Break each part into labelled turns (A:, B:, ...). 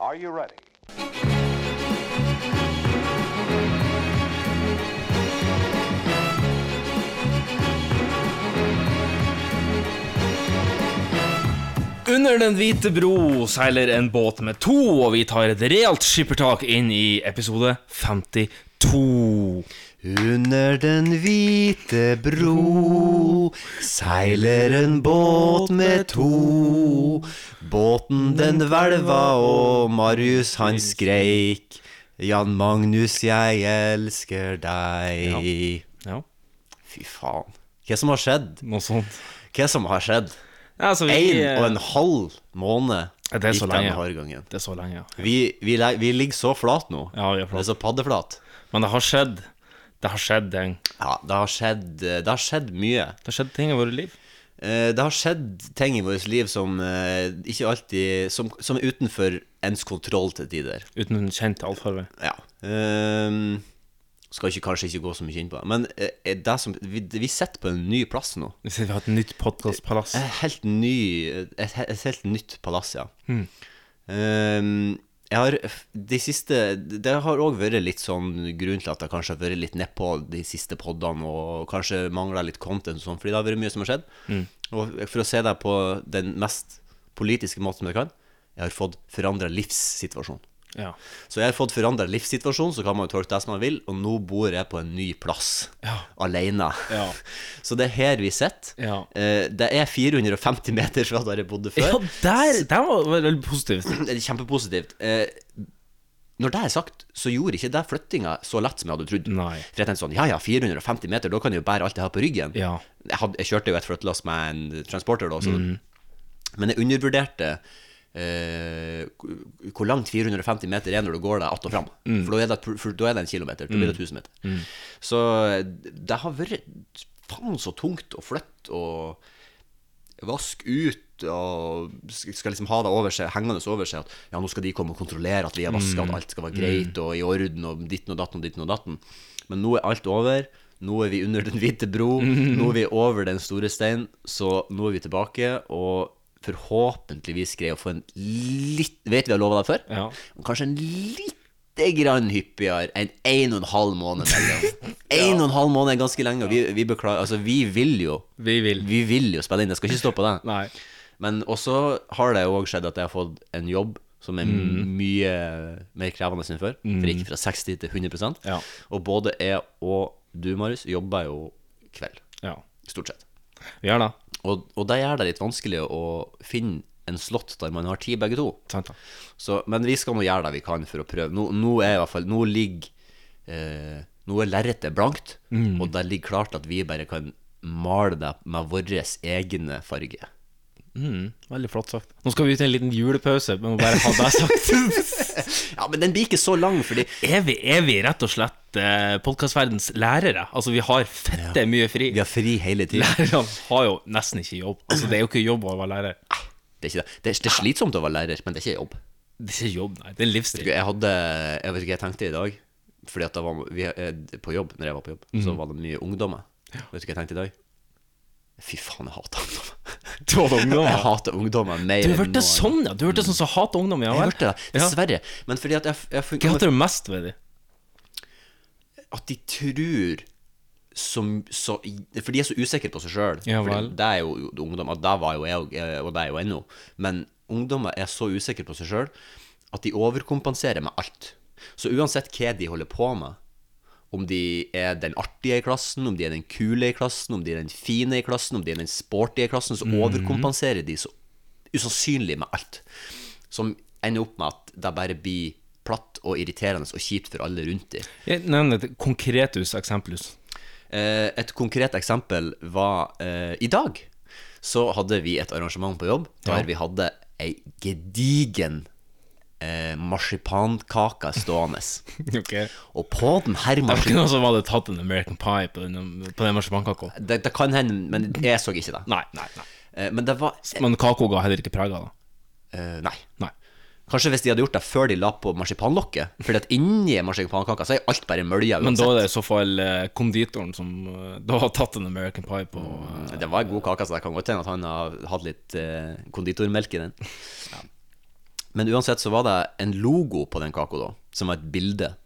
A: Are you ready?
B: Under Den hvite bro seiler en båt med to, og vi tar et realt skippertak inn i episode 52.
C: Under den hvite bro seiler en båt med to. Båten den hvelva, og Marius han skreik. Jan Magnus, jeg elsker deg.
B: Ja,
C: Fy faen. Hva som har skjedd?
B: noe sånt.
C: Hva som har skjedd?
B: Altså,
C: Én
B: eh,
C: og en halv måned
B: Ja, det er så
C: gikk
B: lenge.
C: den hårgangen.
B: eh, Det er så lenge, ja.
C: Vi, vi, le- vi ligger så flat nå.
B: Ja, vi er
C: Det
B: flat.
C: er så paddeflat.
B: Men det har skjedd. Det har skjedd ting.
C: Ja, det har skjedd, det har skjedd mye.
B: Det har skjedd ting i våre liv.
C: Eh, Det har skjedd ting i vårt liv som eh, ikke alltid som, som er utenfor ens kontroll til tider.
B: Uten en kjent allfarvei.
C: Ja. Ehm, skal ikke, kanskje ikke gå så mye inn på det. Men eh, det som, vi, vi sitter på en ny plass nå.
B: Vi sier vi har et nytt podcastpalass.
C: Et helt, ny, et, he- et helt nytt palass, ja. Ehm, jeg har f- de siste Det har òg vært litt sånn grunn til at jeg kanskje har vært litt nedpå de siste podene og kanskje mangla litt content og sånn, fordi det har vært mye som har skjedd. Og for å se det på den mest politiske måten jeg kan, jeg har fått forandra livssituasjon.
B: Ja.
C: Så jeg har fått forandra livssituasjon, så kan man jo tolke det som man vil, og nå bor jeg på en ny plass.
B: Ja.
C: Alene.
B: Ja.
C: Så det er her vi sitter.
B: Ja.
C: Eh, Det er 450 meter fra der jeg bodde
B: ja,
C: før.
B: der! Det var veldig positivt.
C: Det er kjempepositivt. Eh, Når det er sagt, så gjorde ikke det flyttinga så lett som jeg hadde trodd.
B: Nei.
C: For jeg tenkte sånn, ja ja, 450 meter, da kan jeg jo bære alt jeg har på ryggen.
B: Ja.
C: Jeg, hadde, jeg kjørte jo et flyttelass med en transporter, da, så Men jeg undervurderte eh, hvor- hvor langt 450 meter er når du går deg att og fram. For, da er det, et pr- for da er det en kilometer. Da blir det 1000 meter. Så eh, det har vært faen så tungt å flytte og vaske ut og sk- skal liksom ha det over seg, hengende over seg at ja, nå skal de komme og kontrollere at vi er vaska, at alt skal være greit og i orden og ditten og datten og ditten og datten. Men nå er alt over. Nå er vi under Den hvite bro. Nå er vi over Den store stein. Så nå er vi tilbake, og forhåpentligvis greier å få en litt Vet vi har lova deg før?
B: Ja.
C: Men kanskje en lite grann hyppigere enn en og en halv måned mellom. En og en halv måned er ganske lenge, og vi, vi beklager Altså, vi vil jo
B: Vi vil.
C: Vi vil jo spille inn, jeg skal ikke stå på det.
B: Nei.
C: Men også har det jo også skjedd at jeg har fått en jobb som er
B: Mm.
C: mye mer krevende enn før. For jeg gikk fra 60 til 100
B: Ja.
C: Og både jeg og du, Marius, jobber jo kveld.
B: Ja.
C: Stort sett.
B: Vi gjør det.
C: Og, og det gjør det litt vanskelig å finne en slott der man har tid, begge to.
B: Sant, da.
C: Så, men vi skal nå gjøre det vi kan for å prøve. Nå, nå er i hvert fall Nå ligger eh, Nå er lerretet blankt, og det ligger klart at vi bare kan male det med våre egne farger.
B: Mm, veldig flott sagt. Nå skal vi ut i en liten julepause, men må bare ha det sagt.
C: Ja, men den blir ikke så lang, fordi
B: er, vi, er vi rett og slett eh, podkastverdens lærere? Altså, vi har fette mye fri.
C: vi har fri hele tiden.
B: Lærerne har jo nesten ikke jobb. Altså, det er jo ikke jobb å være lærer.
C: Det er ikke det. Det er, det er slitsomt å være lærer, men det er ikke jobb.
B: Det er ikke jobb, nei. Det er en livsstil.
C: Jeg hadde Jeg vet ikke hva jeg tenkte i dag. Fordi at jeg var vi, eh, på jobb, når jeg var på jobb, så var det mye ungdommer. Vet du hva jeg tenkte i dag? Fy faen, jeg hater ungdommer.
B: Du har det ungdom, ja.
C: Jeg hater ungdommer mer
B: Du har
C: enn
B: blitt
C: noen-
B: sånn, ja. Du har blitt sånn som hater ungdom. Ja,
C: Jeg
B: vel?
C: hørte det,
B: Ja.
C: dessverre. Men fordi at jeg, jeg
B: Hva
C: funker,
B: hater du mest ved dem?
C: at de tror som, så, For de er så usikre på seg sjøl.
B: Ja vel.
C: det er jo ungdom, og det var jo jeg, og- eh, og det er jo ennå. Men ungdommer er så usikre på seg sjøl at de overkompenserer med alt. Så uansett hva de holder på med, om de er den artige i klassen, om de er den kule i klassen, om de er den fine i klassen, om de er den sporty i klassen, så
B: Mhm.
C: overkompenserer de så usannsynlig med alt. Som ender opp med at det bare blir platt og irriterende og kjipt for alle rundt dem.
B: Nevn et konkretus exemplus.
C: Eh, Et konkret eksempel var eh, I dag så hadde vi et arrangement på jobb der
B: Ja.
C: vi hadde ei gedigen eh, marsipankake stående.
B: Okay.
C: Og på den her
B: Det var ikke
C: marsipan...
B: noen som hadde tatt en American Pie på den, på den marsipankaka.
C: Det, det kan hende, men jeg så ikke det.
B: Nei, nei, nei.
C: Eh, Men det var
B: Men kaka ga heller ikke preg av det.
C: eh, Nei.
B: Nei.
C: Kanskje hvis de hadde gjort det før de la på marsipanlokket. Fordi at inni marsipankaka så er alt bare mølja
B: Men da
C: uansett.
B: er det i så fall eh, konditoren som eh, da har tatt en American Pie på eh,
C: altså. Det var en god kake, så det kan godt hende at han har hatt litt eh, konditormelk i den. Men uansett så var det en logo på den kaka, da, som var et bilde.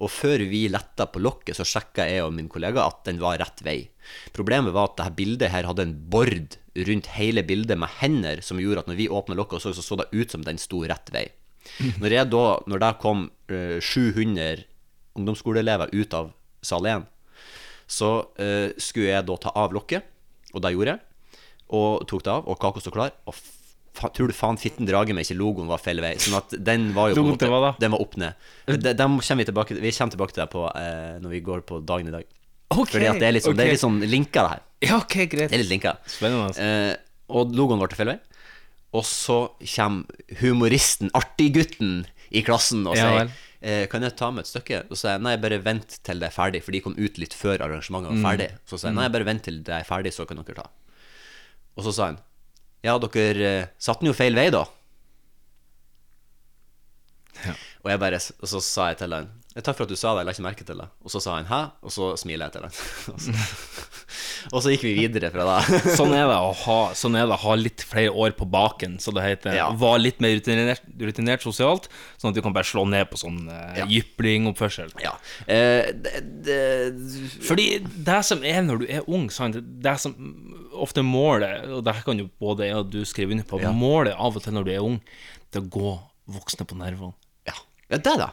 C: Og før vi letta på lokket, så sjekka jeg og min kollega at den var rett vei. Problemet var at dette bildet her hadde en bord rundt hele bildet med hender, som gjorde at når vi åpna lokket, og så, så så det ut som den sto rett vei. Når, jeg da, når det kom eh, 700 ungdomsskoleelever ut av sal 1, så eh, skulle jeg da ta av lokket, og det gjorde jeg. Og tok det av, og kaka sto klar. Og fa, tror du faen fitten drager meg ikke logoen var feil vei. Sånn at den var jo på en
B: Logoen til
C: måte-
B: hva da?
C: den var opp ned. De, dem kommer vi, tilbake, vi kommer tilbake til det på, eh, når vi går på dagen i dag.
B: Ok,
C: Fordi at det er litt sånn, det
B: ok.
C: er litt sånn linka, det her.
B: Ja, ok, greit.
C: Det er litt linka.
B: Spennende, altså.
C: Eh, og logoen var til feil vei. Og så kommer humoristen, artiggutten, i klassen og
B: Ja
C: sier
B: vel.
C: eh, Kan jeg ta med et stykke? Og så sier jeg nei, bare vent til det er ferdig, for de kom ut litt før arrangementet
B: Mm.
C: var ferdig. Så sier jeg nei, bare vent til det er ferdig, så kan dere ta. Og så sa han ja, dere eh, satte den jo feil vei, da.
B: Ja.
C: Og jeg bare, og så sa jeg til han «Jeg, Takk for at du sa det, jeg la ikke merke til det. Og så sa han hæ, og så smiler jeg til han. og, så, og så gikk vi videre fra det.
B: Sånn er det å ha, sånn er det å ha litt flere år på baken, så det heter.
C: Ja.
B: Var litt mer rutinert, rutinert sosialt, sånn at du kan bare slå ned på sånn eh,
C: Ja.
B: jyplingoppførsel.
C: Ja. Eh, det, det,
B: Fordi det som er når du er ung, sant? det som ofte målet, og det her kan jo både jeg og du skrive under på, målet av og til når du er ung, det er å gå voksne på nervene.
C: ja. ja, det da.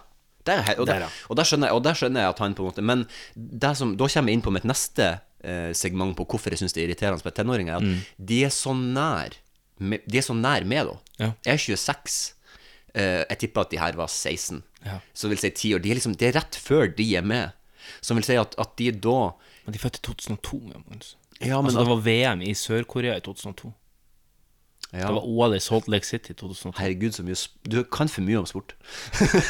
C: Det er, hei- og, det,
B: Der, ja.
C: og, der skjønner jeg, og der skjønner jeg at han på en måte Men det som, da kommer jeg inn på mitt neste eh, segment på hvorfor jeg syns det er irriterende med tenåringer, er at
B: Mm.
C: de er så nær med, De er så nær med, da.
B: Ja.
C: Jeg er 26. Eh, jeg tipper at de her var 16.
B: Ja.
C: Så vil si 10 år. De er liksom, det er rett før de er med. Som vil si at, at de da
B: Men de er født i 2002. Ja, Magnus.
C: Ja, men
B: altså, det var VM i Sør-Korea i 2002.
C: ja.
B: Det var OL i Salt Lake City i 2002.
C: Herregud, så mye sp- Du kan for mye om sport.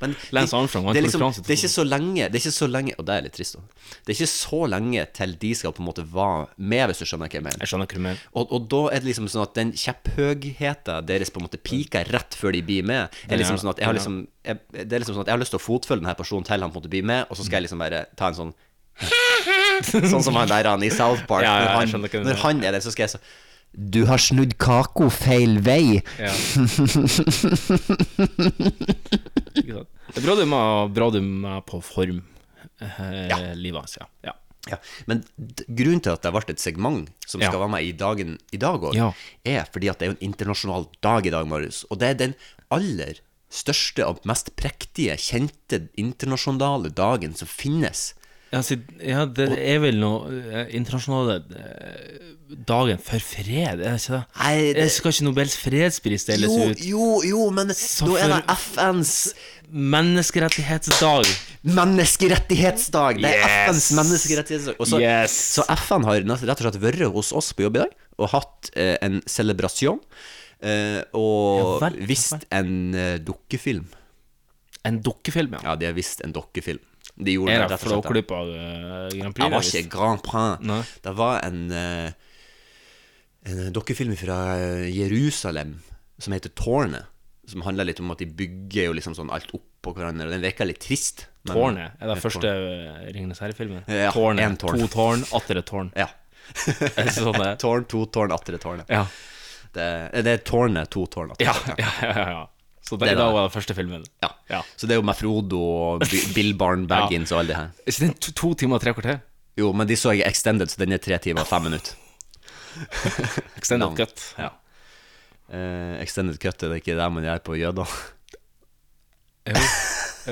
C: Men
B: Lance Armstrong vant
C: det,
B: Tour de
C: er liksom,
B: France i
C: det er ikke så lenge Det er ikke så lenge Og det er litt trist, da. Det er ikke så lenge til de skal på en måte være med, hvis du skjønner hva jeg mener.
B: Jeg skjønner ikke hva du mener.
C: Og, og da er det liksom sånn at den kjepphøyheten deres på en måte piker rett før de blir med. Er liksom sånn at jeg har liksom jeg, Det er liksom sånn at jeg har lyst til å fotfølge denne personen til han på en måte blir med, og så skal jeg liksom bare ta en sånn Sånn som han der han i South Park.
B: Ja, ja, jeg
C: når,
B: skjønner hva du
C: han,
B: mener.
C: når han er der, så skal jeg så Du har snudd kako feil vei.
B: Ja. Ikke sant? Det er bra du er bra du er med på form, eh, livet hans. Ja. Ja.
C: Ja, Men d- grunnen til at det ble et segment som
B: Ja.
C: skal være med i dagen i dag òg,
B: Ja.
C: er fordi at det er jo en internasjonal dag i dag, Marius. Og det er den aller største og mest prektige, kjente internasjonale dagen som finnes.
B: Altså, ja, det er vel noe eh, internasjonale eh, dagen for fred, er det ikke det?
C: Nei, det-
B: Jeg Skal ikke Nobels fredspris deles
C: Jo,
B: ut?
C: jo, jo, men nå er det FNs
B: Menneskerettighetsdag.
C: menneskerettighetsdag! Det er
B: Yes.
C: FNs menneskerettighetsdag. Og så,
B: Yes.
C: så FN har nest- rett og slett vært hos oss på jobb i dag og hatt eh, en celebrasjon. Eh, og
B: Ja vel, ja
C: vist en eh, dukkefilm.
B: En dukkefilm, ja.
C: Ja, de har visst en dokkefilm. De gjorde
B: Er
C: det
B: det
C: rett og slett.
B: flåklypa eh, Grand
C: Det
B: Prix?
C: var ikke Grand Prix.
B: Nei.
C: Det var en, eh, en dokkefilm fra eh, Jerusalem som heter Tårnet. Som handler litt om at de bygger jo liksom sånn alt oppå hverandre. Og den virker litt trist. men-
B: Tårnet er den
C: Et
B: første eh, Ringenes herre-filmen.
C: Ja, en
B: Tårnet.
C: tårn.
B: To tårn, atter et tårn.
C: Ja.
B: Er det sånn det er?
C: Tårn, to tårn, atter et tårn.
B: Ja.
C: Det, det er tårnet, to tårn. atter et
B: Ja,
C: tårn.
B: ja, ja, ja, ja. Så det,
C: Det er
B: i dag
C: det.
B: var den første filmen.
C: Ja.
B: Ja.
C: Så det er jo med Frodo og Bi- Bill Barn Baggins og alle de her.
B: Er ikke den to, to timer og tre kvarter?
C: Jo, men de så jeg extended, så den er tre timer og fem minutter.
B: Extended
C: Lang.
B: cut. Ja.
C: Eh, extended cut er det ikke det man gjør på jøder.
B: Jo.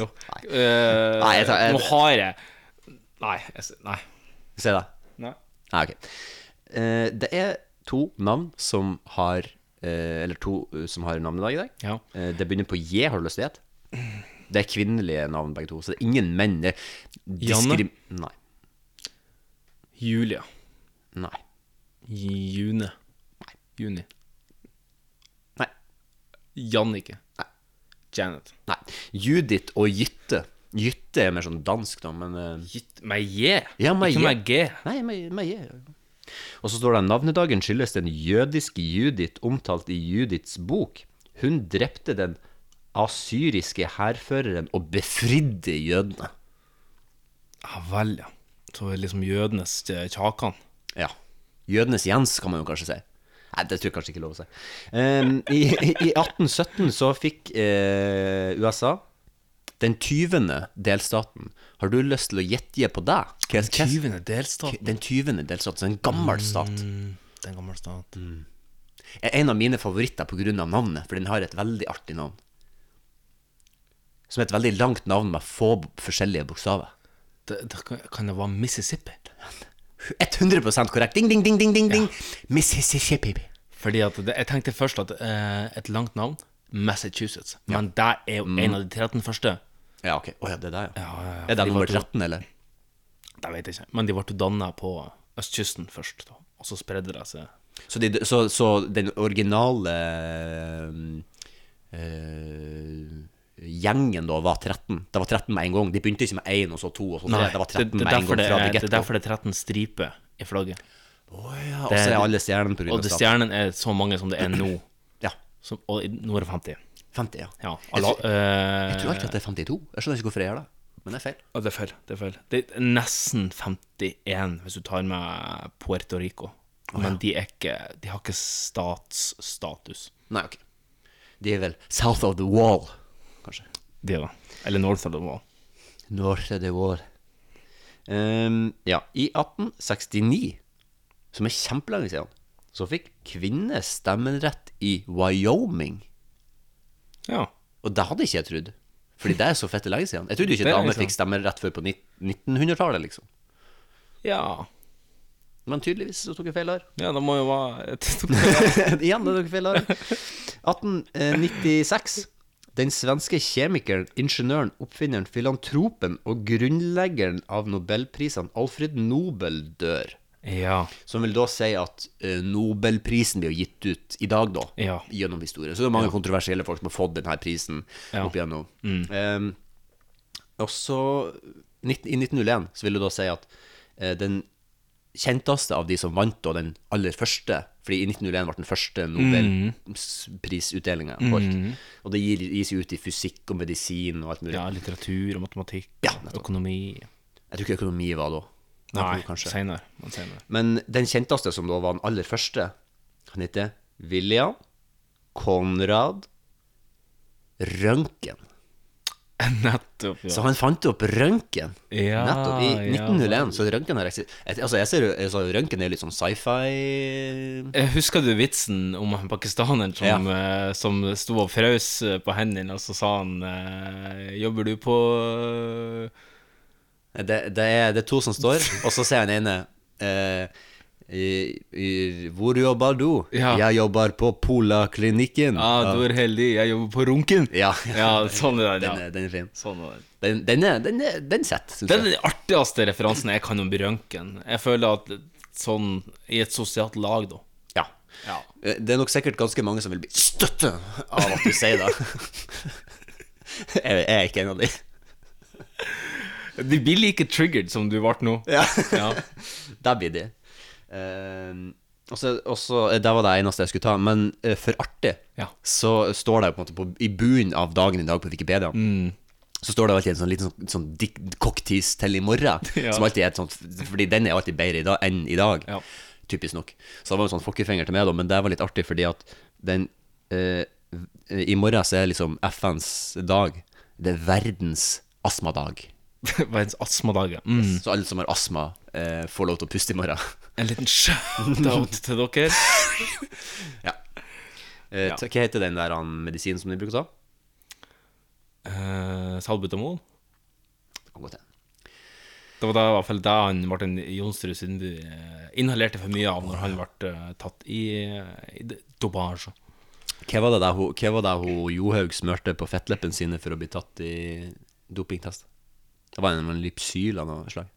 B: jo. Eh,
C: Nei, jeg tar- jeg-
B: Nå har jeg Nei. Jeg, s- nei.
C: Se det.
B: nei.
C: Ja, Ah, ok. Eh, det er to navn som har eh, Eller to eh, som har navnedag i dag.
B: Ja.
C: Eh, det begynner på J, har du lyst til å gjette? Det er kvinnelige navn, begge to. Så det er ingen menn. Det er diskrim... Nei.
B: Julia.
C: Nei.
B: June. Juni.
C: Nei.
B: Jannicke.
C: Nei.
B: Janet.
C: Nei. Judith og Jytte. Jytte er mer sånn dansk, da, men eh,
B: Gitt meg J.
C: Ja, meg
B: Ikke
C: J.
B: meg G.
C: Nei, med, med J. Og så står det navnedagen skyldes den jødiske Judith omtalt i Judiths bok. Hun drepte den asyriske hærføreren og befridde jødene.
B: Ja vel, ja. Så liksom jødenes eh, Kjakan.
C: Ja. Jødenes Jens, kan man jo kanskje si. Nei, det tror jeg kanskje ikke er lov å si. Ehm, i, I 1817 så fikk eh, USA den 20. delstaten. Har du lyst til å gjette på deg? Hva- hva-
B: Tyvende delstat.
C: Den 20. delstaten, så en gammel stat.
B: Den gamle stat.
C: Er en av mine favoritter pga. navnet, for den har et veldig artig navn. Som er et veldig langt navn med få b- forskjellige bokstaver.
B: Det, det kan- kan det være Mississippi?
C: 100 korrekt. Ding, ding, ding, ding, ding. ding Mississippi.
B: Fordi at det, Jeg tenkte først at eh, et langt navn Massachusetts. Men det er
C: Mm.
B: jo en av de 13 første.
C: Ja, ok. Å ja, det er der, ja.
B: Ja, ja, ja.
C: Er det
B: Fordi
C: nummer
B: var to-
C: 13, eller?
B: Det vet jeg ikke. Men de ble danna på østkysten først, da. og så spredde det seg.
C: Så, de, så, så den originale ehm, eh, gjengen da var 13? Det var 13 med en gang? De begynte ikke med 1 og så 2 og så 3? det var 13
B: det, det,
C: med
B: er derfor
C: en gang
B: det
C: fra
B: er,
C: det
B: det er
C: get-go?
B: derfor det er 13 striper i flagget.
C: Å ja, og så er alle stjernene på grunn
B: Og
C: av
B: det
C: staten.
B: stjernen er så mange som det er nå.
C: Ja.
B: Som, og i- nå er det 50.
C: 50, ja.
B: Ja. altså, eh,
C: Jeg,
B: Alla,
C: tror, jeg tror alltid at det er 52. Jeg skjønner ikke hvorfor jeg gjør det. Men det er feil.
B: det er feil. Det er feil. Det er nesten 51 hvis du tar med Puerto Rico. Men de, er ikke, de har ikke statsstatus.
C: Nei, ok. De er vel south of the wall, kanskje.
B: Det da. Eller North of the Wall.
C: North of the wall. Ehm, ja, i 1869, som er kjempelenge siden, så fikk kvinner stemmerett i Wyoming.
B: Ja.
C: Og det hadde ikke jeg trodd. Fordi det er så fette lenge siden. Jeg trodde jo
B: Det
C: ikke
B: er
C: damer
B: liksom-
C: fikk stemmerett før på nitt- 1900-tallet, liksom.
B: ja.
C: Men tydeligvis så tok jeg feil her.
B: Ja, det må jo være
C: Igjen, det er dere feil her. 1896. Den svenske kjemikeren, ingeniøren, oppfinneren, filantropen og grunnleggeren av nobelprisene, Alfred Nobel, dør.
B: Ja.
C: Som vil da si at eh, Nobelprisen blir jo gitt ut i dag, da.
B: Ja.
C: Gjennom historien. Så det er mange kontroversielle folk som har fått denne prisen
B: Ja. Mm.
C: opp igjennom. Ehm, og så nitt- I 1901 så vil du da si at eh, den kjenteste av de som vant da den aller første Fordi i 1901 ble den første nobelprisutdelinga
B: Mm.
C: holdt. Og det gir- gis jo ut i fysikk og medisin og alt mulig.
B: ja. Litteratur og matematikk.
C: Ja,
B: økonomi.
C: Jeg tror ikke økonomi var da.
B: Nei,
C: kanskje.
B: senere. Men senere.
C: Men den kjenteste som da var den aller første, han heter William Konrad Røntgen.
B: Nettopp.
C: Så
B: Ja.
C: han fant opp røntgen.
B: Ja,
C: Nettopp. I
B: ja,
C: 1901. så røntgen har eksistert. Altså, jeg ser jo altså, Røntgen er litt sånn sci-fi
B: Jeg Eh, husker du vitsen om han pakistaneren som, eh, som sto og frøs eh, på hendene, og så sa han eh, Jobber du eh, på
C: det, det, er, det er to som står, og så ser han ene eh, i, i, Hvor jobber du?
B: Ja.
C: Jeg jobber på Polaklinikken.
B: Ja, ah, du er heldig, jeg jobber på runken.
C: Ja.
B: Ja, sånn er det.
C: Den,
B: Ja.
C: er- den er fin.
B: Sånn er det.
C: Den, den, er, den, er, den setter, syns
B: Det er
C: jeg.
B: den artigste referansen jeg kan om røntgen. Jeg føler at sånn i et sosialt lag, da.
C: Ja.
B: Ja.
C: Eh, Det er nok sikkert ganske mange som vil bli støtte av at du sier det. jeg er ikke en av de.
B: De blir like triggered som du ble nå.
C: Ja.
B: Ja.
C: Der blir de. Eh, og så- og så- eh, det var det eneste jeg skulle ta, men eh, for artig
B: Ja.
C: så står det jo på en måte på, i bunnen av dagen i dag på Wikipedia.
B: Mm.
C: Så står det alltid en sånn liten sånn, sånn dik- cocktease til i morgen,
B: Ja.
C: som alltid er et sånt Fordi den er alltid bedre i dag enn i dag.
B: Ja.
C: Typisk nok. Så det var en sånn fokkefinger til meg, da, men det var litt artig fordi at den eh, I morgen så er liksom FNs dag. Det er verdens astmadag.
B: Verdens astmadag. ja. Mm.
C: Så alle som har astma, eh, får lov til å puste i morgen.
B: En liten shout-out til dere.
C: ja. Eh,
B: Ja.
C: t- Hva heter den der han, medisinen som de bruker å ta?
B: Eh, salbutamol.
C: Det kan godt hende.
B: Det var da i hvert fall da han Martin Jonsrud Sundby eh, inhalerte for mye av når han ble eh, tatt i, eh, i d- dopasje.
C: Hva var det der hun, hva var det hun Johaug smørte på fettleppene sine for å bli tatt i dopingtest? Det var en med en lypsyl av noe slag.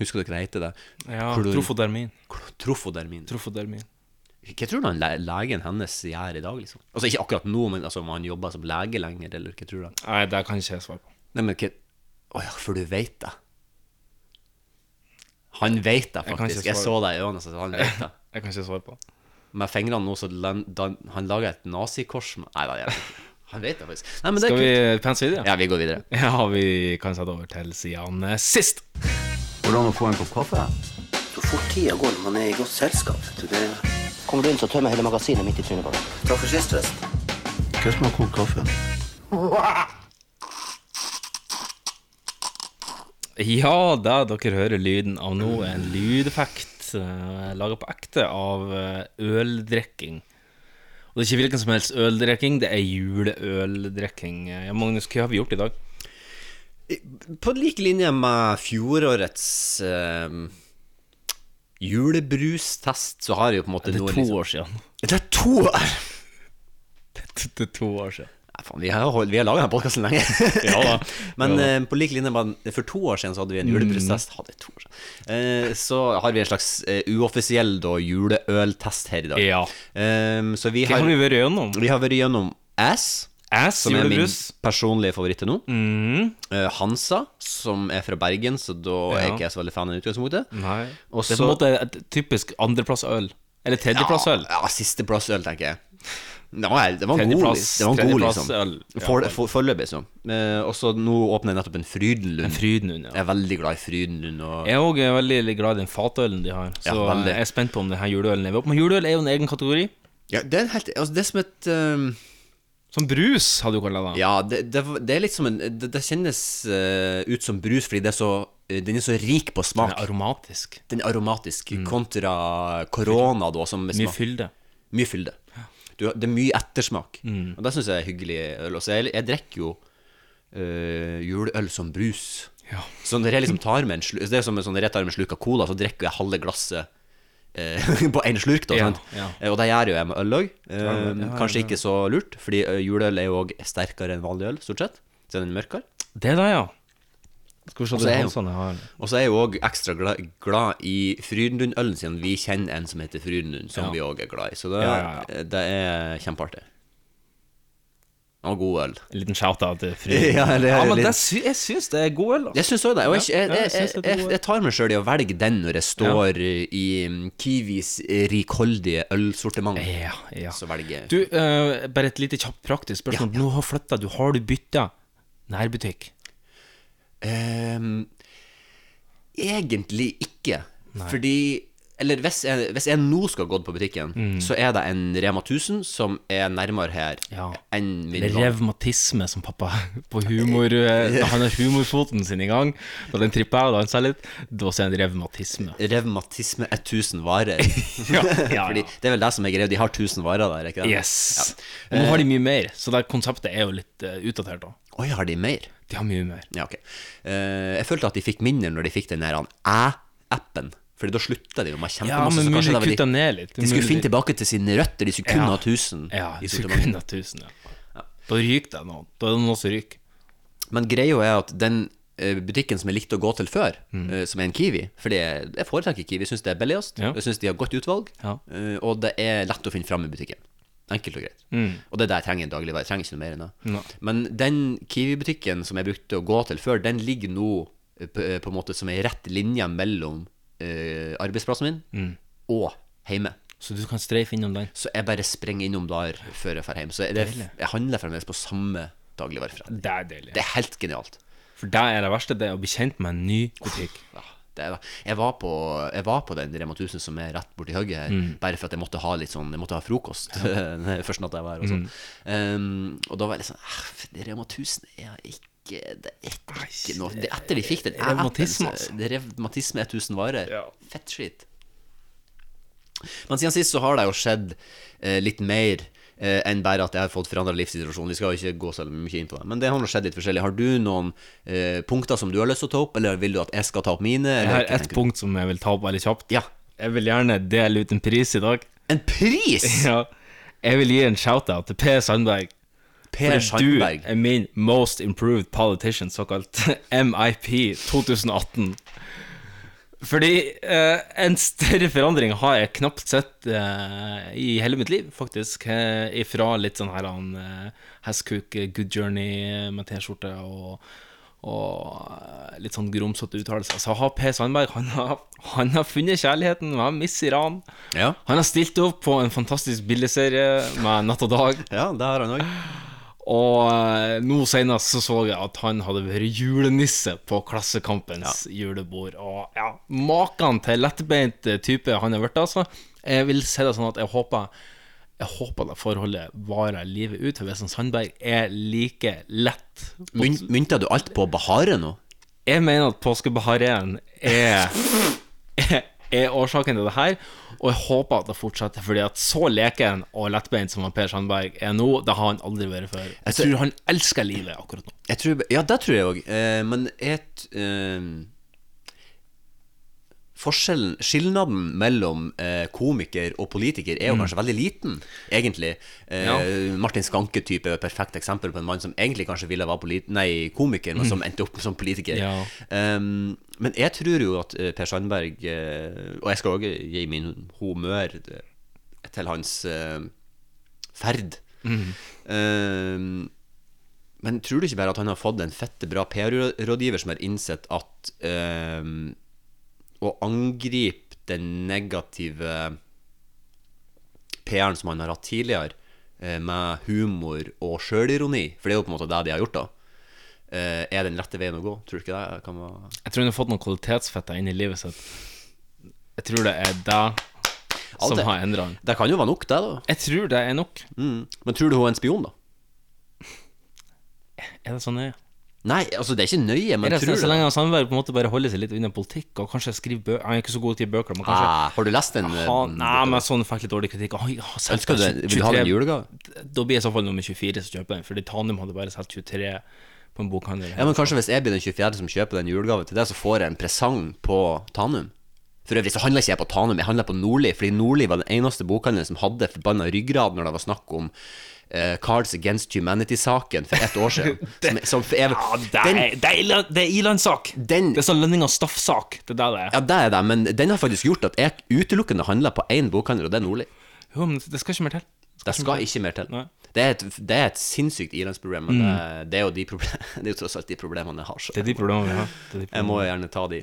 C: Husker dere hva heter det?
B: Ja,
C: Klor-
B: trofodermin.
C: Klo- Trofodermin.
B: Trofodermin.
C: Hva tror du han le legen hennes gjør i dag, liksom? Altså ikke akkurat nå, men altså, om han jobber som lege lenger, eller hva tror du? han-
B: Nei, det kan ikke jeg svare på.
C: Nei, men hva Å ja, for du veit det. Han veit det,
B: Jeg kan ikke
C: faktisk. Jeg,
B: svare.
C: så det i øynene, så han veit det.
B: Jeg kan ikke svare på det.
C: Med fingrene nå, så lan- dan- han lager et nazikors med Nei, da gjør han ikke. Han vet det, faktisk. Nei, men det er
B: Skal
C: kult.
B: vi eh, pense videre?
C: Ja, vi går videre.
B: Ja, vi kan sette over til siden eh, sist.
C: Hvordan å få en kopp kaffe?
A: Du fort tida går når man er i godt selskap. vet du. Det
D: Kommer du inn, så tømmer jeg hele magasinet midt i trynet på deg.
A: Takk for sist, forresten.
D: Hva som har kokt kaffe?
B: Ja da, dere hører lyden av nå en lydeffekt eh, laga på ekte av eh, øldrikking. Og det er ikke hvilken som helst øldrikking, det er juleøldrikking. Eh, Ja, Magnus, hva har vi gjort i dag?
C: På lik linje med fjorårets ehm, julebrustest, så har jeg jo på en måte
B: Det
C: noe
B: er to
C: liksom-
B: år siden.
C: Det er to år!
B: Det er to år siden.
C: Nei, faen, vi har, holdt- vi har laga denne podkasten lenge.
B: Ja da.
C: Men
B: Ja da. Mm.
C: eh, på lik linje med for to år siden så hadde vi en julebrustest. Hadde to år siden. Eh, så har vi en slags eh, uoffisiell da, juleøltest her i dag.
B: Ja.
C: Ehm, så vi
B: Hva
C: har,
B: har
C: vi...
B: vi vært gjennom?
C: har vært gjennom Ass,
B: Ass,
C: som er min
B: julebrus.
C: personlige favoritt til nå.
B: Mm.
C: Eh, Hansa, som er fra Bergen, så da er
B: Ja.
C: ikke jeg så veldig fan av utgangspunktet.
B: Nei.
C: Og
B: det er på en
C: så-
B: måte et typisk andreplassøl. Eller tredjeplassøl.
C: Ja, ja sisteplassøl, tenker jeg. Nei, det var en god,
B: Tredjeplass-
C: det var en god liksom.
B: tredjeplassøl, ja.
C: For- for- Foreløpig, så. Eh, og så nå åpner jeg nettopp en Frydenlund.
B: Frydenlund, ja.
C: Jeg er veldig glad i Frydenlund. Og...
B: Jeg er òg veldig glad i den fatølen de har. Så
C: Ja, veldig.
B: jeg er spent på om denne juleølen lever opp. Men juleøl er jo en egen kategori.
C: Ja, det er en helt Altså, det er som et ehm,
B: Som brus, hadde du kalla det.
C: Ja, det, det, det er litt som en Det, det kjennes eh, ut som brus fordi det er så eh, den er så rik på
B: Den
C: smak.
B: er aromatisk.
C: Den er aromatisk, kontra korona, da, som
B: Mye
C: smak,
B: fylde.
C: mye fylde. Du, har- det er mye ettersmak,
B: Mm.
C: og det syns jeg er hyggelig øl. Også. Jeg, jeg drikker jo eh, juleøl som brus.
B: Ja.
C: Så når jeg liksom tar med en slurk Det er som sånn, når jeg tar med en slurk av cola, så drikker jeg halve glasset eh, på én slurk, da.
B: Ja,
C: sant?
B: ja.
C: Eh, Og det gjør jo jeg med øl òg. Kanskje ikke så lurt, fordi eh, juleøl er jo òg sterkere enn vanlig øl, stort sett. Så den er mørkere.
B: Det da, ja. Skal vi se
C: Og så
B: den
C: er jo-
B: halsen sånn jeg har.
C: Og så er jeg jo òg ekstra glad, glad i Frydenlund-ølen, siden vi kjenner en som heter Frydenlund, som
B: Ja.
C: vi òg er glad i. Så det,
B: Ja, ja, ja.
C: det er kjempeartig. Og god øl.
B: En liten shout-out til Fry.
C: Ja, eller-
B: men
C: eller-
B: det sy jeg syns det er god øl, da.
C: Jeg syns òg det. Og jeg,
B: Ja,
C: jeg,
B: ja, jeg synes
C: jeg,
B: det er
C: jeg,
B: god
C: jeg,
B: øl.
C: jeg tar meg sjøl i å velge den når jeg står i mm, Kiwis rikholdige ølsortiment.
B: Ja, Eh, ja.
C: Så velger jeg
B: Du, eh, bare et lite kjapt praktisk spørsmål. Nå har flytta du. Har du bytta nærbutikk?
C: Ehm, Egentlig ikke. Fordi Eller hvis jeg, hvis jeg nå skal gå på butikken,
B: Mm.
C: så er det en Rema 1000 som er nærmere her
B: Ja.
C: enn min
B: Eller
C: vanlige.
B: revmatisme, som pappa på humor eh, da Han har humorfoten sin i gang. Da den tripper og danser litt, da sier han revmatisme.
C: Revmatisme er 1000 varer.
B: Ja, ja,
C: Fordi
B: ja.
C: det er vel det som er greia, de har 1000 varer der, ikke det?
B: Yes. Og nå har de mye mer, så det konseptet er jo litt eh, utdatert. da
C: Oi, har de mer?
B: De har mye mer.
C: Ja, ok. Eh, jeg følte at de fikk mindre når de fikk den der han, æ-appen. Fordi da slutta de jo med
B: Ja,
C: kjempemasse.
B: men
C: så
B: mulig
C: kanskje
B: de
C: det var
B: kutta ned litt.
C: De skulle
B: Mulig
C: finne
B: de-
C: tilbake til sine røtter. De skulle
B: Ja.
C: kunne ha 1000.
B: Ja,
C: i
B: de skulle
C: sortimentet.
B: kunne ha 1000, ja. Da ryker det noen. Da er det noen som ryker.
C: Men greia er at den eh, butikken som jeg likte å gå til før, eh, som er en Kiwi Fordi jeg jeg foretrekker Kiwi, syns det er billigst,
B: Mm. Ja.
C: jeg syns de har godt utvalg,
B: Ja.
C: eh, og det er lett å finne fram i butikken. Enkelt og greit.
B: Mm.
C: Og det er det jeg trenger i en dagligvare. Jeg trenger ikke noe mer enn det.
B: Nei.
C: Men den Kiwi-butikken som jeg brukte å gå til før, den ligger nå eh, på, eh, på en måte som ei rett linje mellom eh, arbeidsplassen min
B: Mm.
C: og hjemme.
B: Så du kan streife innom den.
C: Så jeg bare springer innom der før jeg drar hjem. Så det, jeg handler fremdeles på samme dagligvareforretning.
B: Det er deilig.
C: Det er helt genialt.
B: For det er det verste, det er å bli kjent med en ny butikk.
C: Ja, det er, det. jeg, var på, jeg var på den Rema 1000 som er rett borti høyre her,
B: Mm.
C: bare for at jeg måtte ha litt sånn Jeg måtte ha frokost første natta jeg var her. Og, sånn.
B: Mm.
C: um, og da var jeg litt sånn «Ah, det Rema 1000 er ikke det er ikke noe det, Etter de fikk den appen,
B: Revmatisme,
C: så-
B: altså.
C: Det er revmatisme 1000 varer.
B: Ja.
C: Fett skitt. Men siden sist så har det jo skjedd eh, litt mer eh, enn bare at jeg har fått forandra livssituasjon. Vi skal jo ikke gå så mye inn på det, men det har nå skjedd litt forskjellig. Har du noen eh, punkter som du har lyst til å ta opp, eller vil du at jeg skal ta opp mine?
B: Jeg
C: Eller,
B: har
C: hva
B: ett
C: tenker du?
B: punkt som jeg vil ta opp veldig kjapt.
C: Ja.
B: Jeg vil gjerne dele ut en pris i dag.
C: En pris!
B: Ja. Jeg vil gi en shout-out til Per Sandberg.
C: Per
B: For du
C: Sandberg.
B: er min most improved politician, såkalt MIP 2018. Fordi eh, en større forandring har jeg knapt sett eh, i hele mitt liv, faktisk. Eh, ifra litt sånn her han eh, Hestkuk, eh, Good Journey eh, med T-skjorte og, og eh, litt sånn grumsete uttalelser. Så har Per Sandberg han har, han har funnet kjærligheten med Miss Iran.
C: Ja.
B: Han har stilt opp på en fantastisk bildeserie med Natt og Dag.
C: ja, det har han òg.
B: Og eh, nå senest så så jeg at han hadde vært julenisse på Klassekampens julebord. Og ja, maken til lettbeint type han har blitt, altså. Jeg vil si det sånn at jeg håper jeg håper det forholdet varer livet ut, for Vesen Sandberg er like lett.
C: Mynt, mynta du alt på Bahare nå?
B: Jeg mener at påskebaharen er, er, er årsaken til det her, og jeg håper at det fortsetter, fordi at så leken og lettbeint som han Per Sandberg er nå, det har han aldri vært før. Jeg tror han elsker livet akkurat nå.
C: Jeg tror, ja, det tror jeg òg. Eh, men et eh, Forskjellen, Skilnaden mellom eh, komiker og politiker er jo
B: Mm.
C: kanskje veldig liten, egentlig. Eh, Martin Skanke-type er et perfekt eksempel på en mann som egentlig kanskje ville være polit nei, komiker, men som endte opp som politiker.
B: Mm. Ja.
C: Ehm, men jeg tror jo at eh, Per Sandberg eh, Og jeg skal òg gi min humør eh, til hans eh, ferd.
B: Mm.
C: Ehm, men tror du ikke bare at han har fått en fette bra PR-rådgiver som har innsett at ehm, å angripe den negative PR-en som han har hatt tidligere, eh, med humor og sjølironi, for det er jo på en måte det de har gjort, da, eh, er den rette veien å gå? Tror du ikke det kan være
B: Jeg tror han har fått noen kvalitetsfetter inn i livet sitt. Jeg tror det er det som
C: det-
B: har endra han.
C: Det kan jo være nok, det, da.
B: Jeg tror det er nok.
C: Mm. Men tror du hun er en spion, da?
B: Er det så nøye?
C: Nei, altså det er ikke nøye, men
B: Er det sånn-
C: tror
B: så, så
C: du det?
B: lenge han Sandberg på en måte bare holder seg litt unna politikk, og kanskje skriver bøker Han er ikke så god til bøker, men kanskje
C: Ah, har du lest den? eh,
B: han, Nei, men sånn fikk litt dårlig kritikk. Han, han selger
C: Ønsker du den? Vil du ha den
B: 23
C: i julegave?
B: Da blir jeg i så fall nummer 24 som kjøper den, fordi Tanum hadde bare solgt 23 på en bokhandel.
C: Ja, men kanskje hvis jeg blir den 24. som kjøper den julegave til deg, så får jeg en presang på Tanum. For øvrig så handler ikke jeg på Tanum, jeg handler på Nordli, fordi Nordli var den eneste bokhandelen som hadde forbanna ryggrad når det var snakk om eh, Cards Against Humanity-saken for ett år siden. som, som er, den,
B: det er i- det er ilandssak!
C: den,
B: Det er sånn lønning og staff-sak. Det er det det er.
C: ja, det er det, men den har faktisk gjort at jeg utelukkende handler på én bokhandel, og det er Nordli.
B: Jo, men det skal ikke mer til.
C: Det skal ikke mer til.
B: Nei. Mm.
C: Det er, et, det er et sinnssykt ilandsproblem, men det, er- det er jo de problem, det er jo tross alt de problemene jeg har.
B: Det
C: Så
B: er de problemene vi har. Det er de
C: jeg
B: problemene.
C: må jo gjerne ta de.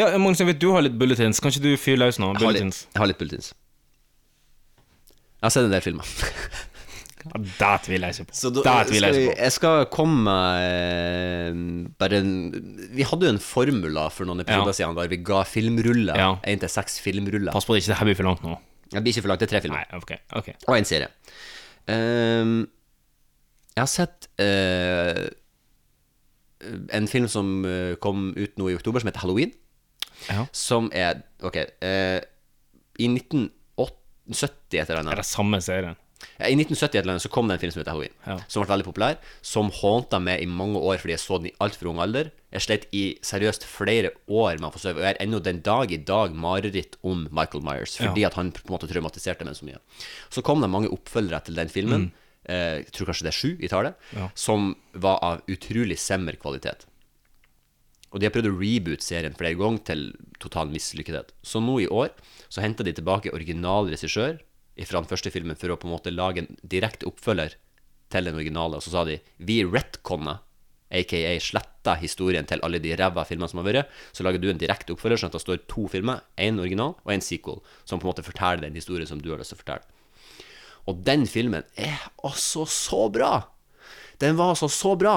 B: Ja, Magnus, jeg vet du har litt bulletins. Kan ikke du fyre løs nå?
C: Jeg har, litt,
B: Bulletins.
C: jeg har litt bulletins. Jeg har sett en del filmer.
B: Ja, Det tviler jeg ikke på. det
C: skal
B: tviler
C: vi,
B: jeg ikke på.
C: jeg skal komme med eh, bare en, Vi hadde jo en formula for noen episoder siden der vi ga filmruller.
B: Ja.
C: Én til seks filmruller.
B: Pass på at ikke det her blir for langt nå.
C: Det blir ikke for langt, det er tre filmer.
B: Nei, ok. ok
C: Og en serie. Ehm, jeg har sett eh, en film som eh, kom ut nå i oktober, som heter Halloween.
B: Ja.
C: Som er Ok. eh, I 1970 et eller annet.
B: Det er det samme serien.
C: Ja, I 1970 et eller annet, så kom det en film som heter Halloween,
B: Ja.
C: som ble veldig populær, som hånta meg i mange år fordi jeg så den i altfor ung alder. Jeg slet i seriøst flere år med å få sove, og jeg har ennå den dag i dag mareritt om Michael Myers, fordi at han på en måte traumatiserte meg så mye. Så kom det mange oppfølgere til den filmen, eh, jeg tror kanskje det er sju i tallet,
B: Mm. Ja.
C: som var av utrolig semmer kvalitet. Og de har prøvd å reboot serien flere ganger til total mislykkethet. Så nå i år så henter de tilbake original regissør fra den første filmen for å på en måte lage en direkte oppfølger til den originale. Og så sa de vi retconna, aka sletta historien til alle de ræva filmene som har vært. Så lager du en direkte oppfølger, sånn at det står to filmer, én original og én sequel, som på en måte forteller den historien som du har lyst til å fortelle. Og den filmen er altså så bra! Den var altså så bra.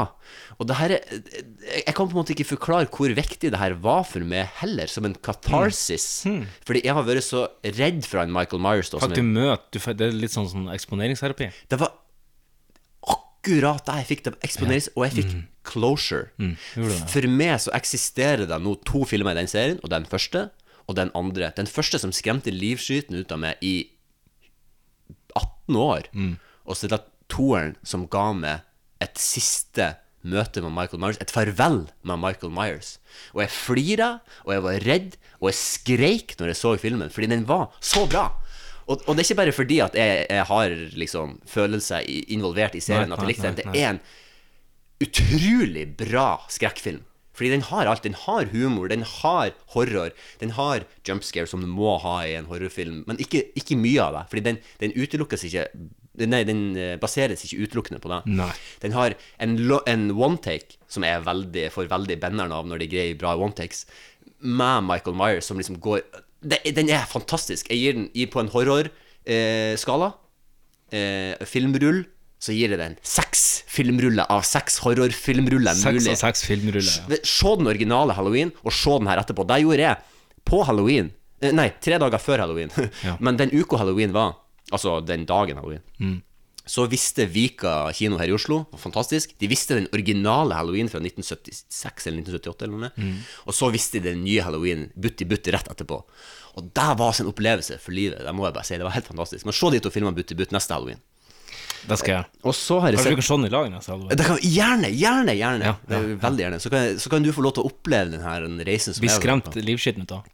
C: Og det her er Jeg jeg kan på en måte ikke forklare hvor viktig det her var for meg heller, som en katarsis. Fordi jeg har vært så redd for han Michael Myers. Da, som
B: Faktisk
C: jeg,
B: møt, du, får- det er litt sånn, sånn eksponeringsterapi.
C: det var akkurat det jeg fikk. Det eksponeres, og jeg fikk closure. For meg så eksisterer det nå to filmer i den serien, og den første og den andre. Den første som skremte livskyten ut av meg i 18 år,
B: Mm.
C: og så er det toeren som ga meg et siste møte med Michael Myers, et farvel med Michael Myers. Og jeg flira, og jeg var redd, og jeg skreik når jeg så filmen, fordi den var så bra. Og, og det er ikke bare fordi at jeg, jeg har liksom følelser i- involvert i serien,
B: Nei,
C: at jeg likte
B: nei,
C: den.
B: nei,
C: Det er en utrolig bra skrekkfilm. Fordi den har alt. Den har humor, den har horror, den har jump scare, som du må ha i en horrorfilm, men ikke, ikke mye av det. Fordi den, den utelukkes ikke Nei, den eh, baseres ikke utelukkende på det.
B: Nei.
C: Den har en, lo- en one-take, som jeg er veldig, får veldig benneren av når de greier bra one-takes, med Michael Myers, som liksom går det, Den er fantastisk. Jeg gir den i, på en horrorskala. Eh, skala. eh, filmrull, så gir det den seks filmruller av seks horrorfilmruller
B: Seks
C: mulig.
B: av seks filmruller.
C: Det- Se den originale Halloween, og se den her etterpå. Det gjorde jeg på Halloween. Eh, Nei, tre dager før Halloween.
B: Ja.
C: Men den uka Halloween var, altså den dagen Halloween,
B: Mm.
C: så visste Vika kino her i Oslo, fantastisk, de visste den originale Halloween fra 1976 eller 1978 eller noe,
B: Mm.
C: og så visste de den nye Halloween butt i butt rett etterpå. Og det var sin opplevelse for livet, det må jeg bare si. Det var helt fantastisk. Men se de to filmene butt i butt neste Halloween.
B: Det, skal jeg.
C: Og så har jeg
B: Kanskje vi
C: sett
B: Altså, kan se den i lag neste halvår?
C: det kan, gjerne, gjerne, gjerne.
B: Ja, ja,
C: Det er Veldig gjerne. Så kan, jeg- så kan du få lov til å oppleve den her den reisen som
B: Bli
C: jeg har vært
B: skremt livskiten ut av.
C: på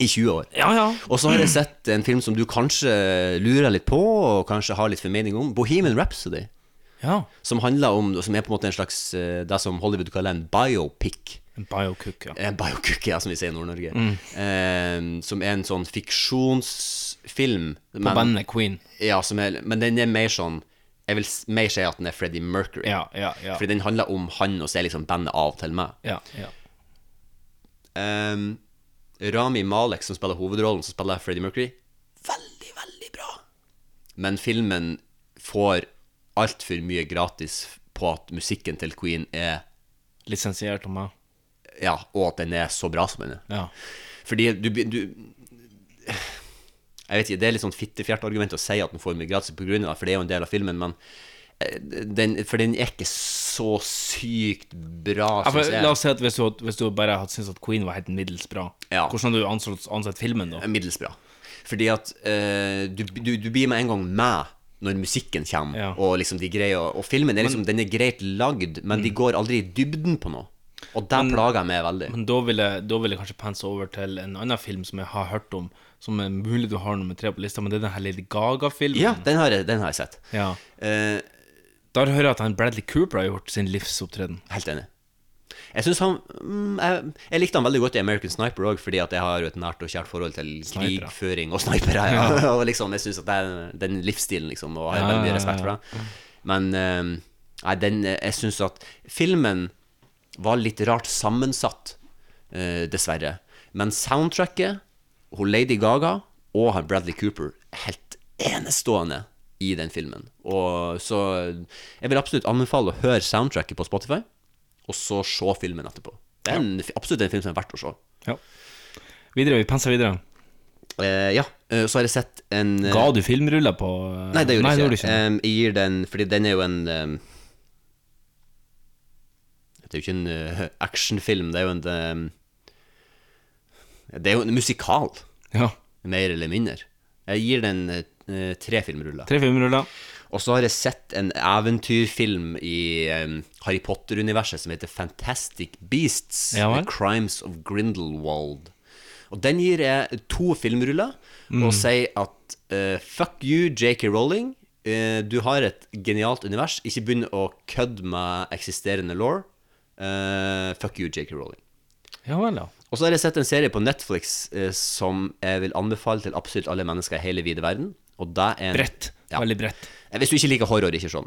C: i 20 år.
B: Ja, ja.
C: Og så har jeg sett en film som du kanskje lurer litt på, og kanskje har litt formening om. Bohemian Rhapsody.
B: ja.
C: Som handler om, som er på en måte en slags eh, det som Hollywood kaller en biopic.
B: En biocook, ja.
C: Eh, Biocook, ja, som vi sier i Nord-Norge.
B: Mm.
C: Eh, som er en sånn fiksjonsfilm.
B: På
C: Men,
B: bandet Queen.
C: ja, som er, men den er mer sånn Jeg vil s- mer si at den er Freddie Mercury.
B: Ja, ja, ja.
C: Fordi den handler om han, og så er liksom bandet av til meg.
B: ja, ja.
C: Ehm, Rami Malek, som spiller hovedrollen, som spiller Freddie Mercury, veldig, veldig bra. Men filmen får altfor mye gratis på at musikken til Queen er
B: Lisensiert av meg.
C: Ja, og at den er så bra som den er.
B: Ja.
C: Fordi du, be- du Jeg vet ikke, det er litt sånn fittefjertargument å si at den får mye gratis på grunn av det, for det er jo en del av filmen, men eh, den, for den er ikke så sykt bra,
B: Ja,
C: synes
B: for,
C: jeg.
B: la oss si at hvis du, hvis du bare hadde syntes at Queen var helt middels bra,
C: Ja. Eh,
B: hvordan hadde du ansett, ansett filmen da?
C: er middels bra. Fordi at eh, du, du, du blir med en gang med når musikken kommer,
B: Ja.
C: og liksom de greier å- Og filmen er liksom, den er greit lagd, men
B: Mm.
C: de går aldri i dybden på noe. Og det plager jeg meg veldig.
B: Men da vil, jeg, da vil jeg kanskje pense over til en annen film som jeg har hørt om, som er mulig du har nummer tre på lista, men det er den her Lady Gaga-filmen.
C: Ja, den har, jeg- den har jeg sett.
B: Ja.
C: Eh,
B: Der hører jeg at han Bradley Cooper har gjort sin livsopptreden.
C: helt enig. Jeg synes han mm, jeg, jeg likte han veldig godt i American Sniper òg, fordi at jeg har jo et nært og kjært forhold til
B: Snipere.
C: krigføring og snipere. Ja. og liksom, jeg syns at det er den livsstilen, liksom, og har
B: Ja,
C: veldig
B: ja,
C: mye respekt
B: ja.
C: for det. Men eh, nei, den, jeg syns at filmen var litt rart sammensatt, eh, dessverre. Men soundtracket, hun Lady Gaga og han Bradley Cooper er helt enestående i den filmen. Og så jeg vil absolutt anbefale å høre soundtracket på Spotify, og så se filmen etterpå. Det er en, absolutt en film som er verdt å se.
B: Ja. Videre, vi penser videre.
C: Eh, ja, eh, så har jeg sett en eh,
B: Ga du filmruller på eh?
C: Nei, det gjorde jeg
B: du
C: ikke. Em, jeg gir den Fordi den er jo en em, Det er jo ikke en eh, actionfilm, det er jo en em, Det er jo en musikal,
B: Ja.
C: mer eller mindre. Jeg gir den eh, tre filmruller.
B: Tre filmruller.
C: Og så har jeg sett en eventyrfilm i em, Harry Potter-universet som heter Fantastic Beasts
B: Ja vel.
C: The Crimes of Grindelwald. Og den gir jeg to filmruller og
B: Mm.
C: sier at eh, fuck you, JK Rowling. Eh, du har et genialt univers. Ikke begynn å kødde med eksisterende law. fuck you, JK Rowling.
B: Ja vel, ja.
C: Og så har jeg sett en serie på Netflix eh, som jeg vil anbefale til absolutt alle mennesker i hele vide verden. Og det er en,
B: Bredt.
C: Ja. Eh,
B: Veldig bredt.
C: Hvis du ikke liker horror, ikke sånn.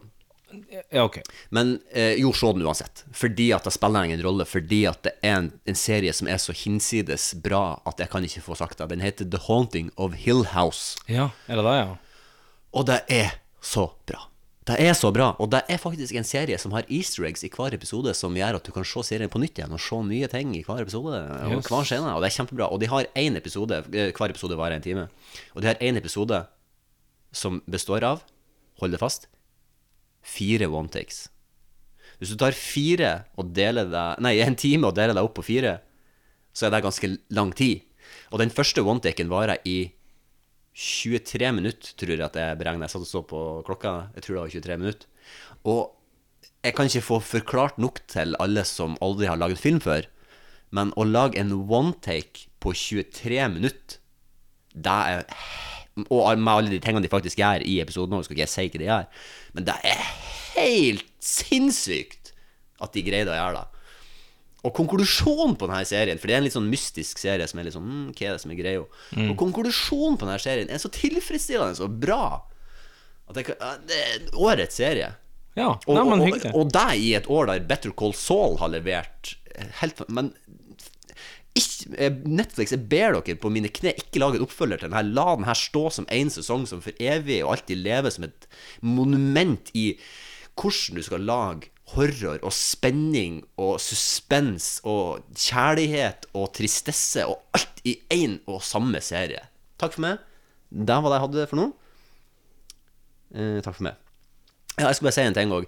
B: Ja, ok.
C: Men eh, jo, se den uansett. Fordi at det spiller ingen rolle. Fordi at det er en, en serie som er så hinsides bra at jeg kan ikke få sagt det. Den heter The Haunting of Hill House.
B: Ja, er det det, ja?
C: Og det er så bra. Det er så bra. Og det er faktisk en serie som har easter eggs i hver episode, som gjør at du kan se serien på nytt igjen og se nye ting i hver episode. Og
B: Yes.
C: hver scene, og det er kjempebra. Og de har én episode, eh, hver episode varer en time. Og de har én episode som består av, hold det fast, fire one takes. Hvis du tar fire og deler deg Nei, en time og deler deg opp på fire, så er det ganske lang tid. Og den første one-taken varer i 23 minutter, tror jeg at jeg beregner. Jeg satt og så på klokka, jeg tror det var 23 minutter. Og jeg kan ikke få forklart nok til alle som aldri har laget film før, men å lage en one-take på 23 minutter, det er Og med alle de tingene de faktisk gjør i episoden, nå skal ikke jeg si hva de gjør, men det er helt sinnssykt at de greide å gjøre det. Og konklusjonen på denne serien, for det er en litt sånn mystisk serie som er litt sånn mm, Hva er det som er greia? Og konklusjonen på denne serien er så tilfredsstillende og bra at jeg, kan- ja, det er årets serie.
B: Ja,
C: Og,
B: nei, men
C: og, og,
B: hyggelig.
C: og det i et år der Better Call Saul har levert eh, helt fa- Men ikke, eh, Netflix, jeg ber dere på mine kne, ikke lage en oppfølger til den her. La den her stå som én sesong som for evig og alltid leve som et monument i hvordan du skal lage horror og spenning og suspens og kjærlighet og tristesse og alt i én og samme serie. Takk for meg. Der var det jeg hadde for nå. Eh, takk for meg. Ja, jeg skal bare si en ting òg.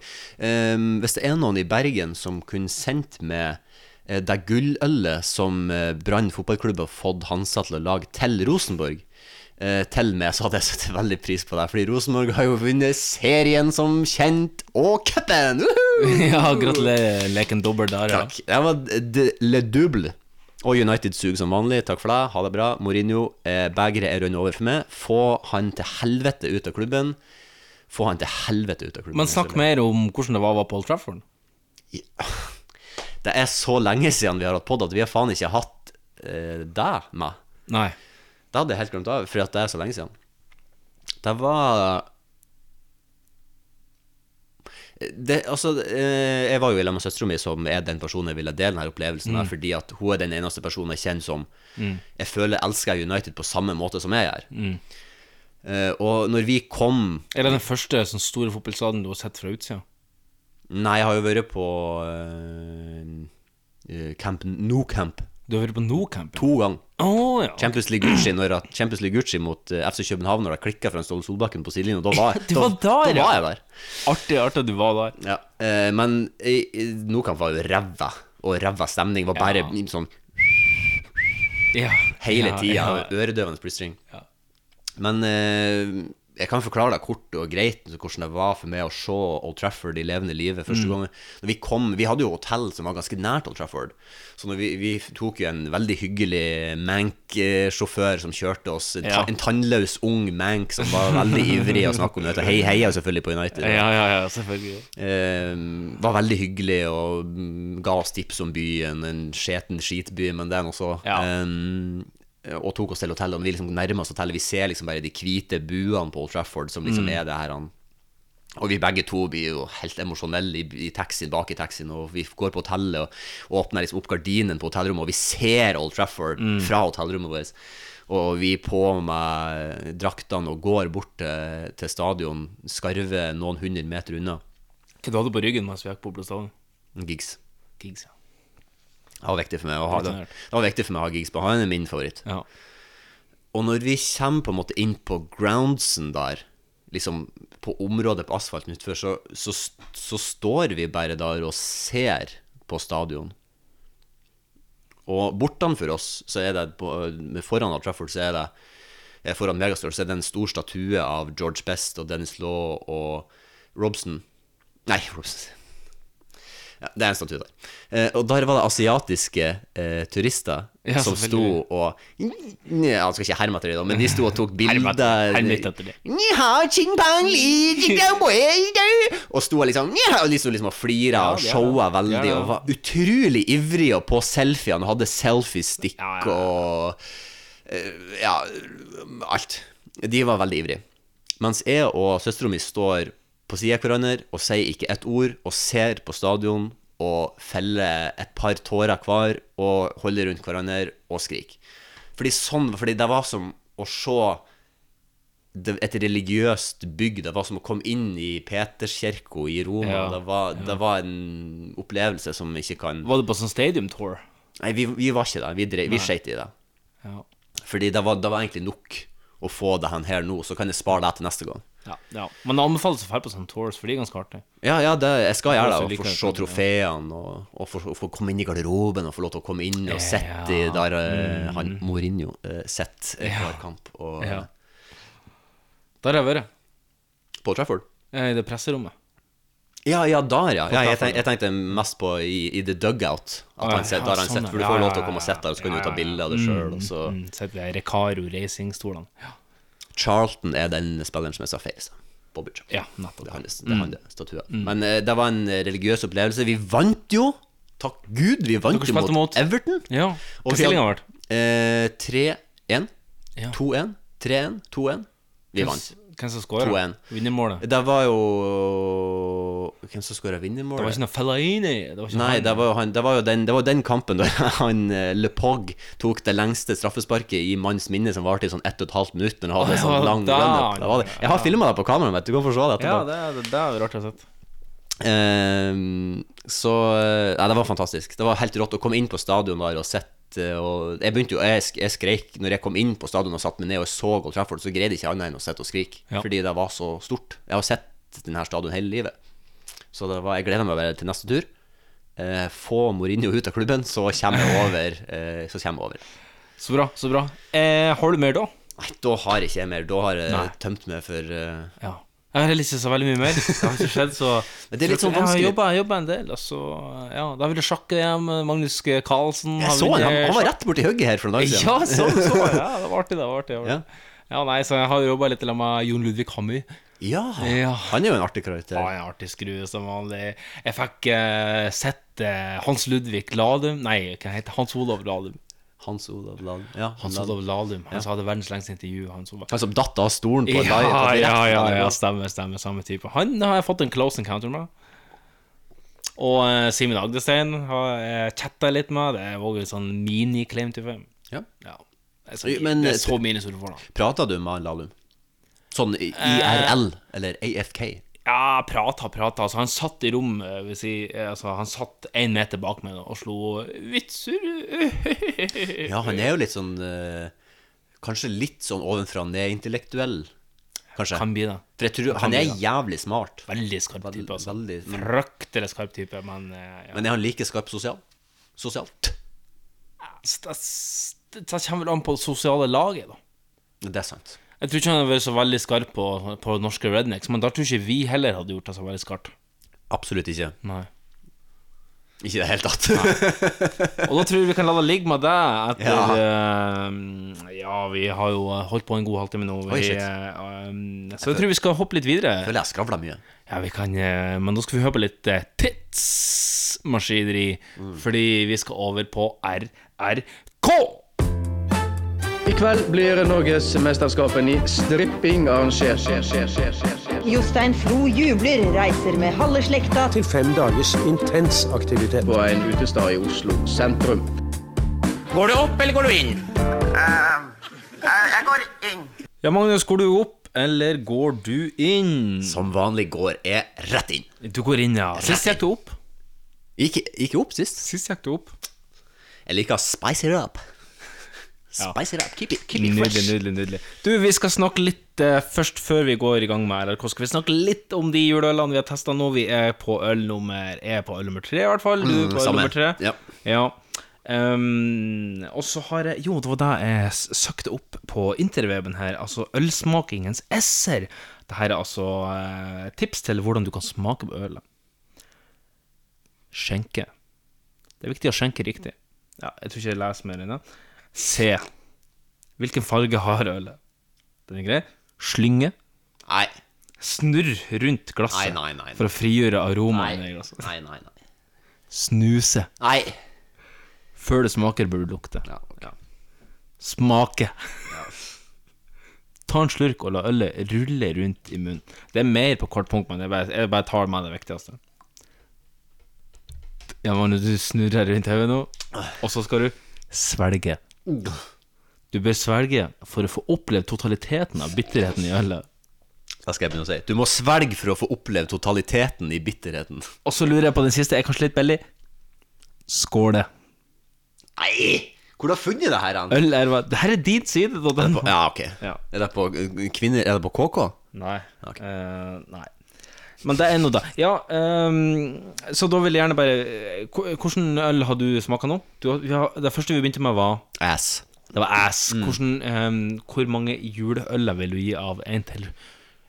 C: hvis det er noen i Bergen som kunne sendt med eh, det gullølet som eh, Brann fotballklubb har fått Hansa til å lage til Rosenborg eh, til meg, så hadde jeg satt veldig pris på det. Fordi Rosenborg har jo vunnet serien som kjent, og cupen! Woohoo!
B: Ja, gratulerer leken dobbel der, ja.
C: Takk. Det var d- le double. Og United suger som vanlig. Takk for deg, ha det bra. Mourinho, eh, begeret er rønnet over for meg. Få han til helvete ut av klubben. Få han til helvete ut av klubben.
B: Men snakk mer om hvordan det var å være på Old Trafford.
C: Det er så lenge siden vi har hatt podd at vi har faen ikke hatt eh, deg med.
B: Nei.
C: Det hadde jeg helt glemt av, for at det er så lenge siden. Det var det, altså, eh, Jeg var jo i lag med søstera mi, som er den personen jeg ville dele denne opplevelsen med, fordi at hun er den eneste personen jeg kjenner som jeg føler elsker United på samme måte som jeg gjør. Eh, og når vi kom
B: Er det den første sånn store fotballstadion du har sett fra utsida?
C: Nei, jeg har jo vært på eh, eh, Camp No Camp
B: Du har vært på Nocamp? Å
C: to ganger.
B: ja.
C: Champions League Gucci, når at Champions League Gucci mot eh, FC København Når jeg klikket fra en Ståle Solbakken på sidelinjen, og da var, jeg-
B: Det var der,
C: da
B: ja.
C: var jeg der.
B: Artig, artig at du var der.
C: Ja. Eh, men i, i, Nokamp var jo ræva, og ræva stemning var bare
B: Ja.
C: sånn
B: Ja.
C: hele
B: ja,
C: tida,
B: ja.
C: øredøvende plystring.
B: Ja.
C: Men eh, jeg kan forklare deg kort og greit så hvordan det var for meg å se Old Trafford i levende livet første
B: Mm.
C: gangen. Når vi kom, vi hadde jo hotell som var ganske nært Old Trafford, så når vi, vi tok jo en veldig hyggelig Mank-sjåfør som kjørte oss, en, ta,
B: Ja.
C: en tannløs ung Mank som var veldig ivrig å snakke om dette. Hei, heia selvfølgelig på United.
B: Ja, ja, ja, selvfølgelig.
C: Eh, var veldig hyggelig og mm, ga oss tips om byen. En skjeten skitby, men det er nå så.
B: Ja.
C: Eh, og tok oss til hotellet. Og vi liksom nærmer oss hotellet. Vi ser liksom bare de hvite buene på Old Trafford, som liksom er det her han og vi begge to blir jo helt emosjonelle i, i taxien, bak i taxien, og vi går på hotellet og, og åpner liksom opp gardinen på hotellrommet, og vi ser Old Trafford fra hotellrommet vårt. Og vi er på med draktene og går bort til, til stadion, skarver noen hundre meter unna.
B: Hva du hadde på ryggen mens vi gikk på Opera Stadion?
C: Gigs.
B: Gigs, ja.
C: Det var viktig for meg å ha det.
B: Helt klart.
C: Det var viktig for meg å ha gigs på. Han er min favoritt.
B: ja.
C: Og når vi kommer på en måte inn på groundsen der, liksom på området på asfalten utfor, så, så, så står vi bare der og ser på stadion. Og bortenfor oss, så er det på, med foran Old Trafford, så er det eh, foran Megastore, så er det en stor statue av George Best og Dennis Law og Robson. Nei, Robson ja, Det er en statue der. Eh, og der var det asiatiske eh, turister
B: Ja,
C: som sto
B: selvfølgelig.
C: og ja, Han skal ikke herme etter det, da, men de sto og tok
B: Herme etter-
C: bilder
B: herme litt etter det.
C: Ni hao, ching pang, li, ching dao, boi, dao. Og sto og liksom ni hao, liksom, liksom og flira
B: Ja,
C: og
B: det er
C: showa
B: det.
C: veldig
B: Ja, ja.
C: og var utrolig ivrig og på selfiene og hadde selfiestick
B: Ja, ja, ja.
C: og eh, Ja, alt. De var veldig ivrige. Mens jeg og søstera mi står på sida av hverandre og sier ikke ett ord og ser på stadion og feller et par tårer hver og holder rundt hverandre og skriker. Fordi sånn Fordi det var som å se det, et religiøst bygg. Det var som å komme inn i Peterskirka i Roma.
B: Ja,
C: det, var, det var en opplevelse som ikke kan
B: Var du på sånn stadium tour?
C: Nei, vi, vi var ikke det. Vi, drev- vi skeit i det.
B: Ja.
C: Fordi det var, det var egentlig nok å få det hen her nå, så kan jeg spare det til neste gang.
B: Ja, ja. Men det anbefales å dra på sånne tours, for de er ganske artige.
C: Ja, ja, det, jeg skal gjøre det.
B: Altså,
C: Og få
B: likevel
C: se
B: kan du-
C: trofeene, og, og få, og få komme inn i garderoben, og få lov til å komme inn og sitte i der eh, han Mourinho uh, sitter eh, hver kamp. Og,
B: Mm. Ja. Der har jeg vært.
C: På Trafford.
B: eh, I det presserommet.
C: Ja, ja, der, ja. ja
B: Trafford,
C: jeg, tenkte, jeg tenkte mest på i, i The Dugout. At
B: ja,
C: han sitter
B: ja,
C: der han
B: sånn,
C: sitter, for du
B: ja.
C: får
B: Ja,
C: lov til å
B: ja,
C: komme og sitte der, og så kan
B: ja,
C: du ta
B: ja.
C: bilde av det sjøl. Og så
B: Mm, Sitter ved Recaro Racing-stolene. Ja.
C: Charlton er den spilleren som jeg sa feil. sa. Bobby Charlton.
B: ja, nettopp. Mm.
C: Det er han, det er han det, statuen. Men eh, det var en religiøs opplevelse. Vi vant jo! Takk Gud, vi vant
B: Dere
C: jo
B: spilte
C: mot,
B: mot-
C: Everton.
B: Ja.
C: Og
B: Hva
C: vi
B: stillinga
C: hadde-
B: ble
C: Eh, 3-1,
B: Ja.
C: 2-1, 3-1, 2-1. Vi vant.
B: Hvem som skåra?
C: 2-1.
B: Vinnermålet.
C: Det var jo Hvem som skåra vinnermålet?
B: Det var ikke noe Fellaini. Det var ikke
C: Nei,
B: han.
C: det var, jo han, det var jo den, det var den kampen da han eh, Le Pog tok det lengste straffesparket i manns minne, som varte i sånn ett og et halvt minutt. Når han hadde
B: Å, ja,
C: sånn lang
B: da.
C: run-up. Det var det. Jeg har filma det på kamera, vet du. Du kan få se det
B: ja,
C: etterpå.
B: det, det, det er rart jeg har sett.
C: Ehm, så eh, Nei, det var fantastisk. Det var helt rått å komme inn på stadion der og sitte og Jeg begynte jo, jeg, sk- jeg skreik når jeg kom inn på stadion og satte meg ned og så Old Trafford, så greide jeg ikke annet enn å sitte og skrike.
B: Ja.
C: Fordi det var så stort. Jeg har sett denne stadion hele livet. Så det var, jeg gleder meg bare til neste tur. Eh, få Mourinho ut av klubben, så kommer jeg over. eh, så kommer jeg over.
B: Så bra, så bra. Eh, har du mer da?
C: Nei, da har jeg ikke mer. Da har jeg
B: Nei.
C: tømt meg for eh,
B: Ja. Jeg har heller ikke så veldig mye mer. Det har ikke skjedd, så
C: Men det er litt sånn
B: Jeg har
C: vanskelig.
B: jobba, en del, og så Ja, da ville sjakke-EM, Magnus Carlsen
C: Jeg så han, han han var rett borti hugget her for noen dager
B: eh, Ja, så, så ja, det var artig, det. var artig, det var artig.
C: Ja.
B: Ja, nei, så jeg har jobba litt sammen med Jon Ludvig Hammy.
C: Ja.
B: Ja.
C: Han er jo en artig karakter.
B: Ja, en artig skrue som vanlig. Jeg fikk eh, sett eh, Hans Ludvig Ladum Nei, hva heter han? Hans Olav Ladum.
C: Hans Olav Land. Ja,
B: Hans
C: Land.
B: Olav Ladum. Han som hadde verdens lengste intervju. Hans Olav.
C: Han som datt av stolen på
B: Ja,
C: et live. på
B: ja,
C: direkten.
B: ja, ja, stemmer, stemmer. Samme type. Han har jeg fått en close encounter med. Og eh, Simen Agdestein har jeg chatta litt med. Det er også en sånn mini-claim to fame.
C: Ja.
B: Ja. Det er så,
C: Men- eh,
B: det er så minus du får, da.
C: Prata du med han Lahlum? Sånn i-
B: Eh.
C: IRL, eller AFK?
B: Ja, prata, prata. Altså, han satt i rom eh, vil si, eh, altså, Han satt én meter bak meg da, og slo vitser.
C: Ja, han er jo litt sånn eh, Kanskje litt sånn ovenfra og ned-intellektuell, kanskje.
B: Kan bli det.
C: For jeg tror han
B: kan
C: er
B: bli,
C: jævlig smart.
B: Veldig skarp type. Altså.
C: veldig- men-
B: Fryktelig skarp type, men eh, ja.
C: Men er han like skarp sosial? sosialt?
B: Så Det det- det kommer vel an på det sosiale laget, da.
C: Det er sant.
B: Jeg tror ikke han har vært så veldig skarp på, på norske rednecks, men da tror jeg ikke vi heller hadde gjort det så veldig skarpt.
C: Absolutt ikke.
B: Nei.
C: Ikke i det hele tatt.
B: Og da tror jeg vi kan la det ligge med det etter Ja,
C: Ja.
B: ja vi har jo eh, holdt på en god halvtime nå. Vi,
C: Oi, shit.
B: eh, um, så jeg tror vi skal hoppe litt videre.
C: Føler jeg skravla mye.
B: Ja, vi kan eh, Men da skal vi høre på litt eh, tidsmaskineri, fordi vi skal over på RRK.
E: I kveld blir Norgesmesterskapen i stripping arrangert.
F: Jostein Flo jubler, reiser med halve slekta
G: til fem dagers intens aktivitet.
E: På en utestad i Oslo sentrum.
B: Ja, Magnus, går du opp, eller går du inn?
C: Som vanlig går jeg rett inn.
B: Du går inn, ja. Sist gikk du opp.
C: Gikk gikk jeg opp sist?
B: Sist gikk du opp.
C: Jeg liker å spice it up. Spice it up. Keep it, keep it
B: Nydelig,
C: fresh.
B: nydelig, nydelig. Du, vi skal snakke litt eh, først før vi går i gang med RRK. Skal vi snakke litt om de juleølene vi har testa nå? Vi er på øl nummer Jeg er på øl nummer tre, i hvert fall. Du er på øl
C: Mm, samme.
B: nummer tre.
C: Ja.
B: Ehm, og så har jeg Jo, det var det jeg s- søkte opp på interweben her. Altså ølsmakingens esser. Dette er altså eh, tips til hvordan du kan smake på ølet. Skjenke. Det er viktig å skjenke riktig. Ja, jeg tror ikke jeg leser mer enn det. Se. Hvilken farge har ølet? Den er grei. Slynge.
C: Nei.
B: Snurr rundt glasset
C: Nei, nei, nei, nei.
B: for å frigjøre aromaen i
C: Nei.
B: glasset.
C: Nei, nei, nei.
B: Snuse.
C: Nei.
B: Før det smaker, bør du lukte. Smake. Ta en slurk og la ølet rulle rundt i munnen. Det er mer på hvert punkt, men jeg bare, jeg bare tar med det viktigste. Ja, Magnus, du snurrer rundt hodet nå, og så skal du svelge. Du bør svelge for å få opplevd totaliteten av bitterheten i ølet.
C: Da skal jeg begynne å si Du må svelge for å få oppleve totaliteten i bitterheten.
B: Og så lurer jeg på den siste, er kanskje litt billig. Skåle.
C: Nei! Hvor har du funnet det her? Han?
B: Øl er hva Det her er din side, da. Den.
C: Ja, ok.
B: Ja.
C: Er det på eh, kvinner Er det på KK?
B: Nei.
C: Ok.
B: Eh, nei. Men det er nå, da. Ja, ehm, så da vil jeg gjerne bare eh, hvor- Hvordan øl har du smaka nå? Du, har- vi har, det første vi begynte med, var
C: Ass.
B: Det var ass. Hvordan, ehm, hvor mange juleøler vil du gi av 1 til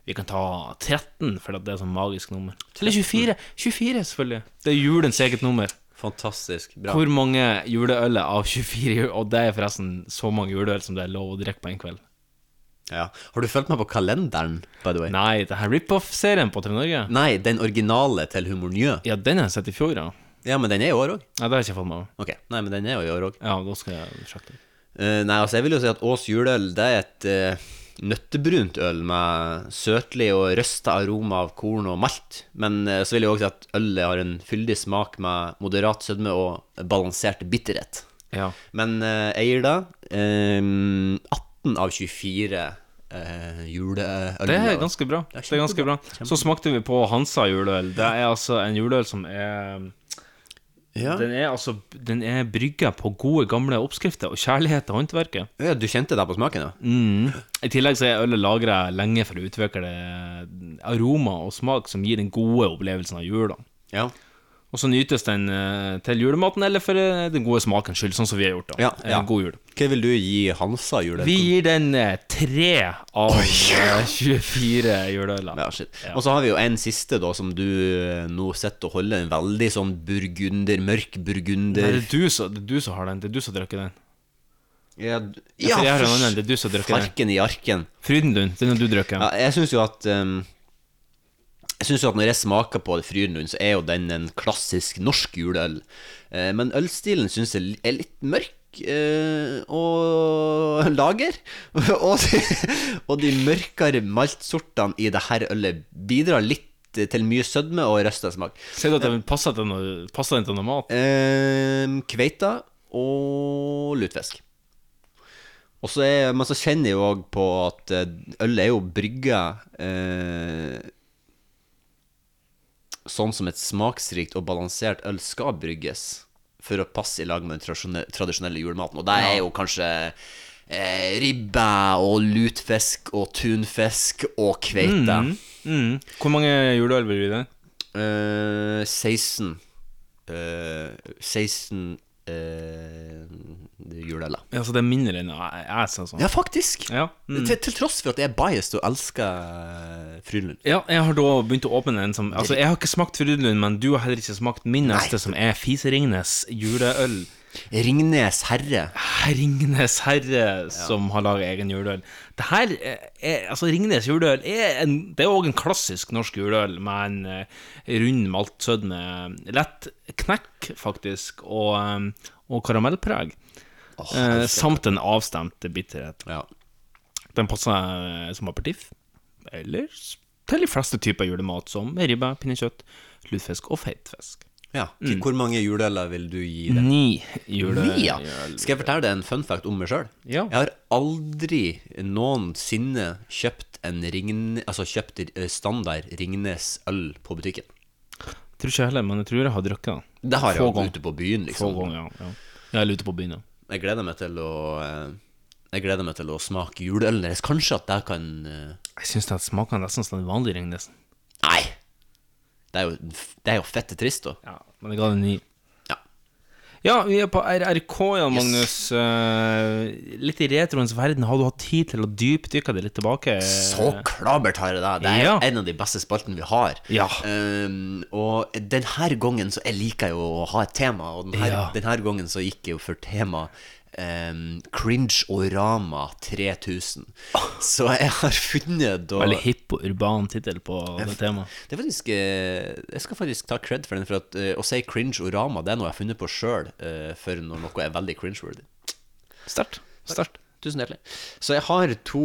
B: Vi kan ta 13, for at det er sånn magisk nummer. Eller 24. 24, selvfølgelig. Det er julens eget nummer.
C: Fantastisk. Bra.
B: Hvor mange juleøler av 24 jul- Og det er forresten så mange juleøl som det er lov å drikke på en kveld.
C: Ja. Har du fulgt med på kalenderen, by the way?
B: Nei, det her rip-off-serien på TV Norge
C: Nei, den originale til Humor Njø.
B: Ja, den har jeg sett i fjor, ja.
C: Ja, men den er i år òg.
B: Nei, det har jeg ikke fått med meg.
C: Ok. Nei, men den er jo i år òg.
B: Ja, da skal jeg sjekke det.
C: Eh, nei, altså jeg vil jo si at Ås juleøl det er et eh, nøttebrunt øl med søtlig og røsta aroma av korn og malt. Men eh, så vil jeg også si at ølet har en fyldig smak med moderat sødme og balansert bitterhet.
B: Ja.
C: Men eh, eier da eh, 18 av 24 eh, juleøl.
B: Det er ganske bra. Det er ganske bra. Så smakte vi på Hansa juleøl. Det er altså en juleøl som er
C: ja.
B: Den er altså Den er brygga på gode, gamle oppskrifter og kjærlighet til håndverket.
C: ja, du kjente det på smaken, ja?
B: I tillegg så er ølet lagra lenge for å utvikle aroma og smak som gir den gode opplevelsen av jula.
C: Ja.
B: Og så nytes den eh, til julematen eller for eh, den gode smakens skyld, sånn som vi har gjort. da
C: Ja,
B: Eh,
C: ja.
B: God jul.
C: Hva vil du gi Hansa juleøl?
B: Vi gir den eh, tre av eh, 24 juleøler.
C: Ja, shit. Og så har vi jo en siste, da, som du eh, nå sitter og holder. En veldig sånn burgunder, mørk
B: Det
C: burgunder
B: er du som, det er du som har den. Det er du som drikker den.
C: Ja,
B: Ja, for jeg har en
C: først-
B: annen, det er du som drikker den.
C: Farken i arken.
B: Frydenlund, den har du drukket.
C: Ja, jeg syns jo at ehm, Jeg synes jo at Når jeg smaker på Frydenlund, så er jo den en klassisk norsk juleøl. Eh, men ølstilen syns jeg er litt mørk eh, og lager. og, de, og de mørkere maltsortene i det her ølet bidrar litt til mye sødme og røsta smak.
B: Ser du at den passer til noe, passer den til noe mat?
C: Ehm, kveita og lutfisk. Og så er, men så kjenner jeg jo òg på at eh, øl er jo brygga eh, sånn som et smaksrikt og balansert øl skal brygges for å passe i lag med den tradisjone- tradisjonelle julematen. Og det er jo kanskje eh, ribbe og lutfisk og tunfisk og kveite.
B: Mm. Hvor mange juleøl vil du gi den?
C: Eh, 16 eh, 16 eh, juleøler.
B: Ja, så Altså, det er mindre enn jeg, jeg ser sånn.
C: Ja, faktisk!
B: Ja. Mm.
C: Til, til tross for at jeg er biased og elsker eh, Frynlund.
B: Ja, jeg har da begynt å åpne en som Altså, jeg har ikke smakt Frydenlund, men du har heller ikke smakt min neste, som er Fiseringnes juleøl.
C: Ringnes herre.
B: Ringnes herre som har laga egen juleøl. Det her eh, er Altså, Ringnes juleøl er en Det er òg en klassisk norsk juleøl med en eh, rund maltsødme. Lett knekk, faktisk, og, eh, og karamellpreg. eh, samt en avstemt bitterhet.
C: Ja.
B: Den passer eh, som aperitiff. Eller s- til de fleste typer julemat, som ribbe, pinnekjøtt, lutefisk og feitfisk.
C: ja.
B: Mm.
C: Hvor mange juleøler vil du gi det?
B: Ni jule...
C: Ni, ja. Skal jeg fortelle deg en fun fact om meg sjøl?
B: Ja.
C: Jeg har aldri noensinne kjøpt en Ringne, altså kjøpt eh, standard Ringnes øl på butikken.
B: Tror ikke jeg heller, men jeg tror jeg har drukket den.
C: Det har jeg
B: Få
C: jo
B: gang.
C: ute på byen,
B: Få
C: liksom.
B: ganger, ja. ja. Jeg er ute på byen, ja.
C: Jeg gleder meg til å eh, Jeg gleder meg til å smake juleøl deres. Kanskje at det kan eh,
B: Jeg syns det smaker nesten sånn som den vanlige Ringnesen.
C: Nei! Det er jo, det er jo fette trist, da.
B: Ja, men jeg ga den ni.
C: Ja.
B: Ja, vi er på RRK, Jan Magnus. Eh, litt i retroens verden. Har du hatt tid til å dypdykke det litt tilbake?
C: Så klabert har jeg det! Det er
B: Ja.
C: en av de beste spaltene vi har.
B: Ja.
C: Um, og denne gangen så Jeg liker jo å ha et tema, og denne,
B: Ja.
C: denne gangen så gikk jeg jo for tema um, Cringe og Rama 3000. Så jeg har funnet da
B: Veldig hipp og urban tittel på det temaet.
C: Det er faktisk, eh, jeg skal faktisk ta cred for den, for at eh, å si cringe og rama, det er noe jeg har funnet på sjøl, for når noe er veldig cringe-worthy.
B: Sterkt. Sterkt.
C: Tusen hjertelig. Så jeg har to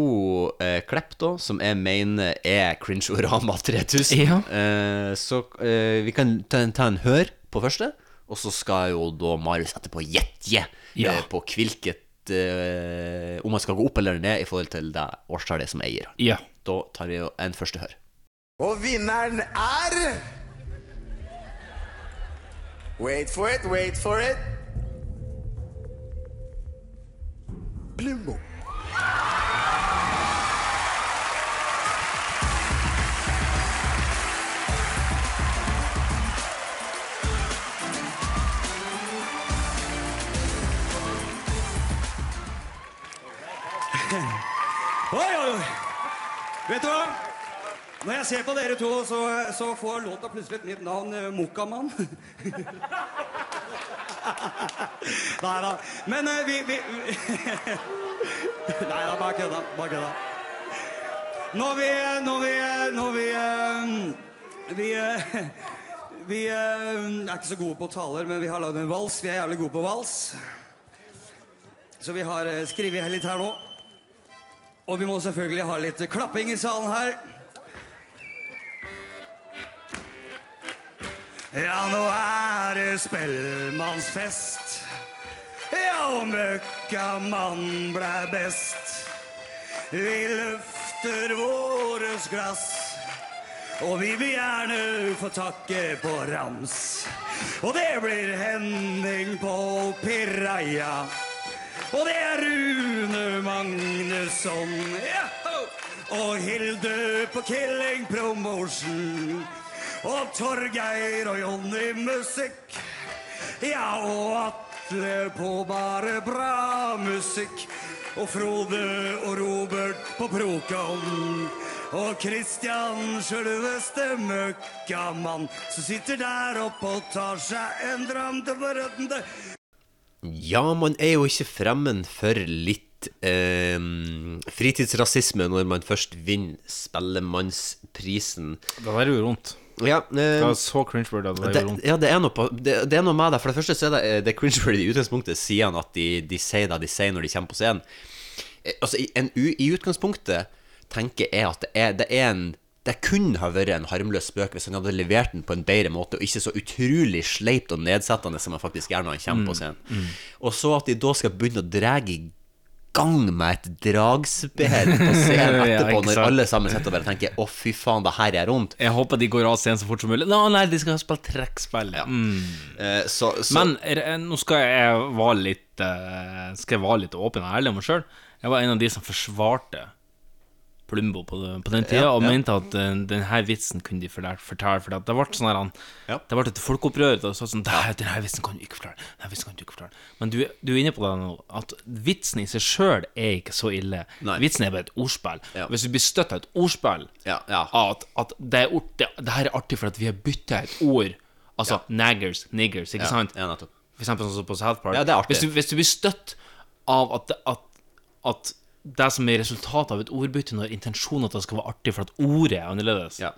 C: eh, klepp da, som jeg mener er cringe-orama 3000.
B: Ja.
C: Eh, så eh, vi kan ta en, ta en hør på første, og så skal jo da Marius etterpå gjette
B: Ja.
C: eh, på hvilket eh, Om man skal gå opp eller ned i forhold til det årstallet som jeg gir. han.
B: Ja.
C: Da tar vi jo en første hør.
H: Og vinneren er Wait for it, wait for it. Plumbo.
I: Oi, oi, oi. Vet du hva? Når jeg ser på dere to, så, så får låta plutselig et nytt navn. eh, Mokkamann. Nei da. Men eh, vi, vi Nei da, bare kødda. Bare kødda. Når vi eh, Når vi eh, Når vi eh, Vi, eh, vi eh, er ikke så gode på taler, men vi har lagd en vals. Vi er jævlig gode på vals. Så vi har eh, skrevet litt her nå.
H: Og vi må selvfølgelig ha litt klapping i salen her. Ja, nå er det spellemannsfest. Ja, og møkkamannen blei best. Vi løfter våres glass. Og vi vil gjerne få takke på rams. Og det blir Henning på Piraja. Og det er Rune Magnusson. Ja! ho! Og Hilde på Killing Promotion. Og Torgeir og Jonny Musikk. Ja, og Atle på bare bra musikk. Og Frode og Robert på Procon. Og Christian sjølveste møkkamann som sitter der oppe og tar seg en dram.
C: Ja, man er jo ikke fremmed for litt eh, fritidsrasisme når man først vinner Spellemannsprisen.
B: Det der gjorde vondt.
C: Ja, eh,
B: Det var så cringe-word at Um, det
C: det,
B: gjorde vondt.
C: ja det, er noe på, det, det er noe med det. For det første så er det, det er cringe-worthy i utgangspunktet, sier han at de, de sier det de sier når de kommer på scenen. Eh, Altså, i, en, u- I utgangspunktet tenker jeg at det er, det er en det kunne ha vært en harmløs spøk hvis han hadde levert den på en bedre måte, og ikke så utrolig sleipt og nedsettende som han faktisk er når han kommer
B: Mm,
C: på scenen. Og så at de da skal begynne å dra i gang med et dragspel på
B: Ja,
C: scenen etterpå,
B: ikke
C: når
B: sant.
C: alle sammen sitter og bare tenker 'Å, fy faen, det her er vondt'.
B: Jeg håper de går av scenen så fort som mulig. Nå, nei, de skal spille trekkspill.
C: Ja.
B: Mm.
C: Eh, Så, så
B: Men er- er- nå skal jeg være litt eh, Skal jeg være litt åpen og ærlig om meg sjøl. Jeg var en av de som forsvarte Plumbo på, den- på den tida,
C: Ja,
B: og
C: ja.
B: mente at eh, den, den her vitsen kunne de fortæ- fortelle. For det ble sånn her han-
C: Ja.
B: Det ble et folkeopprør. Det sa sånn «Nei, Den her vitsen kan du ikke fortelle. Den her vitsen kan du ikke fortelle. Men du, du er inne på det nå, at vitsen i seg sjøl er ikke så ille.
C: Nei.
B: Vitsen er bare et ordspill.
C: Ja.
B: Hvis du blir støtt av et ordspill
C: Ja, ja.
B: At, at det, er, ord- det, det her er artig for at vi har bytta et ord. Altså naggers, niggers, ikke
C: Ja,
B: sant?
C: ja, nettopp.
B: For eksempel sånn som på South Park.
C: Ja, det er artig.
B: Hvis, du, hvis du blir støtt av at, det- at, at det som er resultatet av et ordbytte, når intensjonen er at det skal være artig for at ordet er annerledes
C: Ja.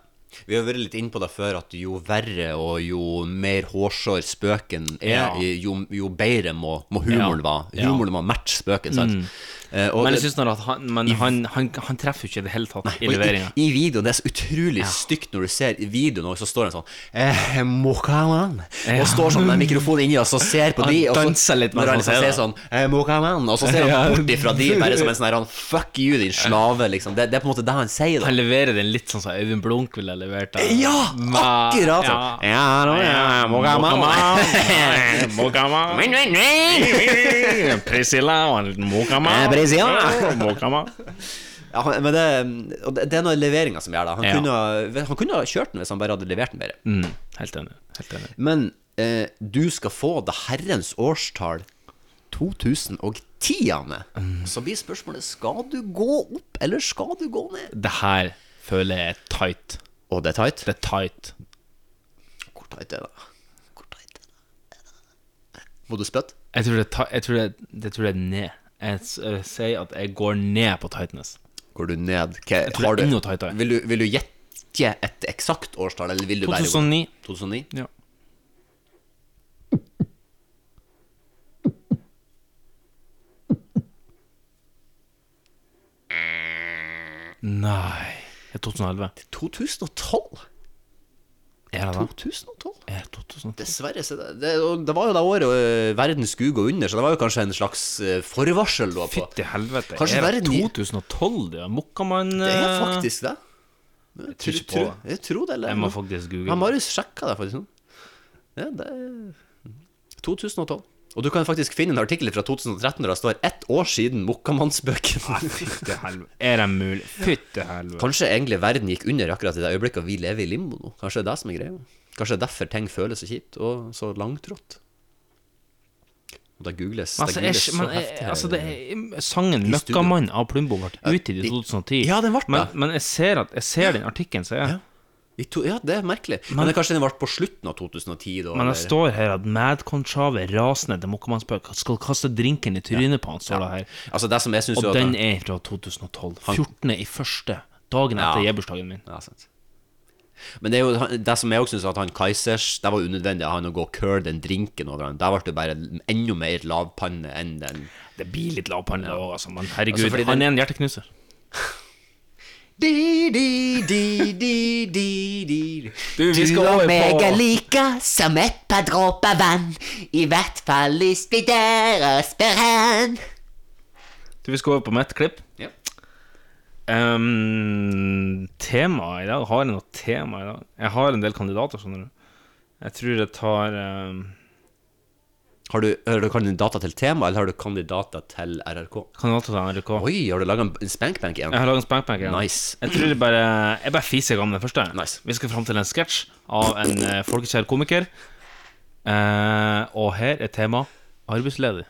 C: Vi har vært litt inne på det før at jo verre og jo mer hårsår spøken er,
B: Ja.
C: jo, jo bedre må, må humoren
B: Ja.
C: være.
B: Ja. Mm.
C: Humoren må matche spøken, sant? Eh, og
B: Men
C: det-
B: jeg synes når at han, men han, han, han treffer jo ikke i det hele tatt i
C: og
B: leveringa.
C: I, I videoen, det er så utrolig stygt når du ser i videoen, og så står han sånn eh, Mokaman
B: Ja.
C: Og står sånn med mikrofonen inni og så ser på
B: Han
C: de og så,
B: danser litt mens
C: Når han
B: han
C: liksom
B: ser
C: ser sånn eh, Mokaman Og så ser han
B: Ja.
C: bort ifra de bare som en sånn her han, Fuck you, din slave, liksom. Det, det er på en måte det han sier. da
B: Han leverer den litt sånn som Øyvind Blunk ville ha levert den.
C: Ja,
B: Men-
C: akkurat sånn. Ja, nå, ja, Mokaman.
B: Mokaman. Mokaman.
C: Vinn, vinn, vinn!
B: Priscilla og en liten Mokaman.
C: Eh, Priscilla.
B: Mokaman.
C: Ja, han- men det, og det det er noe leveringa som gjør det. Han,
B: Ja.
C: kunne, han kunne ha kjørt den hvis han bare hadde levert den bedre.
B: Mm, helt enig. Helt enig.
C: Men eh, du skal få det herrens årstall 2010, Anne. Så blir spørsmålet skal du gå opp, eller skal du gå ned?
B: Det her føler jeg er tight.
C: Og det er tight.
B: Det er tight.
C: Hvor tight er det? Hvor tight er det? Må du spytte?
B: Jeg tror det, er ta- jeg tror det, jeg tror det er ned. Jeg s- øh, sier at jeg går ned på tightness.
C: Går du ned? Hva,
B: tror
C: har
B: det er
C: du-
B: enda tightere.
C: Vil du, vil du gjette et eksakt årstall, eller vil du bare gå-
B: 2009.
C: 2009?
B: Ja. Nei Er det 2011?
C: 2012?
B: Er det det?
C: 2012?
B: Er det 2010?
C: Dessverre. Så det, det, og det var jo det året øh, verden skulle gå under, så det var jo kanskje en slags øh, forvarsel da på
B: Fytti helvete.
C: Kanskje
B: er det
C: verden i-
B: 2012? Det er Mokkamann
C: Det er
B: eh,
C: faktisk det. Jeg
B: tror ikke på det.
C: Jeg tror det, eller?
B: Jeg må faktisk google.
C: Ja, Marius sjekka det faktisk nå. Ja, det er 2012. Og du kan faktisk finne en artikkel fra 2013 der det står 'Ett år siden Mokkamannsbøkene'.
B: Fytti helvete. Er det mulig? Fytti helvete.
C: Kanskje egentlig verden gikk under akkurat i det øyeblikket vi lever i limbo nå. Kanskje det er det som er greia. Kanskje det er derfor ting føles så kjipt og så langtrått. Og det googles,
B: Men Altså,
C: det
B: jeg,
C: googles så
B: men, jeg,
C: heftig. her.
B: altså det, er- sangen
C: Historie.
B: 'Løkkamann' av Plumbo ble utgitt i
C: i-
B: 2010.
C: Ja, den ble det.
B: men, men jeg ser, at, jeg ser den artikkelen, så jeg.
C: Ja. I to, ja, det er merkelig. Men, det er kanskje den ble på slutten av 2010, da?
B: Men altså- det
C: eller-
B: står her at Madconchave rasende til Mokkamannsbøk skal kaste drinken i trynet på han, står det her.
C: Altså, det som jeg synes jo
B: Og
C: at-
B: den er fra 2012. 14. i første. Dagen etter
C: Ja.
B: bursdagen min.
C: Ja, sant. Men det, er jo, han- det som jeg også syns, at han Kaizers Det var unødvendig han å gå og curl den drinken over han. Der ble det bare enda mer lavpanne enn den
B: Det blir litt lavpanne òg, altså. Men herregud,
C: Altså, fordi
B: han
C: den-
B: er en hjerteknuser.
C: Di, di, di, di, di, di.
B: Du, vi skal over på
J: like som et par dråper vann. I hvert fall hvis vi der spør hen.
B: Du, vi skal over på mitt klipp.
C: Ja.
B: Um, tema i dag Har jeg noe tema i dag? Jeg har en del kandidater, skjønner du. Jeg tror jeg tar um,
C: Har du, har du kandidater til tema, eller har du kandidater til RRK?
B: kandidater til NRK.
C: Oi, har du laga en spankbank igjen?
B: Jeg har laget en spankbank igjen.
C: Nice.
B: Jeg tror jeg bare Jeg bare fiser i gang med det første.
C: Nice.
B: Vi skal fram til en sketsj av en eh, folkekjær komiker. Eh, og her er tema arbeidsledig.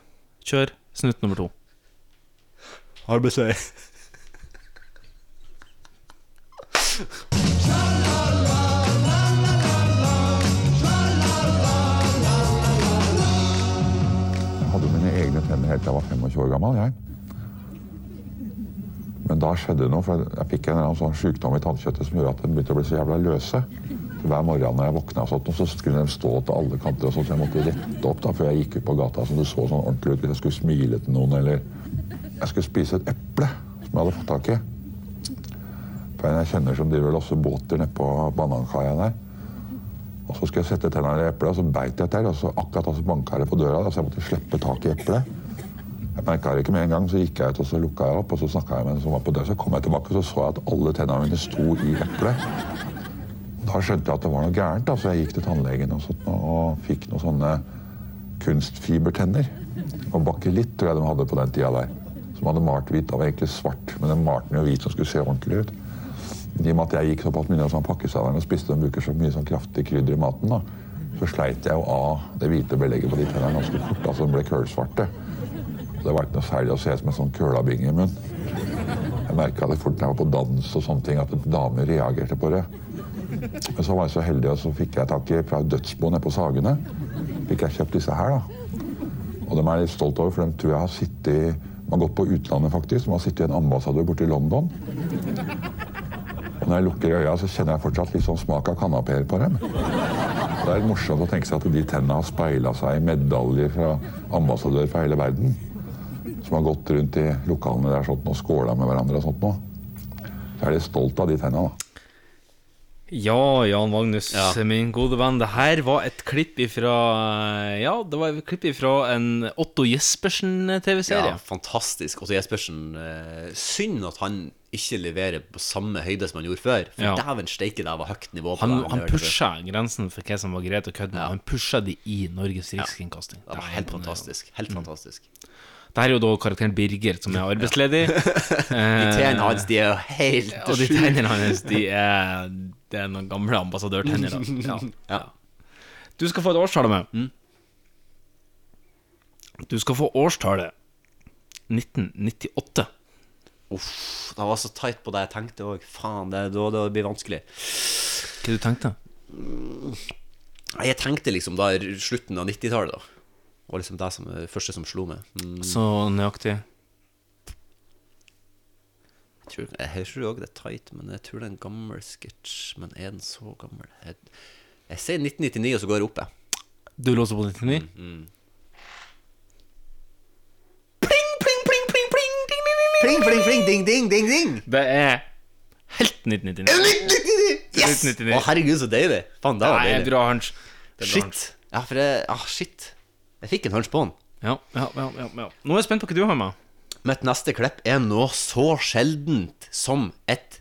B: Kjør snutt nummer to.
C: Arbeidsløy.
I: Jeg hadde mine egne tenner helt til jeg var 25 år gammel. jeg. Men da skjedde det noe. for Jeg fikk en eller annen sånn sykdom i tannkjøttet som gjorde at de begynte å bli så jævla løse. Så Hver morgen når jeg våkna, og sånt, så skulle de stå til alle kanter. og sånt, så Jeg måtte rette opp da, før jeg gikk ut på gata som det så sånn ordentlig ut. hvis Jeg skulle smile til noen, eller jeg skulle spise et eple som jeg hadde fått tak i. For en jeg kjenner som driver og losser båter nede på banankaia der. Og så skulle jeg sette tennene i eplet, og så beit jeg til. Og så akkurat da så banka det på døra, da, så jeg måtte slippe tak i eplet. Jeg merka det ikke med en gang, så gikk jeg ut og så lukka jeg opp. Og så snakka jeg med en som var på døra, så kom jeg tilbake og så så jeg at alle tennene mine sto i eplet. Da skjønte jeg at det var noe gærent, da, så jeg gikk til tannlegen og, sånt, og fikk noen sånne kunstfibertenner. Og bakelitt tror jeg de hadde på den tida der. Som hadde malt hvit. Det var egentlig svart, men de malte den jo hvit som skulle se ordentlig ut. I og med at jeg gikk såpass mye som pakkesaveren og spiste og bruker så mye sånn kraftig krydder i maten, da, så sleit jeg jo av det hvite belegget på de tennene ganske fort. altså De ble kølsvarte. Det var ikke noe særlig å se ut som en sånn kølabing i munnen. Jeg merka det fort når jeg var på dans og sånne ting, at damer reagerte på det. Men så var jeg så heldig, og så fikk jeg tak i fra dødsbo nede på Sagene. Fikk jeg kjøpt disse her, da. Og dem er jeg litt stolt over, for de tror jeg har sittet De har gått på utlandet, faktisk. De har sittet i en ambassadør borte i London. Og når jeg lukker øya, så kjenner jeg fortsatt litt sånn smak av kanapeer på dem. Det er litt morsomt å tenke seg at de tennene har speila seg i medaljer fra ambassadører fra hele verden. Som har gått rundt i lokalene der sånn, og skåla med hverandre og sånt noe. Så jeg er litt stolt av de tennene, da.
B: Ja, Jan Magnus,
C: Ja.
B: min gode venn. Det her var et klipp ifra eh, Ja, det var et klipp ifra en Otto eh,
C: Ja,
B: Jespersen-TV-serie.
C: fantastisk. Også Jespersen. eh, Synd at han ikke leverer på samme høyde som han gjorde før. For
B: Ja.
C: dæven steike, det var høyt nivå. på
B: Han,
C: det
B: han
C: leverte før.
B: pusha grensen for hva som var greit å kødde med. Han pusha de i Norges rikskringkasting.
C: Det var
B: er
C: helt
B: imponerende.
C: fantastisk.
B: Mm.
C: Helt fantastisk.
B: Det her er jo da karakteren Birger som er arbeidsledig.
C: De tennene hans, de er jo helt
B: Eh, Og de
C: sjuke.
B: tennene hans, de er Det er noen gamle ambassadørtenner. da. Ja.
C: Ja.
B: Du skal få et årstall med.
C: Mm.
B: Du skal få årstallet 1998.
C: Uff, det var så tight på det jeg tenkte òg. Faen, det, da, da blir det vanskelig.
B: Hva du tenkte
C: Nei, Jeg tenkte liksom da i slutten av 90-tallet, da. Var liksom det som, det første som slo meg. Mm,
B: Så nøyaktig.
C: jeg tror- jeg tror òg det er tight, men jeg tror det er en gammel sketsj. Men er den så gammel? Jeg, jeg sier 1999, og så går jeg opp, jeg.
B: Du låser på 99?
C: Mm, Pling, pling, pling, ding, ding, ding, ding!
B: Det er helt 1999.
C: Yes!
B: 1999.
C: Å, herregud, så deilig. Faen, det var
B: Nei,
C: deilig.
B: bra hunch.
C: Shit. Ja, for jeg, ah, shit. Jeg fikk en hunch på den.
B: Ja, ja, ja, ja, ja. Nå er jeg spent på hva du har med.
C: Mitt neste klipp er noe så sjeldent som et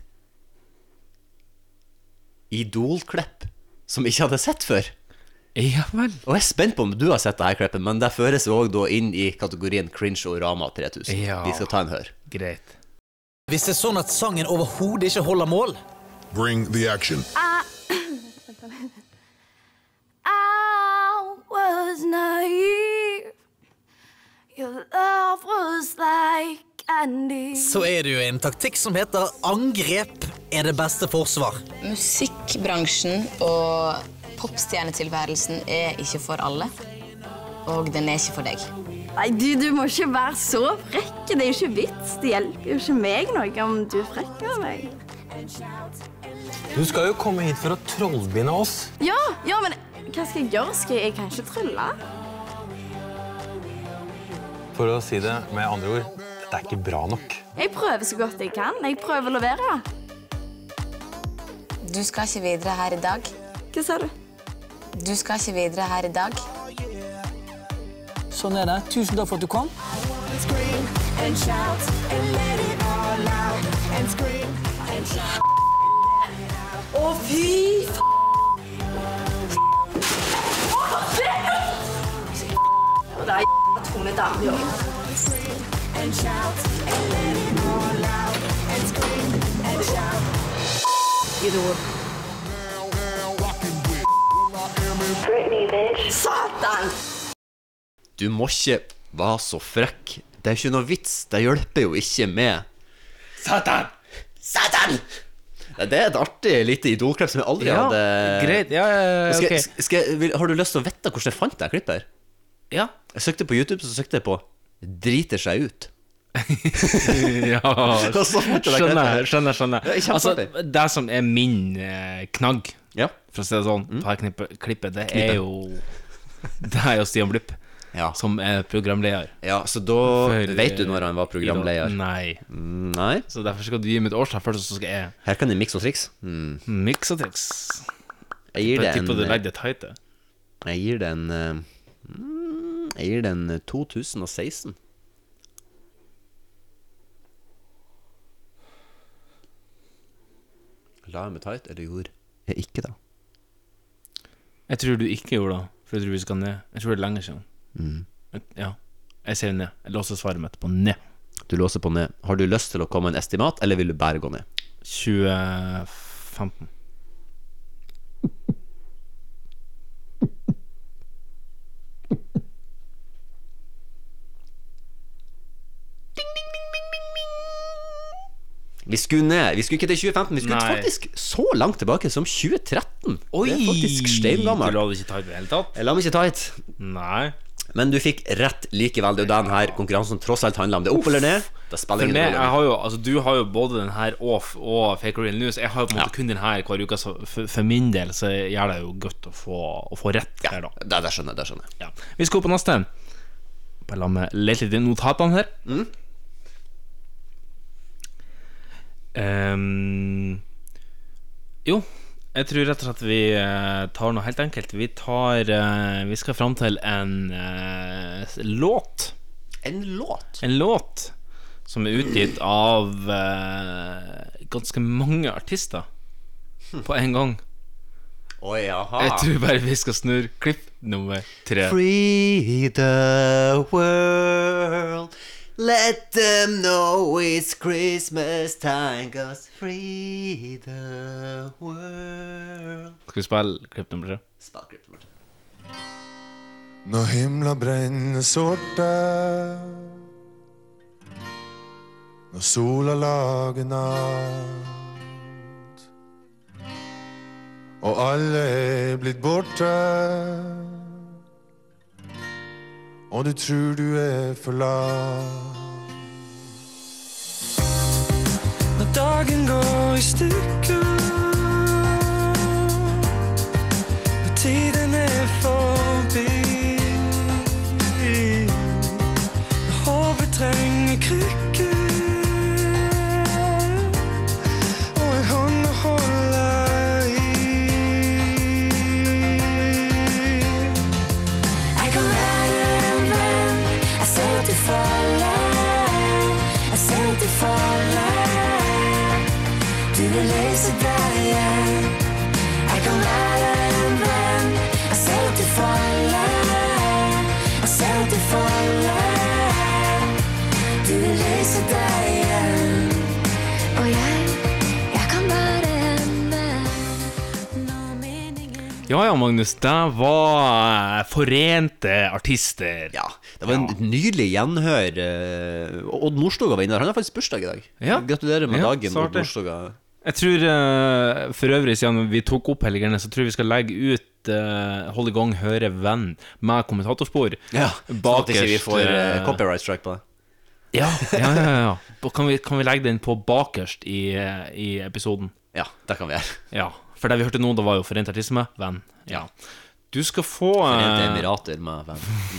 C: Idol-klipp som jeg ikke hadde sett før.
B: Ja vel.
C: Og jeg er spent på om du har sett det her klippet, men det føres òg da inn i kategorien cringe og Rama 3000.
B: Ja.
C: Vi skal ta en hør.
B: Greit.
J: Hvis det er sånn at sangen overhodet ikke holder mål
H: Bring the action.
I: I was naive. Your love was like candy.
J: så er det jo en taktikk som heter angrep er det beste forsvar.
I: Musikkbransjen og popstjernetilværelsen er ikke for alle. Og den er ikke for deg. Nei, du, du må ikke være så frekk. Det er jo ikke vits. Det hjelper jo ikke meg noe om du er frekk med meg.
J: Du skal jo komme hit for å trollbinde oss.
I: Ja, ja, men hva skal jeg gjøre? Skal jeg kanskje trylle?
J: For å si det med andre ord, dette er ikke bra nok.
I: Jeg prøver så godt jeg kan. Jeg prøver å levere.
K: Du skal ikke videre her i dag. Hva sa du? Du skal ikke videre her i dag.
L: Sånn er det. Tusen takk for at du kom.
M: Å, fy f... Og det er jævla tunge damer i år. Idol. Satan!
C: Du må ikke være så frekk. Det er ikke noe vits. Det hjelper jo ikke med Satan! Satan! Det er et artig lite idolklipp som jeg aldri
B: Ja,
C: hadde
B: greit. Ja, ja, ja,
C: skal,
B: ok.
C: jeg- skal, jeg- vil, Har du lyst til å vite hvordan jeg fant det klippet? her?
B: Ja.
C: Jeg søkte på YouTube, så søkte jeg på 'driter seg ut'.
B: ja,
C: Og så fant jeg det
B: skjønner,
C: klippet.
B: skjønner. skjønner.
C: Det er
B: altså,
C: kjempeartig.
B: det som er min eh, knagg, for å si det sånn,
C: Mm.
B: på dette knippet- klippet, det
C: Knippet.
B: er jo Det er jo Stian Blipp, som er programleder.
C: Ja, så da vet du når han var
B: eh,
C: programleder?
B: Idol.
C: Mm.
B: Mm. Nei.
C: Nei.
B: Så derfor skal du gi meg et årstall først, og så skal jeg
C: Her kan jeg mikse og triks. Mm.
B: Miks og triks.
C: Jeg gir det
B: Jeg tipper du
C: en eh,
B: legger det tight. det.
C: Jeg gir den eh, mm, Jeg gir den 2016. La jeg meg tight, eller gjorde jeg Eh, ikke det?
B: Jeg tror du ikke gjorde det, for jeg tror vi skal ned. Jeg tror det er lenge siden.
C: Mhm.
B: Ja. Jeg sier ned. Jeg låser svaret mitt på ned.
C: Du låser på ned. Har du lyst til å komme med en estimat, eller vil du bare gå ned?
B: 2015.
C: Vi skulle ned. Vi skulle ikke til 2015, vi skulle
B: Nei.
C: faktisk så langt tilbake som 2013. det er faktisk
B: Du
C: steingammel.
B: la det ikke ta i det hele tatt?
C: Jeg la meg ikke tight.
B: Nei.
C: Men du fikk rett likevel. Det er jo den her konkurransen tross alt handler om. Det er opp eller ned.
B: For
C: Det spiller
B: meg,
C: ingen rolle.
B: jeg har jo, altså, du har jo både den her og, f- og Fake Real News. Jeg har jo på en måte kun den her hver uke, så for, for min del så gjør det jo godt å få, å få rett her, da.
C: Det, skjønner jeg.
B: Ja. Vi skal opp på neste. Bare la meg lete litt i notatene her. Ehm, jo, jeg tror rett og slett vi eh, tar noe helt enkelt. Vi tar eh, Vi skal fram til en eh, låt.
C: En låt?
B: En låt som er utgitt av eh, ganske mange artister på en gang.
C: Oi, jaha.
B: Jeg tror bare vi skal snurre klipp nummer tre.
C: Ah. Free the world. Let them know it's Christmas time, cause free the world.
B: Skal vi spille klipp nummer tre?
N: Når himla brenner sorte Når sola lager natt Og alle er blitt borte Og du tror du er forlatt
M: Når dagen går i stykker Når tiden er forbi Når håpet trenger krykker Og en hånd å holde i Jeg kan være en venn Jeg ser at du faller Jeg ser at du faller Du vil løse deg igjen Jeg kan være en venn Jeg ser at du faller Jeg ser at du faller Du vil løse deg igjen Og jeg, jeg kan være en venn
B: Ja ja, Magnus. Det var forente artister.
C: Ja. Det var en nydelig gjenhør. eh, og Odd Nordstoga var inne der. Han har faktisk bursdag i dag.
B: Ja.
C: Gratulerer med
B: Ja,
C: dagen,
B: så
C: Odd
B: artig.
C: Nordstoga.
B: Jeg tror eh, for øvrig, siden vi tok opp helgerne, så tror jeg vi skal legge ut eh, Hold i gang, høre venn med kommentatorspor.
C: Ja, sånn at ikke vi får, eh, copyright strike på det.
B: Ja, ja, ja, ja. Da Kan, vi, kan vi legge den på bakerst i, eh, i episoden?
C: Ja, det kan vi gjøre.
B: Ja, For det vi hørte nå, det var jo Forent artisme, venn. Ja. Du skal få eh,
C: Forente Emirater med,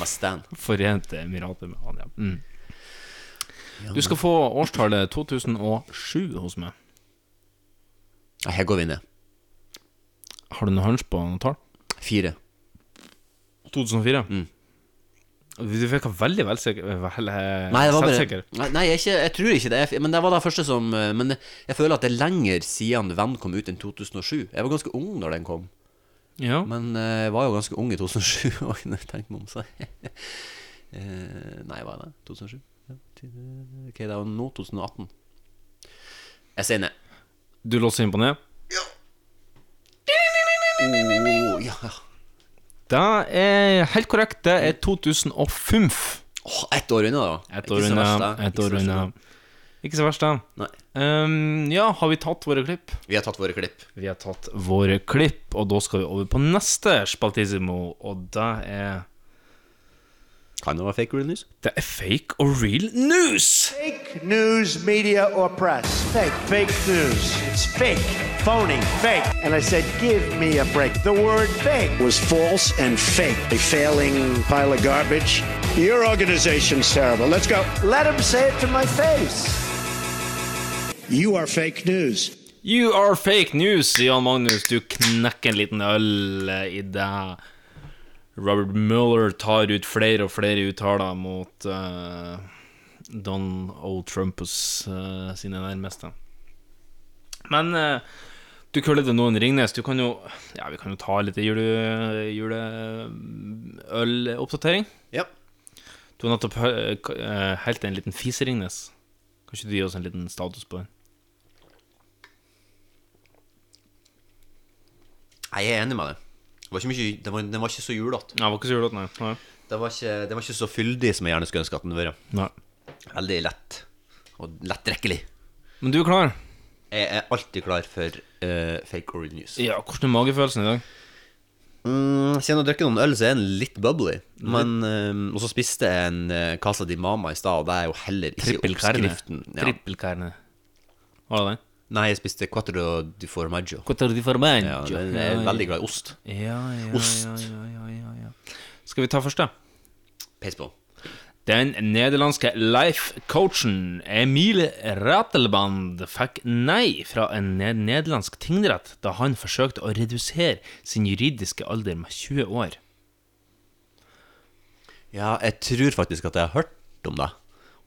C: med Stan.
B: Forente Emirater med han, ja. Mm. Du skal få årstallet 2007 hos meg.
C: Her går vi ned.
B: Har du noe hunch på noe tall?
C: Fire.
B: 2004? Du virka veldig velsikker eh, vel,
C: Nei, det var bare,
B: selvsikker.
C: nei, nei jeg, er ikke, jeg tror ikke det. Jeg, men det var det første som eh, Men jeg føler at det er lenger siden Venn kom ut enn 2007. Jeg var ganske ung når den kom.
B: Ja.
C: Men eh, jeg var jo ganske ung i 2007. Oi, nå tenkte jeg meg om seg. Eh, nei, hva er det? 2007? Ja, ti- eh, ok, det er jo nå 2018. Jeg sier nei.
B: Du låser inn på ned?
C: Oh, ja, ja.
B: Det er helt korrekt. Det er 2005.
C: Åh, ett år unna, da.
B: Ett år
C: Ikke så verst,
B: unna.
C: da.
B: Ett
C: Ikke så
B: år
C: verst,
B: unna. Ikke så verst, da.
C: Nei.
B: Ehm, ja, har vi tatt våre klipp?
C: Vi har tatt våre klipp.
B: Vi har tatt våre klipp, og da skal vi over på neste spaltissimo, og det er
C: Kan det være fake or real news?
B: Det er fake or real news!
O: Fake news, media, or press. Fake. Fake news. It's fake. Phony. Fake. And I said, give me a break. The word fake was false and fake. A failing pile of garbage. Your organization's terrible. Let's go. Let him say it to my face. You are fake news.
B: You are fake news, Jan Magnus. Du knekker en liten øl i det. Robert Mueller tar ut flere og flere uttaler mot eh, Don O. Trumpus eh, sine nærmeste. Men eh, du køller det noen Ringnes. Du kan jo Ja, vi kan jo ta litt jule, juleøloppdatering.
C: Ja.
B: Du har nettopp hø- eh, helt en liten fise, Ringnes. Kan ikke du gi oss en liten status på den?
C: Nei, jeg er enig med deg. Det var ikke, mye, det var, den var ikke så julete.
B: Nei, det var ikke så julete, nei. nei.
C: Den var, ikke- den var ikke så fyldig som jeg gjerne skulle ønske at den var.
B: Nei.
C: Veldig lett. Og lettdrikkelig.
B: Men du er klar?
C: Jeg er alltid klar for eh, fake or real news.
B: Ja, hvordan er magefølelsen i dag?
C: Mm, siden jeg drikker noen øl, så er den litt bubbly. Men, eh, og så spiste jeg en eh, Casa di Mama i stad, og det er jo heller ikke
B: Trippelkerne.
C: oppskriften.
B: Trippelkerne. Var det det?
C: Nei, jeg spiste quattro di formaggio.
B: Quattro di formaggio.
C: Ja, det er, jeg er veldig glad i ost.
B: Ja, ja,
C: Ost.
B: ja, ja, ja, ja, ja. Skal vi ta først, da?
C: Peis på.
B: Den nederlandske life-coachen Emil Ratelband fikk nei fra en ne- nederlandsk tingrett da han forsøkte å redusere sin juridiske alder med 20 år.
C: Ja, jeg tror faktisk at jeg har hørt om det.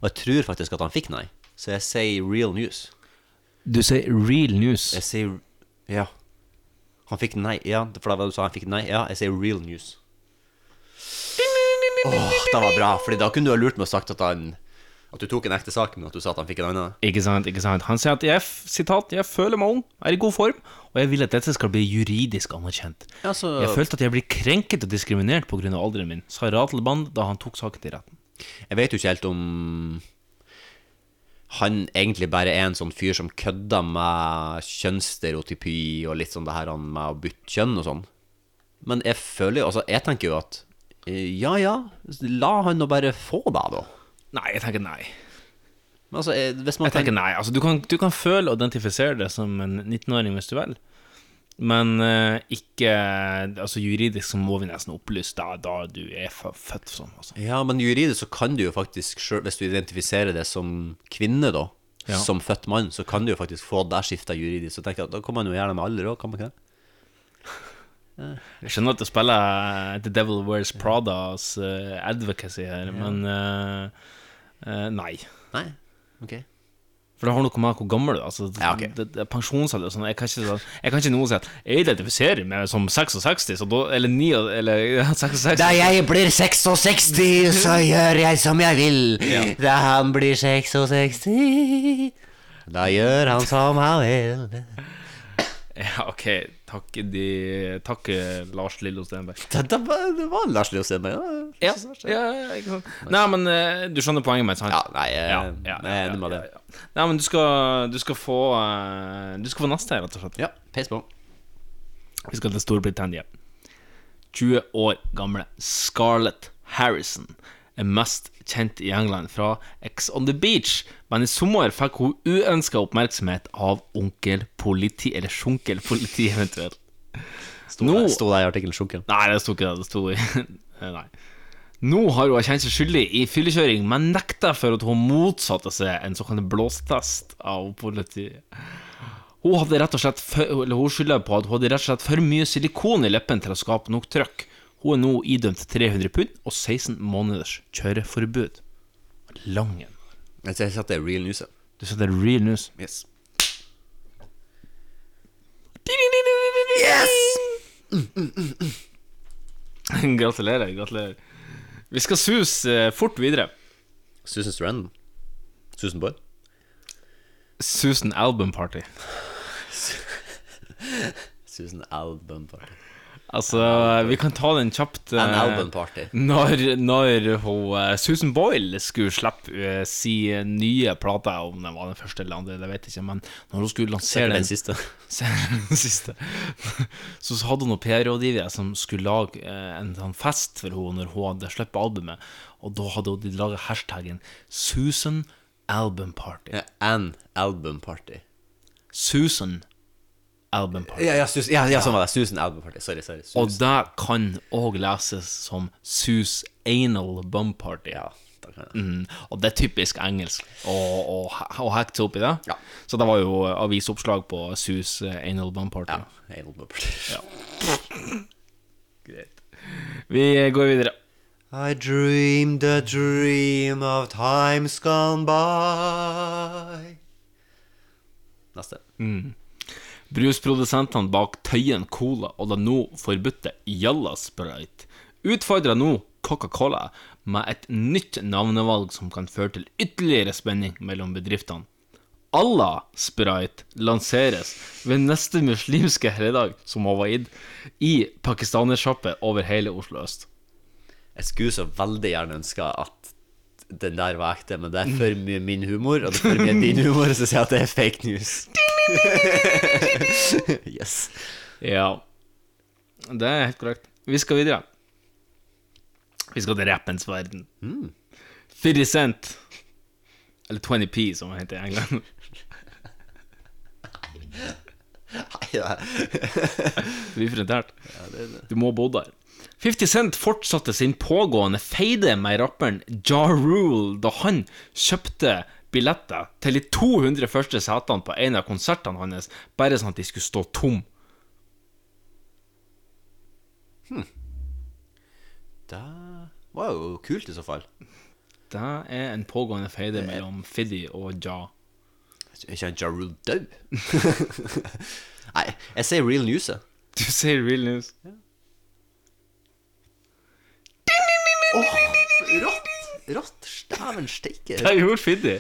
C: Og jeg tror faktisk at han fikk nei. Så jeg sier real news.
B: Du sier real news.
C: Jeg sier Ja. Han fikk nei. Ja, for det var det du sa. Han fikk nei. Ja, jeg sier real news. Åh, det var bra. Fordi da kunne du ha lurt meg og sagt at han At du tok en ekte sak, men at du sa at han fikk en annen.
B: Ikke sant, ikke sant. Han sier at jeg, f- sitat, jeg føler meg ung, er i god form, og jeg vil at dette skal bli juridisk anerkjent.
C: Ja, så
B: Jeg følte at jeg ble krenket og diskriminert på grunn av alderen min, sa Ratelband da han tok saken til retten.
C: Jeg vet jo ikke helt om han egentlig bare er en sånn fyr som kødder med kjønnsstereotypi og litt sånn det her han med å bytte kjønn og sånn. Men jeg føler jo, altså jeg tenker jo at eh, ja ja, la han nå bare få det da.
B: Nei, jeg tenker nei.
C: Men altså, eh, hvis man
B: Jeg tenker nei. Altså, du, kan, du kan føle og identifisere deg som en 19-åring hvis du vil, men eh, ikke Altså juridisk så må vi nesten opplyse deg da du er f- født sånn, altså.
C: Ja, men juridisk så kan du jo faktisk selv, Hvis du identifiserer det som kvinne, da,
B: Ja.
C: som født mann, så kan du jo faktisk få der skifta juridisk. Så tenker jeg at da kan man jo gjøre det med alder òg, kan man ikke det?
B: Jeg skjønner at du spiller eh, The Devil Wears Pradas eh, advocacy her, men eh, eh, nei.
C: Nei, ok
B: For det har noe med hvor gammel du er. Altså, det, det, pensjonsalder og sånn. Jeg kan ikke, sånn- jeg kan ikke noe si at jeg identifiserer meg som 66, så da, eller 9, eller ja, 66
J: Da jeg blir 66, så gjør jeg som jeg vil.
C: Ja.
J: Da han blir 66
C: Da gjør han som han vil.
B: Ja, ok. Takk, de, takk eh, Lars Lillo Stenberg.
C: Det, det, var, det var Lars Leo Stenberg. ja.
B: Ja, ja, ikke sant. Nei, men eh, du skjønner poenget mitt, sant?
C: Ja, nei, jeg,
B: Ja,
C: jeg er enig med det.
B: Nei, men du skal, du skal få eh, Du skal få neste her, rett og slett.
C: Ja, peis på.
B: Vi skal til Storbritannia. 20 år gamle Scarlett Harrison er mest kjent i England fra X on the Beach, men i sommer fikk hun uønska oppmerksomhet av onkel politi, eller sjunkel politi eventuelt.
C: Sto, det, sto det i artikkelen Sjunken?
B: Nei, det sto ikke det. Det sto i Eh, Nei. Nå har hun kjent seg skyldig i fyllekjøring, men nekta for at hun motsatte seg en såkalt blåstest av politiet. Hun hadde rett og slett for, eller hun skylder på at hun hadde rett og slett for mye silikon i leppen til å skape nok trøkk. Hun er nå idømt 300 pund og 16 måneders kjøreforbud. Langen.
C: Jeg satte real news.
B: Du satte real news?
C: Yes.
B: Mm, gratulerer, gratulerer. Vi skal suse eh, fort videre.
C: Susan Strand. Susan Boyd.
B: Susan Album Party.
C: Susan Album Party.
B: Altså, vi kan ta den kjapt. eh,
C: An album party.
B: Når, når hun, eh, Susan Boyle skulle slippe eh, si nye plate, om den var den første eller andre, det vet jeg ikke, men når hun skulle lansere
C: Sikkert den
B: den
C: siste.
B: Sikkert den siste. Så så hadde hun noen PR-rådgivere som skulle lage eh, en sånn fest for henne når hun hadde sluppet albumet, og da hadde hun laga hashtaggen Susan Album Party.
C: Ja, An album party.
B: Susan Album Party.
C: Ja, ja, Sus ja, ja sånn var det. Susan album party. Sorry, sorry. Sus-
B: Og det kan òg leses som Sus anal bum party. Mm, og det er typisk engelsk å, å, å hacke seg opp i det. Så det var jo avisoppslag på Sus anal bum party.
C: anal bum party.
B: Greit. Vi går videre.
C: I dreamed a dream of times gone by. Neste.
B: Mm. Brusprodusentene bak Tøyen Cola og den nå forbudte Jalla Sprite utfordrer nå Coca-Cola med et nytt navnevalg som kan føre til ytterligere spenning mellom bedriftene. Allah Sprite lanseres ved neste muslimske helligdag, som hun var id, i pakistanersjappe over hele Oslo øst.
C: Jeg skulle så veldig gjerne ønske at den der var ekte, men det er for mye min humor, og det er for mye din humor, så sier jeg at det er fake news. yes.
B: Ja. Det er helt korrekt. Vi skal videre. Vi skal til rappens verden.
C: Mm.
B: 50 Cent, eller 20P som det heter i England,
C: Ja.
B: blir frontert.
C: Ja, det er det.
B: Du må bo der. 50 Cent fortsatte sin pågående feide med rapperen Ja Rule da han kjøpte billetter til de 200 første setene på en av konsertene hans, bare sånn at de skulle stå tom.
C: Det var jo kult i så fall.
B: Det er en pågående feide mellom Fiddy og Ja.
C: Er ikke han Ja Rule død? Nei, jeg sier real news, jeg.
B: Du sier real news.
C: Rått! Rått! Stæven steike.
B: Det gjorde Fiddy.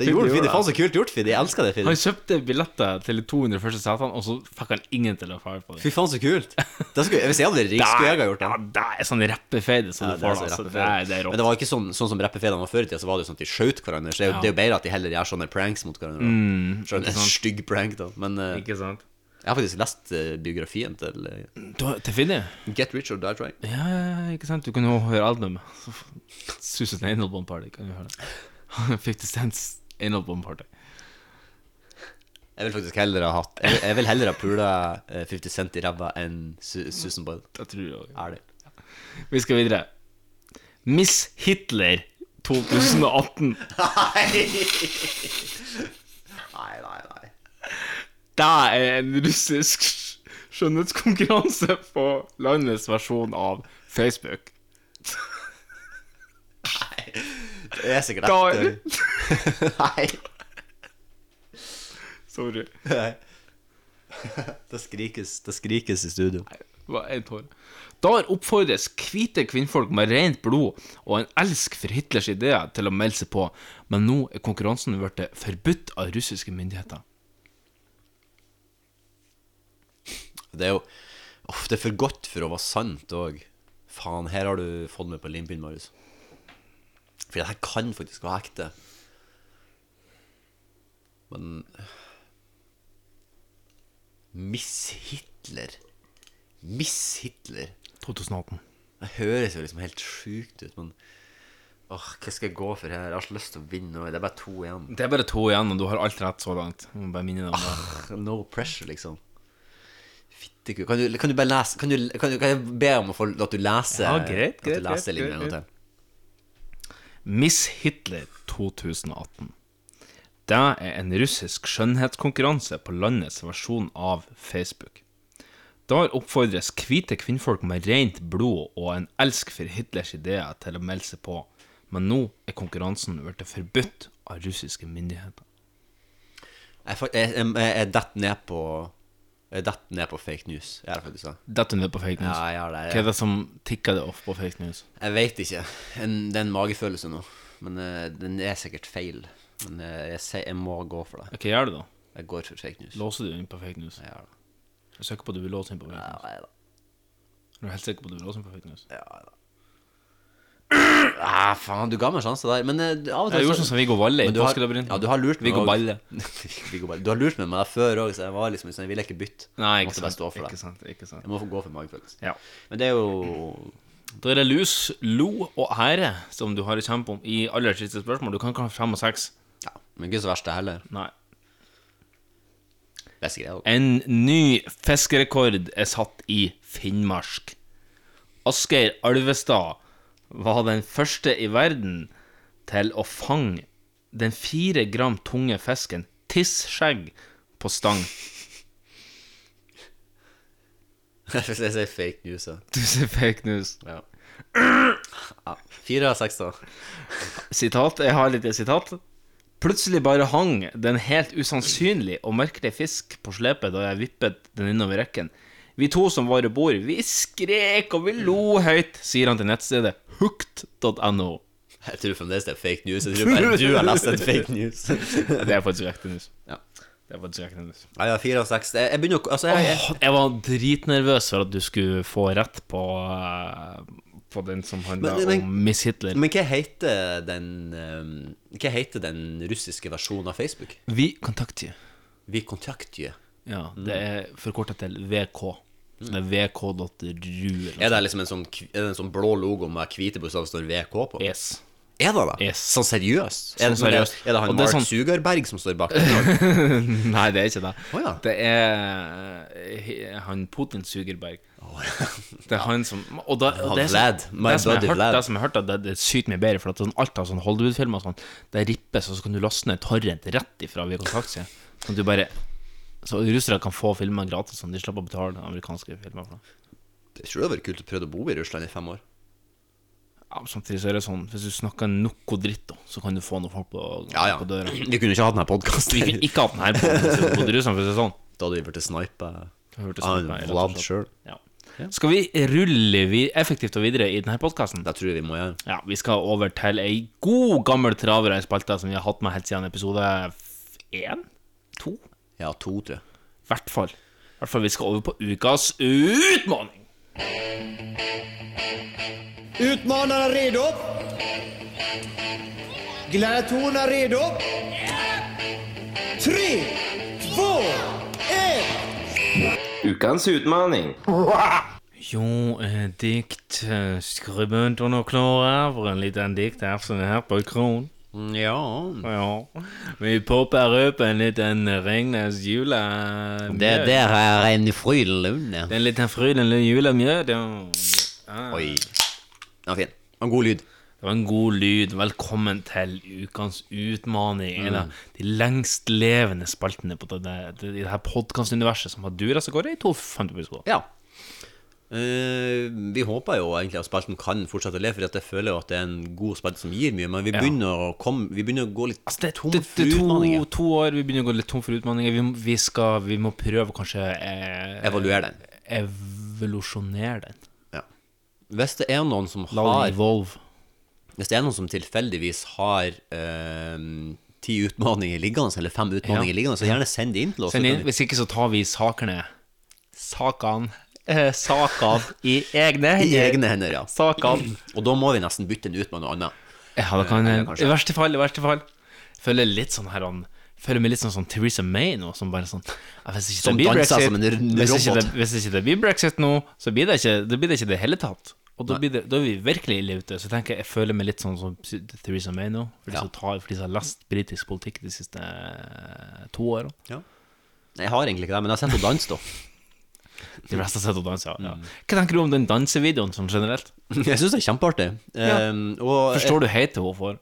C: Det gjorde Fiddy. Faen, så kult gjort, Fiddy. Jeg elsker det, Fiddy.
B: Han kjøpte billetter til de 200 første setene, og så fikk han ingen til å fare på det.
C: Fy faen, så kult. Det skulle, hvis jeg hadde rik, skulle jeg ha gjort det.
B: Ja, det er sånn rappefeide som
C: Ja,
B: du
C: det er
B: får,
C: så
B: altså. Det
C: rappefeide.
B: er, det er rått.
C: Men det var ikke sånn, sånn som rappefeidene var før i tida, så var det jo sånn at de skjøt hverandre. Så det er jo,
B: Ja.
C: det er jo bedre at de heller gjør sånne pranks mot hverandre.
B: Mm,
C: Sånn
B: ikke
C: en
B: sant.
C: stygg prank, da. Men eh,
B: Ikke sant?
C: jeg har faktisk lest eh, biografien til eh,
B: Da- Til Fiddy?
C: Get Rich or Die Trying.
B: Ja, ja, ja, ikke sant? Du kan jo høre albumet. Så f- Susan Anal Bomb Party kan du høre. 50 Cents Anal Bomb Party.
C: Jeg vil faktisk heller ha hatt Jeg, jeg vil heller ha pula eh, 50 Cent i ræva enn Su Susan Boyle.
B: Det tror jeg også.
C: Er det?
B: Vi skal videre. Miss Hitler 2018.
C: Nei, nei, nei.
B: Det er en russisk skjønnhetskonkurranse på landets versjon av Facebook.
C: Det er sikkert
B: Da-
C: ekte. Nei.
B: Sorry.
C: Nei. Det skrikes, det skrikes i studio.
B: Hva er tår? Der oppfordres hvite kvinnfolk med rent blod og en elsk for Hitlers ideer til å melde seg på, men nå er konkurransen blitt forbudt av russiske myndigheter.
C: Det er jo Uff, det er for godt for å være sant òg. Faen, her har du fått meg på limpinnen, Marius. For det her kan faktisk være ekte. Men øh, Miss Hitler. Miss Hitler.
B: 2018.
C: Det høres jo liksom helt sjukt ut, men Åh, hva skal jeg gå for her? Jeg har så lyst til å vinne nå. Det er bare to igjen.
B: Det er bare to igjen, og du har alt rett så langt. Jeg må bare minne deg om det.
C: No pressure, liksom. Fittekuk. Kan, du- kan du bare lese Kan, du, kan, du, kan jeg be om å få, at du leser
B: Ja, greit,
C: At du
B: greit,
C: leser
B: greit,
C: linjen en
B: greit,
C: gang til?
B: Miss Hitler 2018. Det er en russisk skjønnhetskonkurranse på landets versjon av Facebook. Der oppfordres hvite kvinnfolk med rent blod og en elsk for Hitlers ideer til å melde seg på, men nå er konkurransen blitt forbudt av russiske myndigheter.
C: Jeg, fa- jeg, jeg, jeg detter ned på Jeg detter ned på fake news. Jeg er faktisk sånn.
B: Detter ned på fake news.
C: Ja, jeg har det, jeg-
B: Hva er det som tikker det off på fake news?
C: Jeg vet ikke. En, det er en magefølelse nå. Men eh, den er sikkert feil. Men eh, jeg, sier- jeg må gå for det.
B: Hva gjør du da?
C: Jeg går for fake news.
B: Låser du inn på fake news?
C: Ja, da.
B: Jeg er sikker på at du vil låse inn på fake news.
C: Nei
B: Er
C: da.
B: du helt sikker på at du vil låse inn på fake news?
C: Ja, da. Ah, faen, du ga meg en sjanse der. Men eh, av og til
B: Jeg gjorde
C: så-
B: sånn som Viggo Valle i
C: Men du har-
B: Påskelabyrinten.
C: Ja, du har lurt meg
B: Viggo
C: også.
B: Balle.
C: Viggo Balle. Du har lurt meg med det før òg, så jeg var liksom sånn, jeg ville ikke bytte.
B: Nei, ikke
C: Jeg måtte bare
B: sant,
C: stå for det.
B: ikke sant, ikke sant.
C: Jeg må få gå for magefølelse.
B: Ja.
C: Men det er jo
B: Da er det lus, lo og ære som du har å kjempe om i aller siste spørsmål. Du kan ikke ha fem og seks.
C: Ja, men ikke så verst det heller.
B: Nei.
C: Beste greia. da.
B: En ny fiskerekord er satt i Finnmark. Asgeir Alvestad var den første i verden til å fange den fire gram tunge fisken tisskjegg på stang.
C: Hvis jeg sier fake news, ja.
B: Du sier fake news.
C: Ja. ja. Fire av seks, da.
B: Sitat, jeg har litt sitat. Plutselig bare hang den helt usannsynlig og merkelig fisk på slepet da jeg vippet den innover rekken. Vi to som var i bord, vi skrek og vi lo høyt, sier han til nettstedet hooked.no.
C: Jeg tror fremdeles det er fake news. Jeg tror bare du har lest en fake news.
B: Det er faktisk ekte news.
C: Ja.
B: Det er faktisk ekte news.
C: Nei, ja, fire av seks. Jeg, jeg begynner å Altså, jeg, jeg,
B: Åh, jeg var dritnervøs for at du skulle få rett på, eh, på den som handla
C: Men- men-
B: om Miss Hitler.
C: Men hva heter den ehm, Hva heter den russiske versjonen av Facebook?
B: Vi kontakter.
C: Vi kontakter.
B: Ja, det er forkorta til VK. Så det er vk.ru.
C: Er det liksom en sånn, kv- er det en sånn blå logo med hvite bokstaver som står VK på?
B: Yes.
C: Er det det?
B: Yes.
C: Sånn seriøst?
B: Sånn
C: er, det, sånn-
B: seriøst.
C: er det han
B: Og det er
C: Mark
B: sånn-
C: Sugarberg som står bak? den?
B: Nei, det er ikke det.
C: Å ja.
B: Det er eh, he- han Putin Sugerberg. Det er han som Og, da, og
C: Han
B: det, som,
C: Vlad, my
B: det, som jeg
C: buddy
B: har hørt,
C: Vlad.
B: det som jeg har hørt, at det, det er sykt mye bedre, for at sånn, alt av sånn Hollywood-filmer og sånn, det rippes, og så kan du laste ned torrent rett ifra via kontaktsida. Sånn at du bare Så russere kan få filmer gratis, sånn de slipper å betale amerikanske filmer for det.
C: Jeg tror det hadde vært kult å prøve å bo i Russland i fem år.
B: Ja, men samtidig så er det sånn, hvis du snakker noe dritt, da, så kan du få noen folk på,
C: Ja, ja.
B: på døra.
C: Vi kunne ikke hatt denne podkasten.
B: Vi kunne ikke hatt den her på, på russerne, for å si det sånn.
C: Da hadde vi blitt snipet
B: Jeg hørte
C: av
B: sånn
C: en
B: på meg, rett og
C: Vlad
B: slett.
C: sjøl.
B: Ja. Skal vi rulle vi effektivt og videre i denne podkasten?
C: Det tror jeg vi må gjøre.
B: Ja, vi skal over til ei god, gammel traver av ei spalte som vi har hatt med helt siden episode f- én? To?
C: Ja, to, tror jeg.
B: I hvert fall. I hvert fall vi skal over på ukas utmaning.
P: Utmanarna redo? Gladiatorerna redo? Tre, två, ett!
B: Ukens utmaning. Jo, eh, dikt eh, skrevet under klare for en liten dikt her som er her på kron.
C: Mm, Ja.
B: Ja. Vi popper opp en liten Ringnes jule...
C: Det der er en frydlunde.
B: Det er en liten frydelig julemjød. Ja.
C: Oi. Den var fin. Og god lyd.
B: Det var en god lyd. Velkommen til ukens utmaning. En av de lengst levende spaltene på det, det, i det her podkastuniverset som har dura seg gårde i to fant episoder.
C: Ja. Eh, vi håper jo egentlig at spalten kan fortsette å le, for jeg føler jo at det er en god spalte som gir mye, men vi
B: Ja.
C: begynner, å, komme, vi begynner å gå litt
B: Altså, det, er
C: tom
B: det, det
C: for
B: er to,
C: utfordringer.
B: to år, vi begynner å gå litt tom for utfordringer. Vi, må- vi, skal- vi må prøve å kanskje eh,
C: Evaluere den.
B: Evolusjonere den.
C: Ja. Hvis det er noen som
B: La den
C: har
B: evolve.
C: Hvis det er noen som tilfeldigvis har eh, ti utmaninger liggende, eller fem utmaninger
B: Ja.
C: liggende, så gjerne send det inn til oss.
B: Send
C: så
B: inn.
C: kan vi-
B: Hvis ikke, så tar vi sakene Sakene eh, Sakene i egne
C: I
B: hender.
C: egne hender, ja.
B: Sakene.
C: Og da må vi nesten bytte den ut med noe annet.
B: Ja, det kan
C: Eller
B: I
C: kanskje-
B: verste fall, i verste fall. Føler litt sånn her han Føler meg litt sånn, sånn Theresa May nå, som bare sånn ja, hvis ikke
C: Som
B: det blir
C: danser
B: brexit,
C: som en r-
B: hvis, ikke det,
C: robot.
B: hvis ikke det blir brexit nå, så blir det ikke det blir det ikke i det hele tatt. Og da, blir det, da er vi virkelig ille ute. Så jeg tenker jeg føler meg litt sånn som Theresa May nå. For de,
C: Ja.
B: som, tar, for de som har lest britisk politikk de siste eh, to årene.
C: Nei, Jeg har egentlig ikke det, men jeg har sett henne danse, da.
B: De fleste har sett henne danse. Ja.
C: Mm.
B: Hva tenker du om den dansevideoen sånn generelt? Eh,
C: Jeg syns det er kjempeartig.
B: Ja.
C: Um, og
B: Forstår du hate hun får?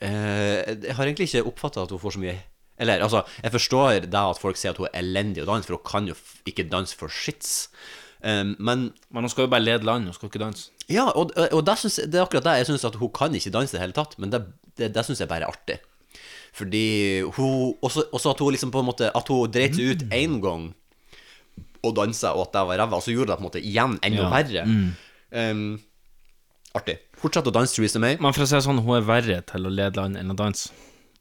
C: eh, Eh, jeg har egentlig ikke oppfatta at hun får så mye Eller altså, jeg forstår da at folk sier at hun er elendig å danse, for hun kan jo f- ikke danse for shits. Um, men
B: Men hun skal jo bare lede land, hun skal ikke danse.
C: Ja, og, og det, synes, det er akkurat det. Jeg syns at hun kan ikke danse i det hele tatt, men det, det, det syns jeg bare er artig. Fordi hun Også, også at hun liksom på en måte At hun dreit seg ut én gang og dansa, og at det var ræva, og så gjorde hun det på en måte igjen enda
B: Ja.
C: verre.
B: Mm.
C: Um, artig. Fortsett å danse Theresa May.
B: Men for å si det sånn, hun er verre til å lede land enn å danse.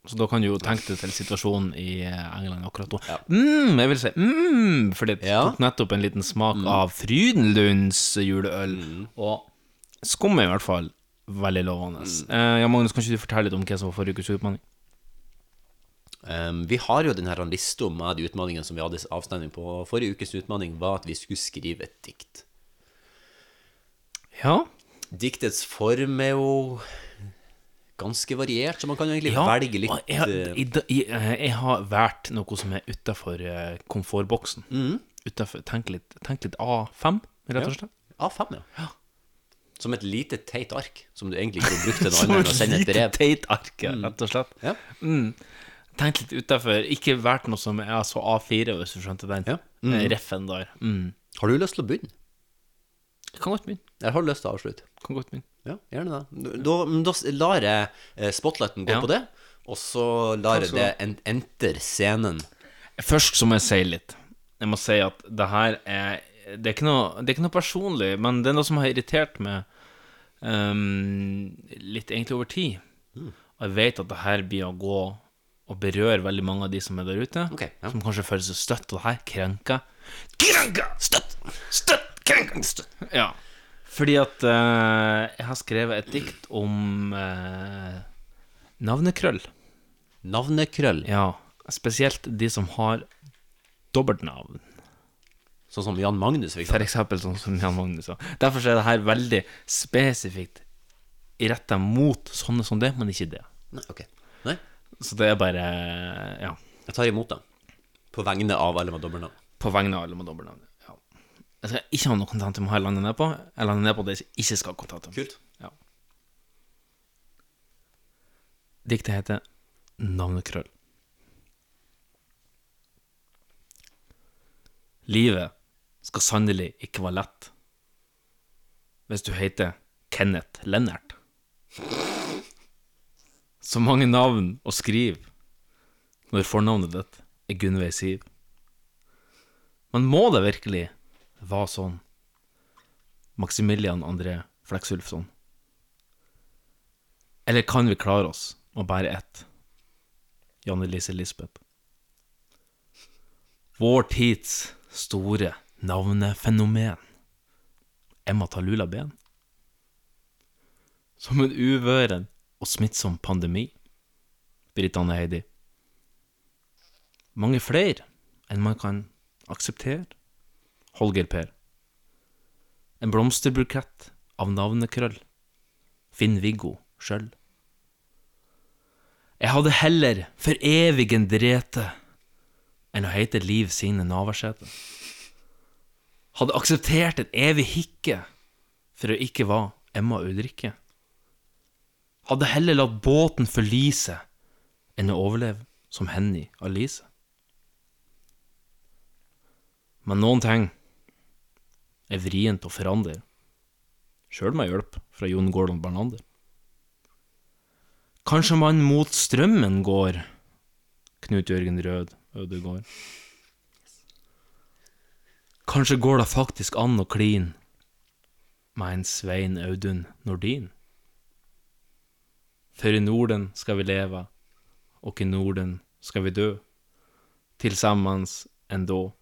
B: Så da kan du jo tenke deg til situasjonen i eh, England akkurat nå. Mm, jeg vil si mm, fordi jeg tok nettopp en liten smak av Frydenlunds juleøl. Og skum er i hvert fall veldig lovende. Eh, ja, Magnus, kan ikke du fortelle litt om hva som var forrige ukes utfordring?
C: Um, vi har jo denne lista med de utfordringene som vi hadde avstemning på. Forrige ukes utfordring var at vi skulle skrive et dikt.
B: Ja.
C: Diktets form er jo ganske variert, så man kan jo egentlig
B: Ja,
C: velge litt
B: og Jeg,
C: eh,
B: i, da- i, eh, jeg har valgt noe som er utafor komfortboksen. Utenfor- tenk, litt, tenk litt A5, rett og
C: Ja.
B: slett.
C: A5, ja. Som et lite teit ark, som du egentlig kunne brukt til noe
B: Som et
C: annet enn å sende et
B: lite
C: brev.
B: teit ark, ja, rett og slett. Mm. Tenk litt utafor. Ikke vært noe som er så A4, hvis du skjønte den
C: Mm.
B: eh, reffen der. Mm.
C: Har du lyst til å begynne?
B: Jeg kan godt begynne.
C: Jeg har lyst til å avslutte.
B: Kan godt begynne.
C: Ja, gjerne det. Da, men da s- lar jeg eh, spotlighten gå
B: Ja.
C: på det, og så lar
B: Takk
C: jeg
B: skal
C: det
B: du ha.
C: en- enter scenen.
B: Først så må jeg si litt. Jeg må si at det her er Det er ikke noe, det er ikke noe personlig, men det er noe som har irritert meg ehm, litt egentlig over tid.
C: Mm.
B: Og jeg vet at det her blir å gå og berøre veldig mange av de som er der ute, som kanskje føler seg støtt av det her, krenka. Krenka! Støtt! Støtt! Krenka! Støtt! Ja. Fordi at eh, jeg har skrevet et dikt om eh, navnekrøll.
C: Navnekrøll?
B: Ja. Spesielt de som har dobbeltnavn.
C: Sånn som Jan Magnus, for
B: eksempel. sånn som Jan Magnus, ja. Derfor så er det her veldig spesifikt retta mot sånne som det, men ikke det.
C: Nei, ok. Nei.
B: Så det er bare Ja.
C: Jeg tar imot det. På vegne av alle med dobbeltnavn.
B: På vegne av alle med dobbeltnavn. Ja. Jeg skal ikke ha noe kontant om hva jeg lander ned på. Jeg lander ned på det jeg ikke skal ha kontant om.
C: Kult.
B: Ja. Diktet heter Navnekrøll. Livet skal sannelig ikke være lett hvis du heter Kenneth Lennart. Så mange navn å skrive når fornavnet ditt er Gunnveig Siv. Men må det virkelig være sånn? Maximilian André Fleksulfsson. Eller kan vi klare oss med bare ett? Janne Lise Lisbeth. Vår tids store navnefenomen. Emma Talula Ben. Som en uvøren og smittsom pandemi. Britt Anne Heidi. Mange flere enn man kan akseptere. Holger Per. En blomsterbukett av navnekrøll. Finn-Viggo sjøl. Jeg hadde heller for evigen drete enn å hete Liv Signe Navarsete. Hadde akseptert en evig hikke for å ikke være Emma Ulrikke. Hadde heller latt båten forlise enn å overleve som Henny Alice. Men noen ting er vrient å forandre, sjøl med hjelp fra Jon Gordon Bernander. Kanskje man mot strømmen går, Knut Jørgen Rød Ødegård. Kanskje går det faktisk an å kline med en Svein Audun Nordin? For i Norden skal vi leve, og i Norden skal vi dø. Tilsammans endå.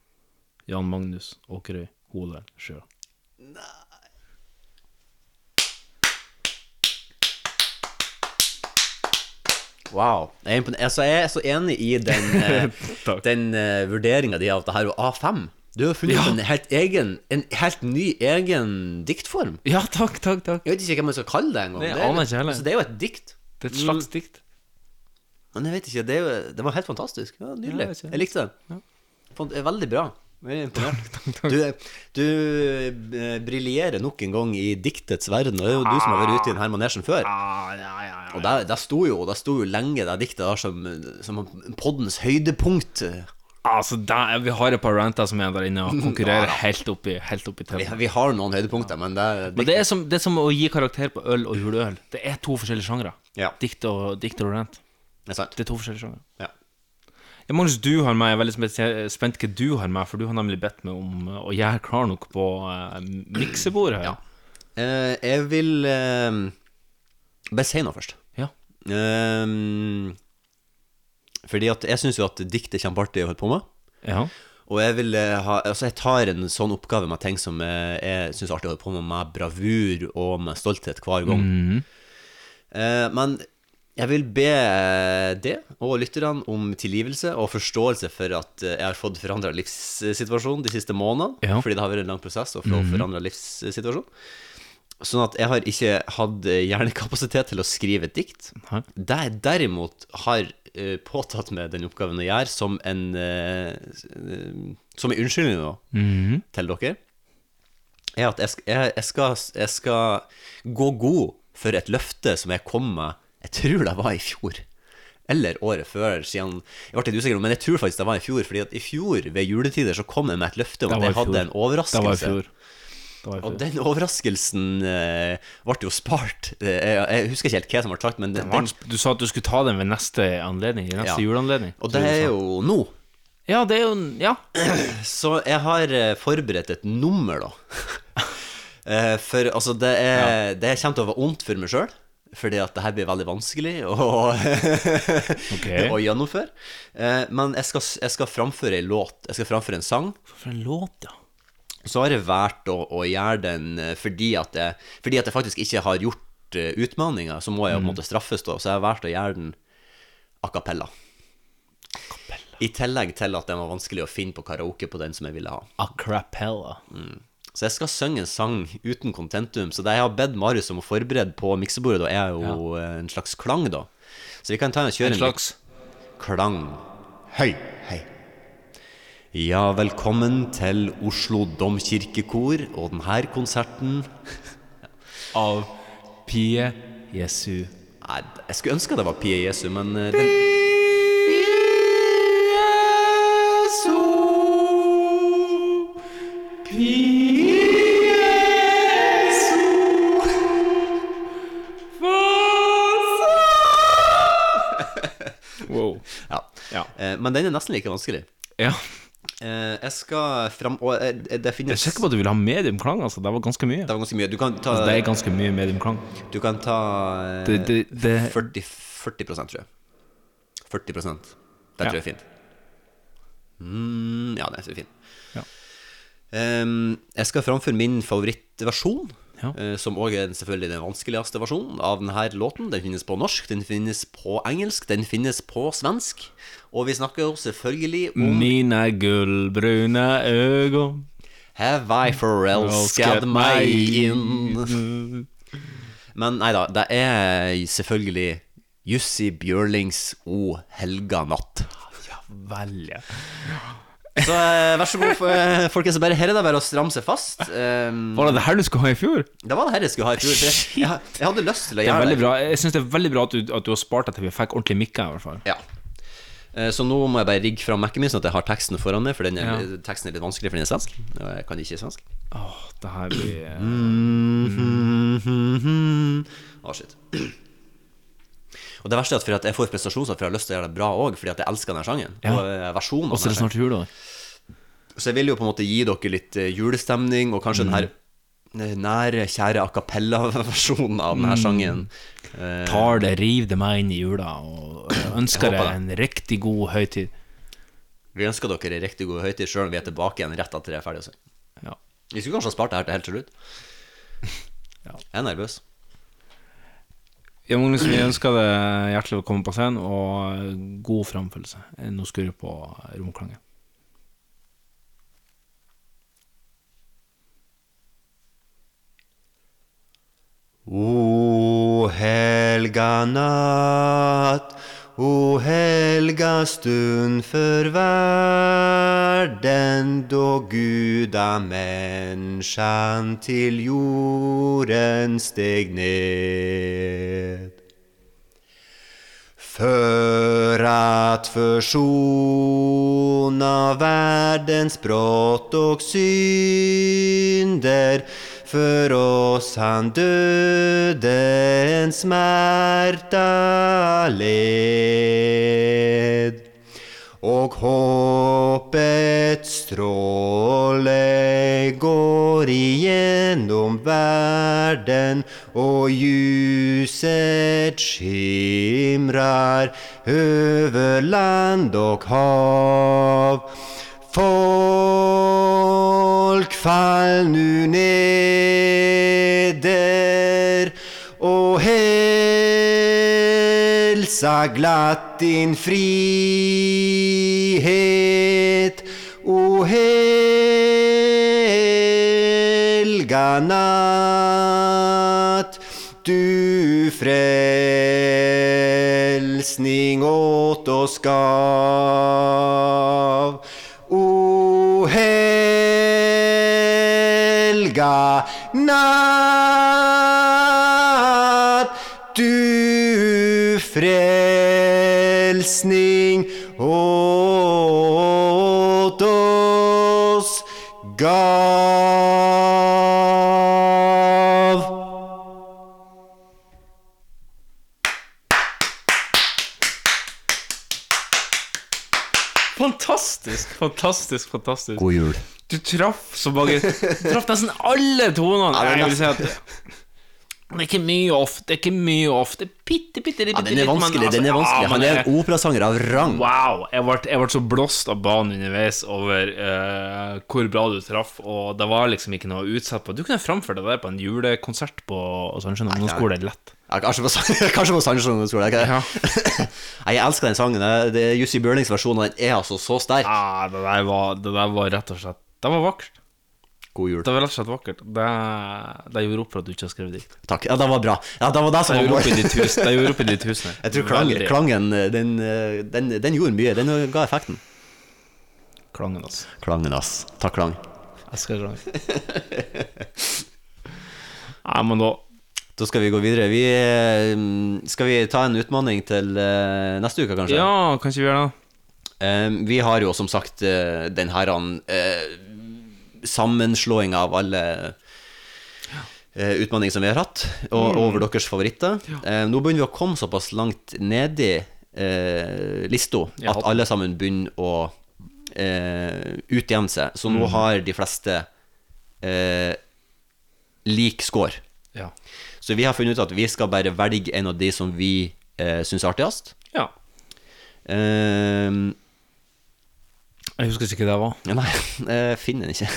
B: Jan Magnus Åkerøy Holer Sjø.
C: Wow. Jeg er, impon- altså, jeg er så enig i den, uh, den vurderinga di av det her og A5. Du har funnet
B: Ja.
C: en, helt egen, en helt ny egen diktform.
B: Ja, takk, takk, takk.
C: Jeg vet ikke hva man skal kalle det engang.
B: Nei, jeg
C: Det er-
B: aner ikke heller.
C: Altså, det er jo et dikt.
B: Det er et slags dikt.
C: Men jeg vet ikke, det, er jo, det var helt fantastisk. Ja,
B: Ja, jeg
C: Nydelig.
B: vet ikke.
C: jeg likte det. Fant- eh, Veldig bra. Jeg er imponert. Du, du eh, briljerer nok en gang i diktets verden, og det er jo du som har vært ute i denne manesjen før.
B: Ah, ja, ja, ja.
C: Og der, der, sto jo, der sto jo lenge det diktet der som, som poddens høydepunkt.
B: Altså, der, Vi har et par ranter som er der inne og konkurrerer helt oppi helt oppi
C: Vi,
B: temaet.
C: vi har noen høydepunkter, men det,
B: Men det er, som, det er som å gi karakter på øl og juleøl. Det er to forskjellige sjangre.
C: Ja.
B: Dikt, og, dikt og rant.
C: Det er sant.
B: Det er to forskjellige sjangre.
C: Ja.
B: Ja, Magnus, du har med, jeg er veldig spe- spent hva du har med, for du har nemlig bedt meg om eh, å gjøre klar nok på uh, miksebordet. Ja.
C: Eh, jeg vil eh, bare si noe først.
B: Ja.
C: Eh, fordi at jeg syns jo at dikt er kjempeartig å holde på med.
B: Ja.
C: Og jeg vil eh, ha Altså, jeg tar en sånn oppgave med ting som eh, jeg syns er artig å holde på med, med bravur og med stolthet hver gang.
B: Mhm.
C: Eh, men jeg vil be eh, det, og lytterne, om tilgivelse og forståelse for at eh, jeg har fått forandra livssituasjon de siste månedene.
B: Ja.
C: Fordi det har vært en lang prosess å få
B: Mhm.
C: forandra livssituasjon. Sånn at jeg har ikke hatt eh, hjernekapasitet til å skrive et dikt.
B: Nei.
C: Det jeg derimot har eh, påtatt meg den oppgaven å gjøre som en eh, s- eh, Som en unnskyldning nå
B: Mhm.
C: til dere, er at jeg, sk- jeg, jeg, skal, jeg skal gå god for et løfte som jeg kom med Jeg tror det var i fjor. Eller året før, siden Jeg ble litt usikker, men jeg tror faktisk det var i fjor. Fordi at i fjor, ved juletider, så kom jeg med et løfte om
B: Det
C: at
B: var i
C: jeg hadde
B: fjor.
C: en
B: Det
C: overraskelse.
B: var i fjor. Det var i fjor.
C: Og den overraskelsen eh, ble jo spart. Eh, jeg, jeg husker ikke helt hva som ble sagt, men den,
B: Den var- du sa at du skulle ta den ved neste anledning, i neste
C: Ja.
B: juleanledning.
C: Og det er jo nå.
B: Ja, det er jo Ja.
C: Så jeg har eh, forberedt et nummer, da. Eh, for altså, det, er, det kommer til å være vondt for meg sjøl. Fordi at det her blir veldig vanskelig å, å gjennomføre. Eh, men jeg skal, jeg skal framføre ei låt. Jeg skal framføre en sang.
B: For en låt, ja.
C: Så har jeg valgt å, å gjøre den eh, fordi at, jeg, fordi at jeg faktisk ikke har gjort eh, utmaninga, så må jeg jo på en måte straffes, da. Så jeg har valgt å gjøre den a cappella. I tillegg til at den var vanskelig å finne på karaoke på den som jeg ville ha.
B: Acapella.
C: Mm. Så jeg skal synge en sang uten kontentum. Så det jeg har bedt Marius om å forberede på miksebordet, da, er jo eh, en slags klang, da. Så vi kan ta og kjøre
B: En slags?
C: klang. Høy. Hei. Ja, velkommen til Oslo Domkirkekor og denne konserten
B: Av Pie Jesu.
C: Nei, jeg skulle ønske det var Pie Jesu, men eh, den,
B: Wow.
C: ja. Eh, Men den er nesten like vanskelig.
B: Ja.
C: Eh, Jeg skal fram... Og eh, det
B: Jeg er
C: finnes
B: sikker på at du vil ha mediumklang, altså. Det var ganske mye.
C: Det var ganske mye. Du kan ta
B: Altså, det er ganske mye mediumklang.
C: Du kan ta eh,
B: Det- det- det-
C: 40, 40 tror jeg. 40 Den tror jeg er fin. Mm, ja, den er fin.
B: Ja.
C: Ehm, jeg skal framføre min favorittversjon, eh, som òg er den- selvfølgelig den vanskeligste versjonen av denne låten. Den finnes på norsk, den finnes på engelsk, den finnes på svensk. Og vi snakker jo selvfølgelig om
B: Mine gullbrune øyne
C: Have I forelsket meg inn? Men nei da, det er selvfølgelig Jussi Bjørlings O helga natt.
B: Vel, ja.
C: Så eh, vær så god, f- eh, folkens. Bare her er det bare å stramme seg fast. Um,
B: Var det det her du skulle ha i fjor?
C: det var det her jeg skulle ha i fjor. for Jeg, jeg, jeg hadde lyst til å
B: Det er
C: gjøre
B: veldig
C: det.
B: bra. Jeg syns det er veldig bra at du, at du har spart deg til vi fikk ordentlig mikker, i hvert fall.
C: Ja. Eh, Så nå må jeg bare rigge fram Mac-en min, sånn at jeg har teksten foran meg. For den er,
B: Ja.
C: teksten er litt vanskelig, for den er svensk. Og jeg kan ikke svensk.
B: Åh, det her blir
C: Mm. Å, Mhm. Ah, shit. Og det verste er at, fordi at jeg får prestasjoner for jeg har lyst til å gjøre det bra òg, fordi at jeg elsker denne sangen.
B: Ja.
C: Og eh, versjonen. av
B: Og så er det
C: denne
B: snart jul òg.
C: sangen. Så jeg vil jo på en måte gi dere litt eh, julestemning, og kanskje den
B: Mhm.
C: her eh, nære, kjære a cappella-versjonen av denne
B: Mm.
C: sangen. Eh,
B: Tar det, riv det meg inn i jula, og ønsker
C: Jeg håper
B: deg
C: det.
B: en riktig god høytid.
C: Vi ønsker dere en riktig god høytid, sjøl om vi er tilbake igjen rett etter det er ferdig å synge.
B: Ja.
C: Vi skulle kanskje ha spart det her til helt til slutt. Jeg er nervøs.
B: Ja, Magnus, vi ønsker deg hjertelig velkommen på scenen, og god framførelse. Nå skrur jeg på romklangen.
P: O helga natt, o helga stund för världen då gudamänniskan till jorden steg ned. För att försona världens brott och synder För oss han dödens smärta led och hoppets stråle går igenom världen och ljuset skimrar över land och hav. Folk, fall nu neder och hälsa glatt din frihet. O helga natt, du frälsning åt oss gav. O helga natt du frälsning åt oss gav.
B: Fantastisk, fantastisk, fantastisk.
C: God jul.
B: Du traff så mange Du traff nesten alle tonene.
C: Ja, det er
B: jeg vil si at
C: nesten-
B: det er ikke mye off, det er ikke mye off. Det er bitte, bitte, bitte altså.
C: Ja, den er vanskelig. den er vanskelig. Han er en operasanger av rang.
B: Wow! Jeg ble, jeg ble så blåst av banen underveis over eh, hvor bra du traff, og det var liksom ikke noe å utsette på. Du kunne framført det der på en julekonsert på Sandskjønn ungdomsskole lett.
C: Ja, kanskje på sang- kanskje på Sandnessjøen skole. Jeg, Nei, jeg elsker den sangen. Eh, Det- Det er Jussi Bjørlings versjon, og den er altså så sterk.
B: Ja, det der var, det der var rett og slett Det var vakkert.
C: God jul.
B: Det var rett og slett vakkert. Det, det gjorde opp for at du ikke har skrevet dikt.
C: Takk. Ja, det var bra. Ja, det var det som
B: Det
C: var
B: gjorde opp i ditt hus. Det gjorde opp i ditt hus. nei.
C: Jeg tror klang,
B: Veldig.
C: klangen, den, eh, den, den gjorde mye. Den ga effekten.
B: Klangen, altså.
C: Klangen, ass. Takk, klang.
B: Jeg skal klang. Nei, men da
C: Da skal vi gå videre. Vi, eh, skal vi ta en utfordring til eh, neste uke, kanskje?
B: Ja, kan ikke vi gjøre det?
C: Eh, vi har jo som sagt eh, den her eh, sammenslåinga av alle eh, utfordringer som vi har hatt, og
B: Mm.
C: over deres favoritter. Eh, nå begynner vi å komme såpass langt nedi eh, lista
B: Ja.
C: at alle sammen begynner å eh, utjevne seg. Så nå
B: Mm.
C: har de fleste eh, lik score.
B: Ja.
C: Så vi har funnet ut at vi skal bare velge en av de som vi eh, syns er artigst.
B: Ja.
C: Ehm,
B: Jeg husker ikke hva det var.
C: Ja, nei, jeg finner den ikke.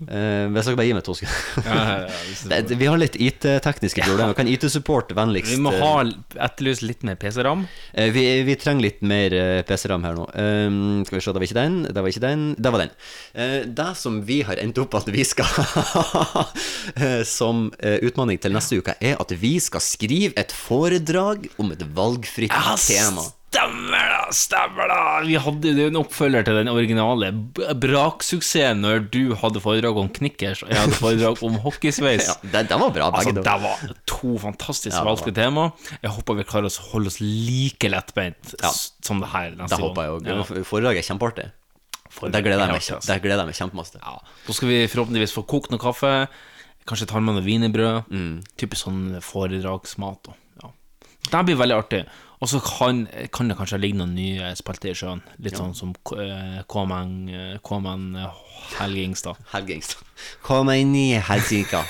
C: Eh, hvis dere bare gir meg to sekunder.
B: Ja, ja, ja,
C: Eh,
B: hvis det-
C: Det- Vi har litt IT-tekniske problemer. Kan IT-support vennligst
B: Vi må ha
C: eh,
B: etterlyst litt mer PC-ram.
C: eh, vi, vi trenger litt mer eh, PC-ram her nå. Eh, skal vi se, det var ikke den, det var ikke den, det var den. Eh, det som vi har endt opp at vi skal ha eh, som uh, utfordring til neste uke, er at vi skal skrive et foredrag om et valgfritt tema.
B: Stemmer da, stemmer da! Vi hadde det er jo en oppfølger til den originale b- braksuksessen når du hadde foredrag om knickers og jeg hadde foredrag om hockeysveis.
C: Ja, det, det var bra,
B: Altså,
C: begge
B: det var to fantastisk
C: Ja, det
B: valgte
C: var-
B: tema. Jeg håper vi klarer å holde oss like lettbeint s- som det her neste
C: Det håper jeg
B: Ja.
C: òg. Foredraget er kjempeartig. Det gleder jeg meg, kjem- det gleder jeg meg kjempemasse til.
B: Da skal vi forhåpentligvis få kokt noe kaffe. Kanskje tar med noe wienerbrød. Typisk sånn foredragsmat. da. Ja. Det blir veldig artig. Og så kan, kan det kanskje ligge noen nye spalter i sjøen. Litt sånn som eh, KMN eh, KMN Helgingstad.
C: Helgingstad. Kom inn i helsika.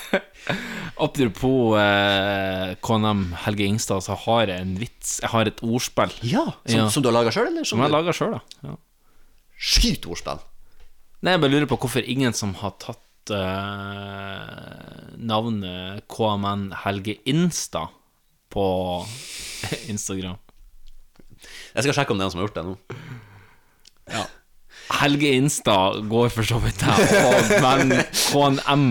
B: Apropos eh, KNM Helge Ingstad, så har jeg en vits. Jeg har et ordspill.
C: Ja, som- som du har laget selv, eller?
B: Som,
C: Som
B: jeg
C: du-
B: laga sjøl, ja.
C: Skyt ordspill!
B: Nei, jeg bare lurer på hvorfor ingen som har tatt eh, navnet KMN Helge Insta på Instagram.
C: Jeg skal sjekke om det er han som har gjort det nå.
B: Ja. Helge Insta går for så vidt der, og- men KNM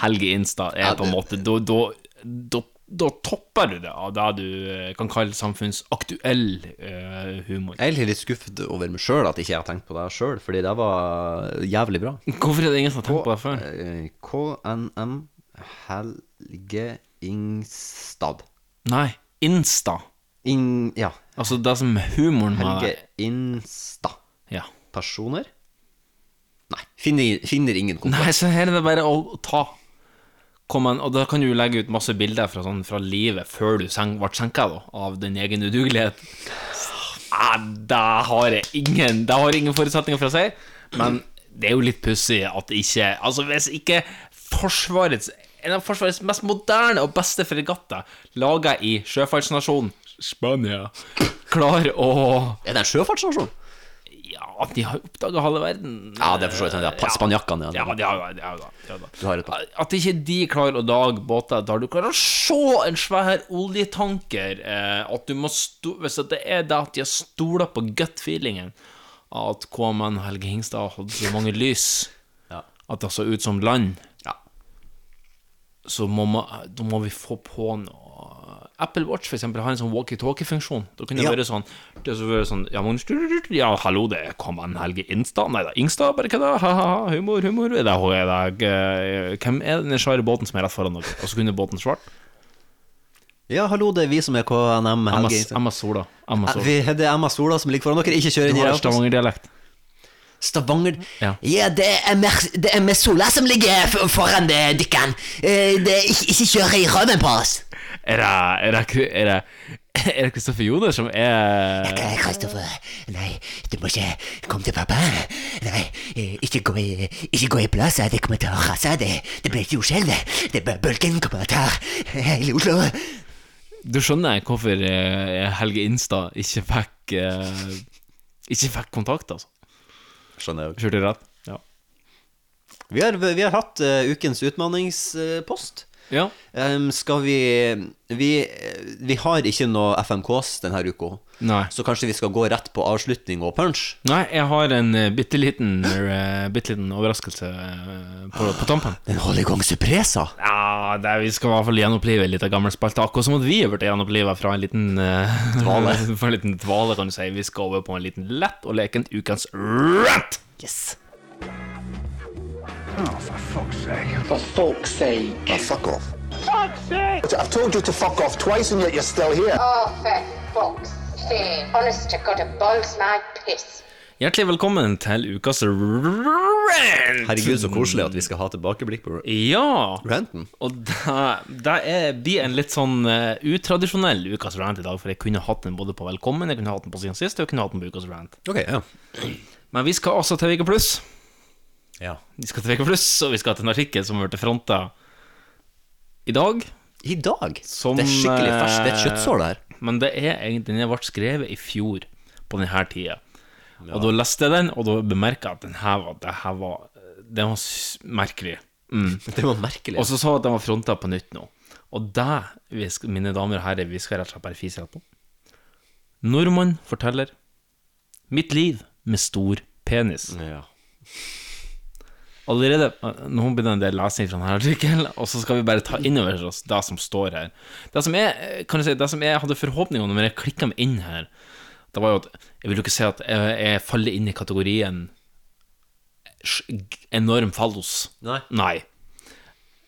B: Helge Insta er på en måte Da, da, da, da topper du det av det du eh, kan kalle samfunnsaktuell eh, humor.
C: Jeg er egentlig litt skuffet over meg sjøl at ikke jeg har tenkt på det sjøl, fordi det var jævlig bra.
B: Hvorfor er det ingen som har tenkt på det før?
C: Eh, KNM Helge Ingstad.
B: Nei, Insta.
C: In, ja.
B: Altså det som humoren må
C: Helge
B: være.
C: Insta.
B: Ja.
C: Personer? Nei. Finner, finner ingen
B: Nei,
C: kontakt.
B: så her er det bare å ta. Kom en, og da kan du legge ut masse bilder fra, sånn, fra livet før du seng, ble senka, da, av din egen udugelighet. Ah, det har jeg ingen Det har ingen forutsetninger for å si. Men det er jo litt pussig at ikke Altså, hvis ikke Forsvarets en av Forsvarets mest moderne og beste fregatter, laga i sjøfartsnasjonen Spania, klarer å
C: Er det en sjøfartsnasjon?
B: Ja, de har oppdaga halve verden.
C: Ja, det er for så vidt sant, ja. Pa- Spanjakkene, ja.
B: Ja, de har, de har, de har, de har.
C: Du har et par.
B: At ikke de klarer å lage båter der du klarer å se en svær oljetanker eh, At du må sto Hvis at det er det at de har stola på gut-feelingen at KMN Helge Hingstad hadde så mange lys at det så ut som land, så må, man, da må vi få på noe Apple Watch for eksempel, har en sånn walkie-talkie-funksjon. Da kan det
C: Ja.
B: være sånn Det så være sånn Ja, Magnus Ja, hallo, det er KMN Helge Ingstad Nei da, Ingstad, bare kødda. Ha-ha, humor, humor. Er det, er det, eh, hvem er den svære båten som er rett foran dere? Og så kunne båten svart.
C: Ja, hallo, det er vi som er KNM
B: Emma,
C: Helge Insta.
B: Emma Sola. Emma Sola.
C: Vi- Det er Emma Sola som ligger foran dere. Ikke kjør
B: Du
C: inn i
B: har
C: Raufoss.
B: Stavanger-dialekt.
C: Stavanger
B: Ja.
J: Ja, det er, mer, det er med sola som ligger f- foran eh, dykken. Eh, det er ikke, ikke kjøre i røven på oss.
B: Er det, er det, Kri- er det, er det Kristoffer Joner som er
J: Eh, Kristoffer, nei, du må ikke komme til pappa. Nei, eh, ikke gå i, ikke gå i plasset, det kommer til å rase. Det, det blir et jordskjelv. Det er bare Bølgen kommer til å ta hele Oslo.
B: Du skjønner hvorfor eh, Helge Instad ikke fikk eh, Ikke fikk kontakt, altså.
C: Skjønner jeg.
B: Kjørte jeg rett? Ja.
C: Vi har, vi har hatt eh, ukens utmanningspost.
B: Ja.
C: Em, skal vi vi, vi har ikke noe FMKs denne uka,
B: Nei.
C: så kanskje vi skal gå rett på avslutning og punch?
B: Nei, jeg har en eh, bitte liten, eh, bitte liten overraskelse eh, på, på tampen.
C: Den holder i gang surpresa!
B: Ja, det er, Vi skal i hvert fall gjenopplive litt av gammel spalte. Akkurat som at vi har blitt gjenopplivet fra en liten eh,
C: Dvale.
B: fra en liten dvale, kan du si. Vi skal over på en liten lett og lekent ukens rant.
J: Yes.
M: Ah, For folk's sake. Oh, fuck off. Fuck's sake! I've told you to fuck off twice and yet you're still here.
Q: Oh, for fuck's sake. Honest to God, it boils my piss.
B: Hjertelig velkommen til ukas rant.
C: Herregud, så koselig at vi skal ha tilbakeblikk på
B: Ja.
C: ranten.
B: Og det, det er, blir en litt sånn eh, utradisjonell ukas rant i dag, for jeg kunne hatt den både på Velkommen, jeg kunne hatt den på siden sist, og jeg kunne hatt den på ukas rant.
C: Ok, ja.
B: Men vi skal altså til VG+.
C: Ja.
B: Vi skal til VG+, og vi skal til en artikkel som har vært fronta i dag.
C: I dag?
B: Som,
C: Det er skikkelig ferskt, det er et kjøttsår, det her.
B: eh, Men det er egentlig, den ble skrevet i fjor på denne tida. Og da leste jeg den, og da bemerka jeg at den her var, det her var, den var s- merkelig. Mm.
C: Det var merkelig.
B: Og så sa jeg at den var fronta på nytt nå. Og det, vi skal, mine damer og herrer, vi skal rett og slett bare fise rett på. Nordmann forteller 'Mitt liv med stor
C: Mm.
B: penis'. Allerede eh, Nå blir det en del lesning fra denne artikkelen, og så skal vi bare ta inn over oss det som står her. Det som jeg, kan jeg, si, det som jeg hadde forhåpninger om når jeg klikka meg inn her, det var jo at Jeg vil jo ikke si at jeg, jeg faller inn i kategorien sj- enorm fallos.
C: Nei.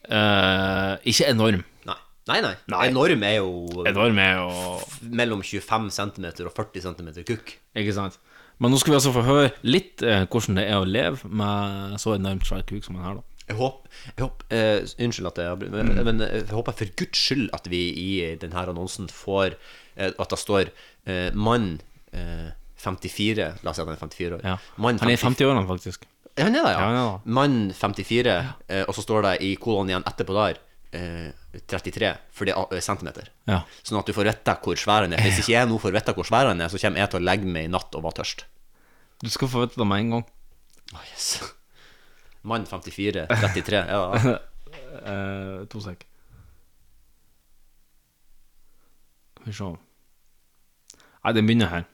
B: Eh, ikke enorm.
C: Nei. Nei, nei. Enorm er jo
B: Enorm er jo
C: mellom 25 cm og 40 cm kukk.
B: Ikke sant? Men nå skal vi altså få høre litt eh, hvordan det er å leve med så enormt svær kuk som den her, da.
C: Jeg håper, jeg håper eh, Unnskyld at jeg avbryter, men, men eh, jeg håper for guds skyld at vi i denne annonsen får eh, At det står eh, 'mann eh, 54' La oss si at han er 54 år.
B: Ja.
C: Mann
B: Han er i 50-årene, faktisk.
C: Ja, han er det, ja.
B: Ja, han er
C: Mann 54, eh, og så står det i kolon igjen etterpå der eh, 33, for det er eh, centimeter.
B: Ja.
C: Sånn at du får vite hvor svær han er. Hvis ikke jeg nå får vite hvor svær han er, så kommer jeg til å legge meg i natt og være tørst.
B: Du skal få vite det med en gang.
C: Yes. Mann 54, 33. Ja,
B: Eh, to sek. Skal vi se Nei, den begynner her.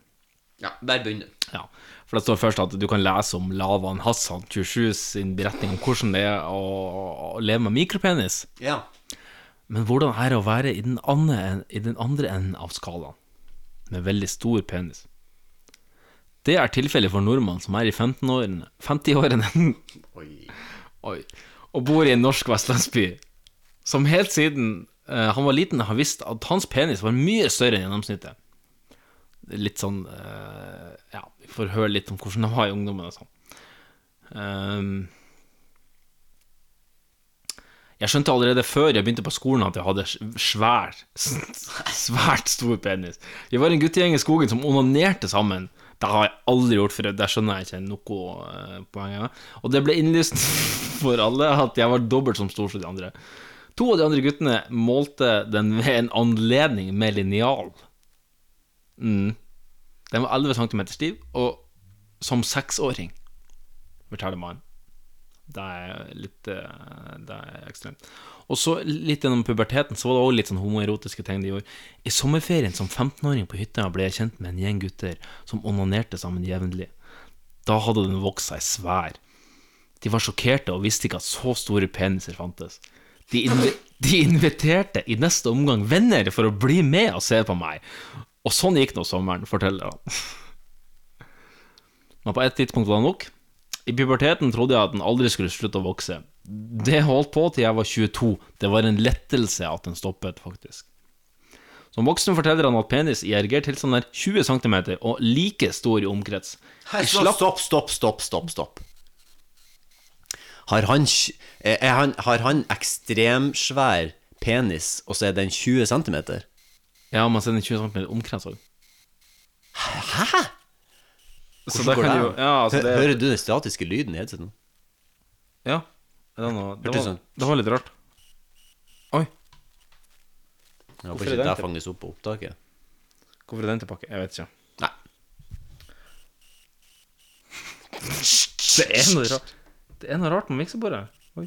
C: ja bare begynn.
B: Ja, for det står først at du kan lese om Lavan Hassan 27 sin beretning om hvordan det er å, å leve med mikropenis.
C: Ja.
B: Men hvordan er det å være i den andre, i den andre enden av skalaen, med veldig stor penis? Det er tilfellet for nordmann som er i 15-årene 50-årene Oi. og bor i en norsk vestlandsby, som helt siden eh, han var liten, har visst at hans penis var mye større enn gjennomsnittet. litt sånn eh, Ja, vi får høre litt om hvordan de var i ungdommen og sånn. Ehm, jeg skjønte allerede før jeg begynte på skolen at jeg hadde sv- svær, svært stor penis. Vi var en guttegjeng i skogen som onanerte sammen. Det har jeg aldri gjort før, det skjønner jeg ikke noe eh, poeng av. Og det ble innlyst for alle at jeg var dobbelt som stor som de andre. To av de andre guttene målte den ved en anledning med linjal. Mm. Den var 11 cm stiv, og som seksåring, forteller mannen. Det er litt eh, Det er ekstremt. Og så litt gjennom puberteten Så var det også litt sånn homoerotiske ting de gjorde. I sommerferien som 15-åring på hytta ble jeg kjent med en gjeng gutter som onanerte sammen jevnlig. Da hadde den vokst seg svær. De var sjokkerte og visste ikke at så store peniser fantes. De, invi- de inviterte i neste omgang venner for å bli med og se på meg. Og sånn gikk nå sommeren, forteller han. Men på et tidspunkt var det nok. I puberteten trodde jeg at den aldri skulle slutte å vokse. Det holdt på til jeg var 22. Det var en lettelse at den stoppet, faktisk. Som voksen forteller han at penis i erigert tilstand er 20 cm og like stor i omkrets.
C: Hei, stopp, stopp, stopp, stopp, stopp, stopp. Har han, tj- eh, er han, har han ekstremsvær penis, og så er den 20 cm?
B: Ja, men så er den 20 cm omkrets òg.
C: Hæ?
B: Så
C: Hvordan
B: da
C: går
B: kan
C: det
B: du jo-
C: an?
B: ja, altså
C: Hø-
B: det-
C: Hører du den statiske lyden i headseten?
B: Ja. Det var, noe, det
C: Hørtes
B: var,
C: sånn.
B: det var litt rart. Oi.
C: Jeg
B: Hvorfor
C: håper
B: er
C: ikke
B: den
C: det
B: til-
C: fanges opp på opptaket.
B: Hvorfor er den tilbake? Jeg vet ikke.
C: Nei.
B: Det er noe rart Det er noe rart med miksebordet. Oi.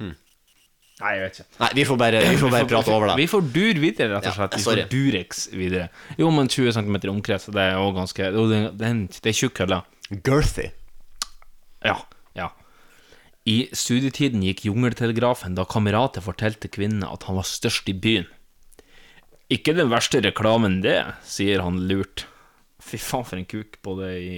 C: Hmm.
B: Nei, jeg vet ikke.
C: Nei, vi får bare, vi får bare prate over det.
B: Vi får dur videre, rett og
C: Ja,
B: slett. Vi
C: sorry.
B: får Durex videre. Jo, men 20 cm omkrets, det er jo ganske jo, Det det er, en- det er tjukk kølle.
C: Girthy.
B: Ja. ja. I studietiden gikk jungeltelegrafen da kameratet fortalte kvinnene at han var størst i byen. Ikke den verste reklamen, det, sier han lurt. Fy faen, for en kuk, både i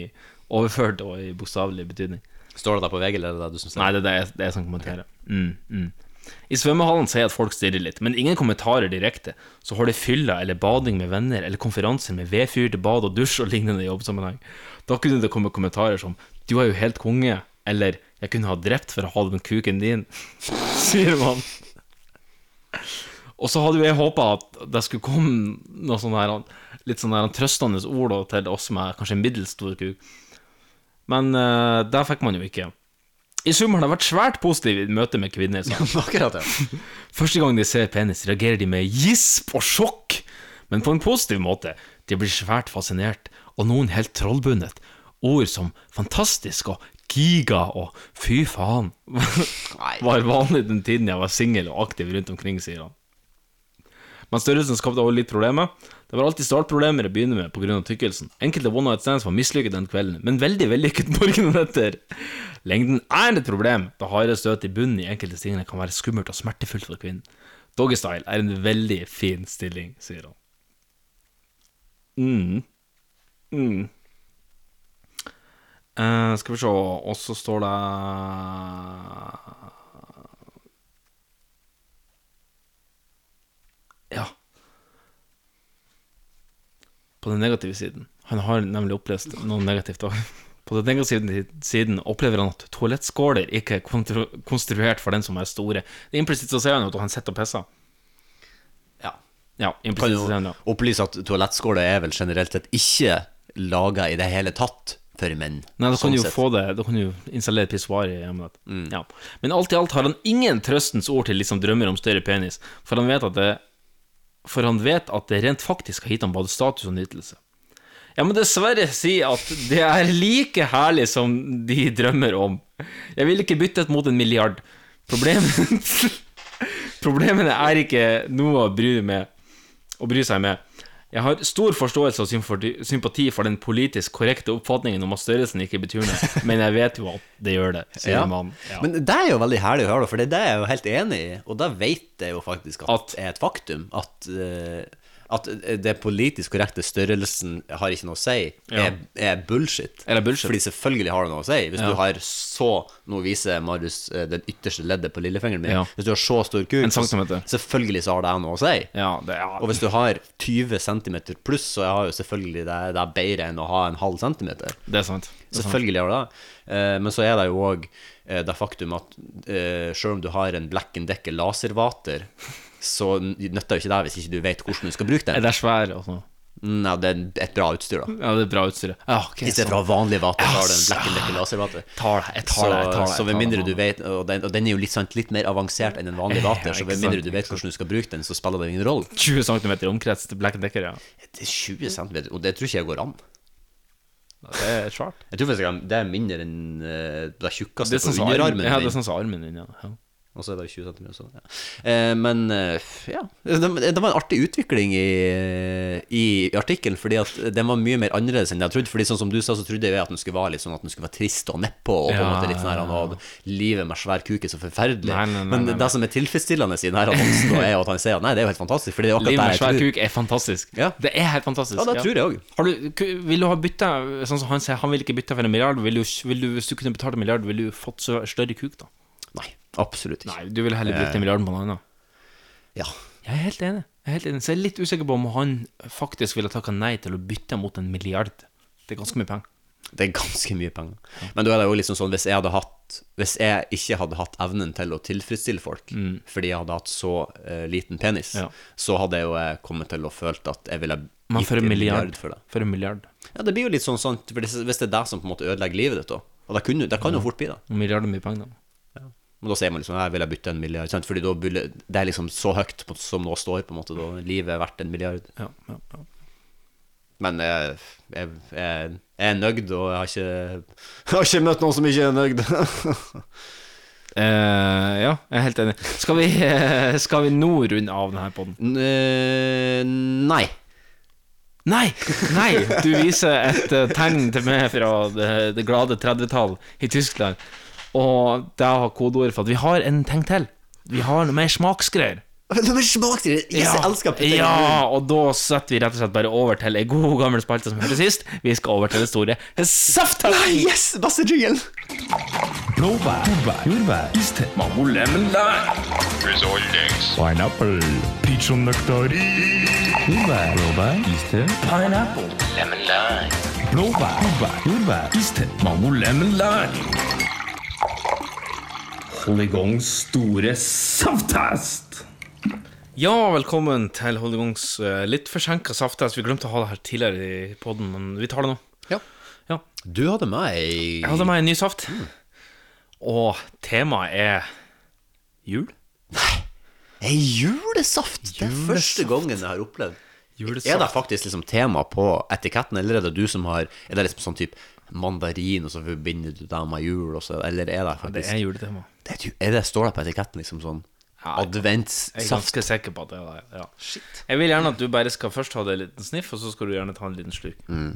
B: overført og i bokstavelig betydning.
C: Står det der på VG, eller er det det du som
B: Nei, det er det jeg, det er jeg som kommenterer. Mm, mm. I svømmehallen sier jeg at folk stirrer litt, men ingen kommentarer direkte. Så har de fylla eller bading med venner eller konferanser med vedfyr til bad og dusj og lignende i jobbsammenheng. Da kunne det komme kommentarer som 'du er jo helt konge', eller 'jeg kunne ha drept for å ha den kuken din', sier man. Og så hadde jo jeg håpa at det skulle komme noe sånn her litt sånn her trøstende ord da, til oss med kanskje en middels stor kuk. Men eh, det fikk man jo ikke. I sum har det vært svært positivt i møte med kvinner. sa han.
C: Akkurat, ja.
B: Første gang de ser penis, reagerer de med gisp og sjokk, men på en positiv måte. De blir svært fascinert, og noen helt trollbundet. Ord som fantastisk og giga og fy faen var vanlig den tiden jeg var singel og aktiv rundt omkring, sier han. Men størrelsen skapte også litt problemer. Det var alltid startproblemer å begynne med pga. tykkelsen. Enkelte one night stands var mislykket den kvelden, men veldig vellykket morgenen etter. Lengden er et problem, da harde støt i bunnen i enkelte stillinger kan være skummelt og smertefullt for kvinnen. Doggystyle er en veldig fin stilling, sier han. Mm. Mm. Eh, skal vi se, og så står det Ja. På den negative siden. Han har nemlig opplest noe negativt òg. På den negative siden opplever han at toalettskåler ikke er kontro- konstruert for den som er store. Det er Implisitt så sier han jo at han sitter og pisser.
C: Ja.
B: Ja,
C: Kan
B: implisitt
C: jo
B: så sier han ja.
C: opplyse at toalettskåla er vel generelt sett ikke laga i det hele tatt for menn.
B: Nei, da kan
C: sånn
B: du jo
C: sett. Mm.
B: få det Da kan du jo installere pissoar i hjemmet ditt. Ja. Men alt i alt har han ingen trøstens ord til de som drømmer om større penis, for han vet at det For han vet at det rent faktisk har gitt ham både status og nytelse. Jeg må dessverre si at det er like herlig som de drømmer om. Jeg vil ikke bytte et mot en milliard. Problemet Problemene er ikke noe å bry, med, å bry seg med. Jeg har stor forståelse og symfoti- sympati for den politisk korrekte oppfatningen om at størrelsen ikke betyr noe, men jeg vet jo at det gjør det, sier
C: Ja.
B: mannen. Ja.
C: Men det er jo veldig herlig å høre, da, for det er det jeg er jo helt enig i. Og da vet jeg jo faktisk at, det er et faktum at, eh, at det politisk korrekte størrelsen har ikke noe å si,
B: Ja.
C: er, er bullshit.
B: Eller bullshit.
C: Fordi selvfølgelig har det noe å si. Hvis
B: Ja.
C: du har så Nå viser Marius eh, den ytterste leddet på lillefingeren min.
B: Ja.
C: Hvis du har så stor kuk,
B: En centimeter.
C: så selvfølgelig så har det noe å si. Og hvis du har 20 cm pluss, så har jo selvfølgelig det, det er bedre enn å ha en halv centimeter.
B: Det er sant. Det er sant.
C: Selvfølgelig har det det. Eh, Men så er det jo òg det faktum at eh, selv om du har en Black and Decker laservater, så nytter jo ikke det hvis ikke du vet hvordan du skal bruke den.
B: Er det svær og sånn?
C: Nei, det er et bra utstyr, da.
B: Ja, det er bra utstyret. Ja, ok,
C: I stedet
B: sånn.
C: for å ha vanlig vater,
B: Ja,
C: så har du en
B: så-
C: Black and Decker laservater.
B: Tar det, jeg tar det, jeg tar det,
C: Så,
B: jeg
C: så
B: tar
C: med
B: det,
C: mindre du
B: mann.
C: vet Og den, og den er jo litt, sant, litt mer avansert enn en vanlig
B: Ja,
C: vater, så
B: ikke
C: med
B: sant,
C: mindre du vet hvordan du skal bruke den, så spiller det ingen rolle.
B: 20 cm i omkrets til Black Decker, ja.
C: Det er 20 cm, og det tror ikke jeg går an.
B: Det er svært.
C: Jeg tror faktisk det er mindre enn eh, det tjukkeste
B: Det er sånn
C: på
B: som arm-
C: underarmen.
B: ja, det
C: din.
B: er sånn som armen din, ja. ja.
C: Og så er det jo 20 cm også. Ja. Eh, men eh, ja. Det, det var en artig utvikling i, i artikkelen, fordi at den var mye mer annerledes enn jeg trodde. Fordi sånn som du sa, så trodde jeg at den skulle være litt sånn at den skulle være trist og nedpå, og på en
B: Ja,
C: måte litt sånn her
B: ja,
C: han hadde livet med svær kuk er så forferdelig.
B: Nei, nei, nei,
C: men
B: nei, nei.
C: det som er tilfredsstillende i denne annonsen, da, er jo at han sier at nei, det er jo helt fantastisk, fordi det er
B: Liv med
C: akkurat
B: svær
C: det jeg tror.
B: kuk er fantastisk. Det er helt fantastisk.
C: Ja, det tror jeg
B: Har du, ku- vil du ha bytta Sånn som han sier, han vil ikke bytte for en milliard. Vil du, vil du, hvis du kunne betalt en milliard, ville du fått så- større kuk, da?
C: Absolutt ikke.
B: Nei, du ville heller brukt
C: Eh,
B: den milliarden på noe annet.
C: Ja.
B: Jeg er helt enig. Jeg er helt enig. Så jeg er litt usikker på om han faktisk ville takka nei til å bytte mot en milliard. Det er ganske mye penger.
C: Det er ganske mye penger. Men da er det jo liksom sånn hvis jeg, hadde hatt, hvis jeg ikke hadde hatt evnen til å tilfredsstille folk
B: Mm.
C: fordi jeg hadde hatt så eh, liten penis,
B: Ja.
C: så hadde jeg jo eh, kommet til å følt at jeg ville
B: Men for en milliard.
C: for det.
B: For en milliard.
C: Ja, det blir jo litt sånn sant, for hvis hvis det er det som på en måte ødelegger livet ditt, da. Og det, kunne, det kan jo fort bli det.
B: En milliard er mye penger, da.
C: Men da sier man liksom jeg vil jeg bytte en milliard, sant? Fordi da vil jeg- det er liksom så høyt på, som nå står, på en måte. Da livet er verdt en milliard.
B: Ja, ja, ja.
C: Men eh, jeg, jeg, jeg, jeg er nøyd, og jeg har ikke, jeg har ikke møtt noen som ikke er nøyd.
B: Eh, ja, jeg er helt enig. Skal vi, eh, skal vi nå runde av denne poden?
C: eh, nei.
B: Nei! Nei! Du viser et eh, tegn til meg fra det, det glade 30-tall i Tyskland. Og det har kodeord for at vi har en ting til. Vi har noe mer smaksgreier.
C: Noe mer smaksgreier? Yes, jeg elsker putter i
B: ja, og da setter vi rett og slett bare over til ei god, gammel spalte som hørte sist. Vi skal over til det store safttalen.
C: Nei, yes! Beste jinglen.
R: Blåbær, jordbær, jordbær, iste, mango, lemon, lime. Pineapple, peachonnøkter, jordbær, blåbær, iste, pineapple, lemon, lime. Blåbær, jordbær, jordbær, iste, mango, lemon, lime. Hold i gang store safttest!
B: Ja, velkommen til Holdegongs eh, litt forsinka safttest. Vi glemte å ha det her tidligere i poden, men vi tar det nå.
C: Ja. Du hadde meg Jeg
B: hadde meg en ny saft.
C: Mm.
B: Og temaet er jul.
C: Ei julesaft! Det er første gangen jeg har opplevd. Er det faktisk liksom tema på etiketten, eller er det du som har Er det liksom sånn type mandarin, og så forbinder du det med jul, og så Eller er det
B: Det
C: faktisk
B: er juletema.
C: Det, er ju- er det står det på etiketten liksom sånn
B: Jeg er
C: adventssaft?
B: ganske sikker på at det er det. Ja. Jeg vil gjerne at du bare skal først ta deg en liten sniff, og så skal du gjerne ta en liten slurk.
C: Mm.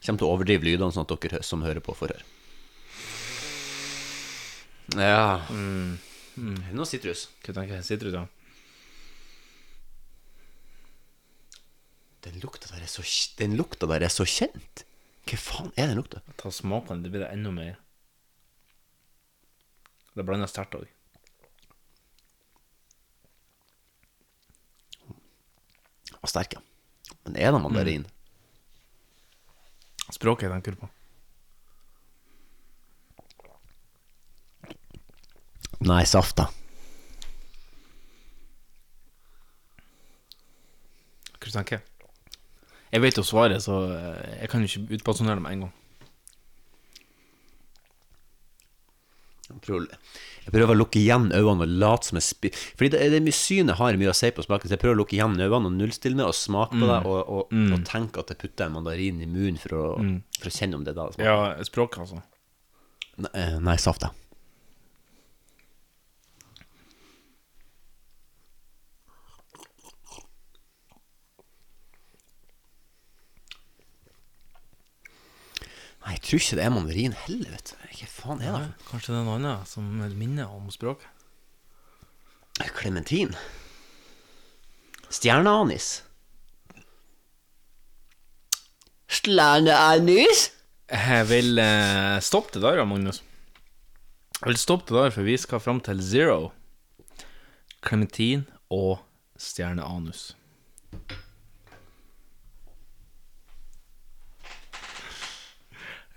C: Kommer til å overdrive lydene, sånn at dere hø- som hører på, får høre. Ja. Mm. Nå sitrus.
B: Hva tenker jeg? Sitrus, ja.
C: Den lukta der er så, den lukta der er så kjent. Hva faen er den lukta?
B: Ta smak på den, det blir det enda mer. Det blander sterkt òg.
C: Og sterk, ja. Men er det mandarin?
B: Mm. Språket jeg tenker på.
C: Nei, saft, da.
B: Hva du tenker jeg? Jeg vet jo svaret, så eh, jeg kan jo ikke utpasjonere det med en gang.
C: Jeg prøver, jeg prøver å lukke igjen øynene og late som jeg spi... Fordi det, det er mye synet har mye å si på smaken, så jeg prøver å lukke igjen øynene og nullstille meg og smake på
B: Mm.
C: det, og, og,
B: Mm.
C: og tenke at jeg putter en mandarin i munnen for å,
B: Mm.
C: for å kjenne om det er det det smaker.
B: Ja, språket, altså.
C: Nei, eh, nei, saft, da. Nei, jeg tror ikke det er mandarin heller, vet du. Hva faen er det?
B: Nei, Kanskje det er noe annet som minner om språket.
C: Klementin? Stjerneanis.
B: Stjerneanis? Jeg vil eh, stoppe det der, ja, Magnus. Jeg vil stoppe det der, for vi skal fram til Zero. Clementin og stjerneanus.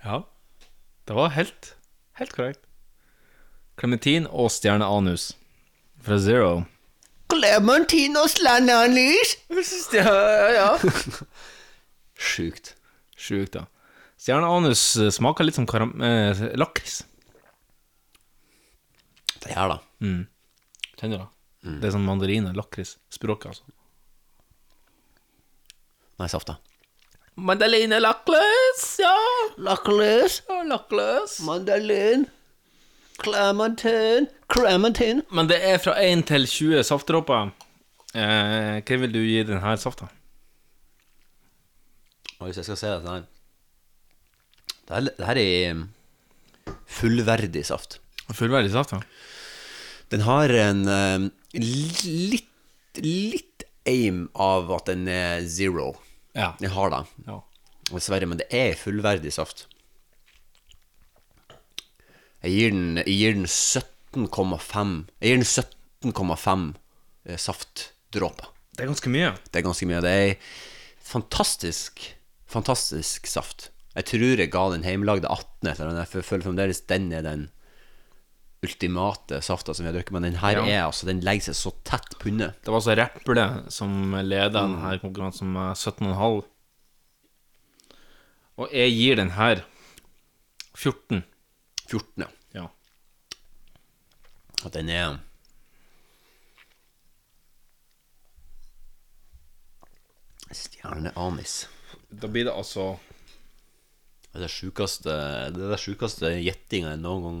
B: Ja, det var helt, helt korrekt. Clementin og stjerneanus fra Zero.
J: Clementinos Lananis.
B: Ja, ja.
C: Sjukt.
B: Sjukt, ja. Stjerneanus eh, smaker litt som karam... Eh, laks.
C: Det her, da.
B: Mm. Kjenner du det? Det er sånn mandarin og lakris. Språket, altså.
C: Nei, safta.
B: Mandaline lakkløs, ja.
J: Lakkløs.
B: Lakkløs.
J: Mandalin. Clementin. Clementin.
B: Men det er fra 1 til 20 saftdråper. Eh, hva vil du gi denne safta?
C: Og hvis jeg skal se dette her Det her, det her er um, fullverdig saft.
B: Fullverdig saft, ja.
C: Den har en um, litt, litt aim av at den er zero.
B: Ja.
C: Den har det,
B: Ja.
C: dessverre. Men det er fullverdig saft. Jeg gir den, jeg gir den 17,5 Jeg gir den 17,5 eh, saftdråper.
B: Det er ganske mye.
C: Det er ganske mye. Det er fantastisk, fantastisk saft. Jeg tror jeg ga den hjemmelagde 18 eller noe. Jeg føler fremdeles den er den ultimate safta som vi har drukket. Men den her
B: Ja.
C: er altså, den legger seg så tett på under.
B: Det var altså Rapple som leda denne konkurransen med 17,5. Og jeg gir den her 14.
C: 14, ja.
B: Ja.
C: At den er Stjerneanis.
B: Da blir det altså
C: Det er det sjukeste Det er det sjukeste gjettinga jeg noen gang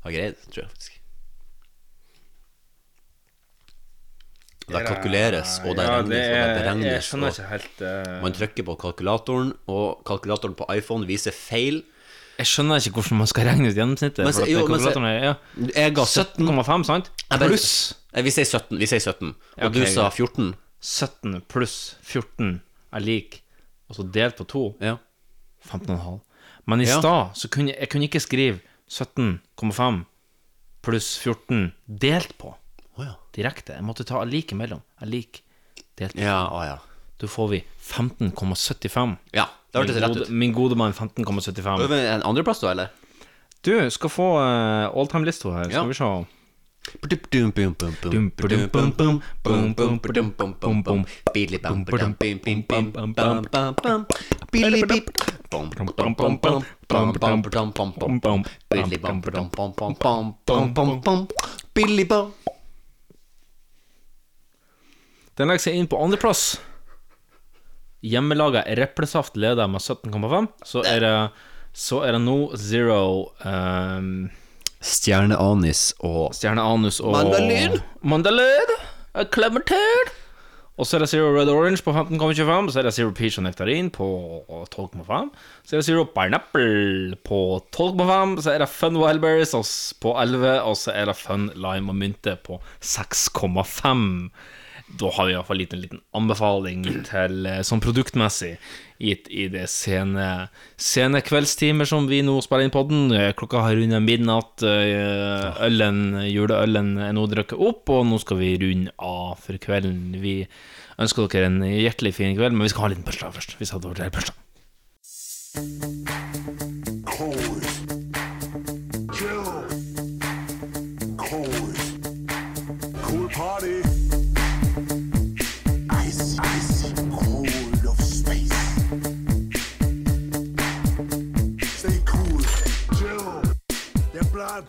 C: har greid, tror jeg faktisk. Og Det kalkuleres, og det
B: Ja,
C: regnes,
B: det
C: og det
B: er-
C: beregnes.
B: jeg skjønner
C: og
B: ikke helt, eh.
C: Man trykker på kalkulatoren, og kalkulatoren på iPhone viser feil.
B: Jeg skjønner ikke hvordan man skal regne ut gjennomsnittet.
C: Men
B: for
C: se-
B: at det
C: jo, men se-
B: kalkulatoren er- ja.
C: Jeg ga
B: 17,5, sant?
C: Jeg bare-
B: Pluss
C: Nei, Eh, Vi sier 17, vi sier 17 og
B: Ja, ok,
C: du sa
B: greit.
C: 14.
B: 17 pluss 14 er lik, og så delt på 2, 15,5. Men i
C: Ja.
B: stad så kunne jeg, jeg kunne ikke skrive 17,5 pluss 14 delt på
C: Å ja.
B: direkte. Jeg måtte ta like mellom. Er lik delt på.
C: Ja, å ja.
B: Da får vi 15,75.
C: Ja, det hørtes
B: Min
C: rett
B: gode-
C: ut.
B: Min gode mann 15,75.
C: Øver En andreplass, da, eller?
B: Du skal få uh, alltime-lista her. Skal
C: Ja.
B: vi se. Den legger seg inn på andreplass. Hjemmelaga replesaft leder med 17,5. Så er det så er det nå zero ehm,
C: Stjerneanis og
B: stjerneanus og
C: Mandalin.
B: Mandalin. eh, Clementine. Og så er det zero red orange på 15,25. Så er det zero peach og nektarin på 12,5. Så er det zero pineapple på 12,5. Så er det fun wildberries oss på 11. Og så er det fun lime og mynte på 6,5. Da har vi iallfall en liten anbefaling til eh, sånn produktmessig gitt i det sene, sene kveldstimer som vi nå spiller inn podden. Eh, Klokka har rundet midnatt. eh, Ølen, juleølen er nå drukket opp, og nå skal vi runde av for kvelden. Vi ønsker dere en hjertelig fin kveld, men vi skal ha en liten bursdag først. Vi skal ha en bursdag.
H: Cool party. Ice, ice, cold of space. Stay cool, chill. The blood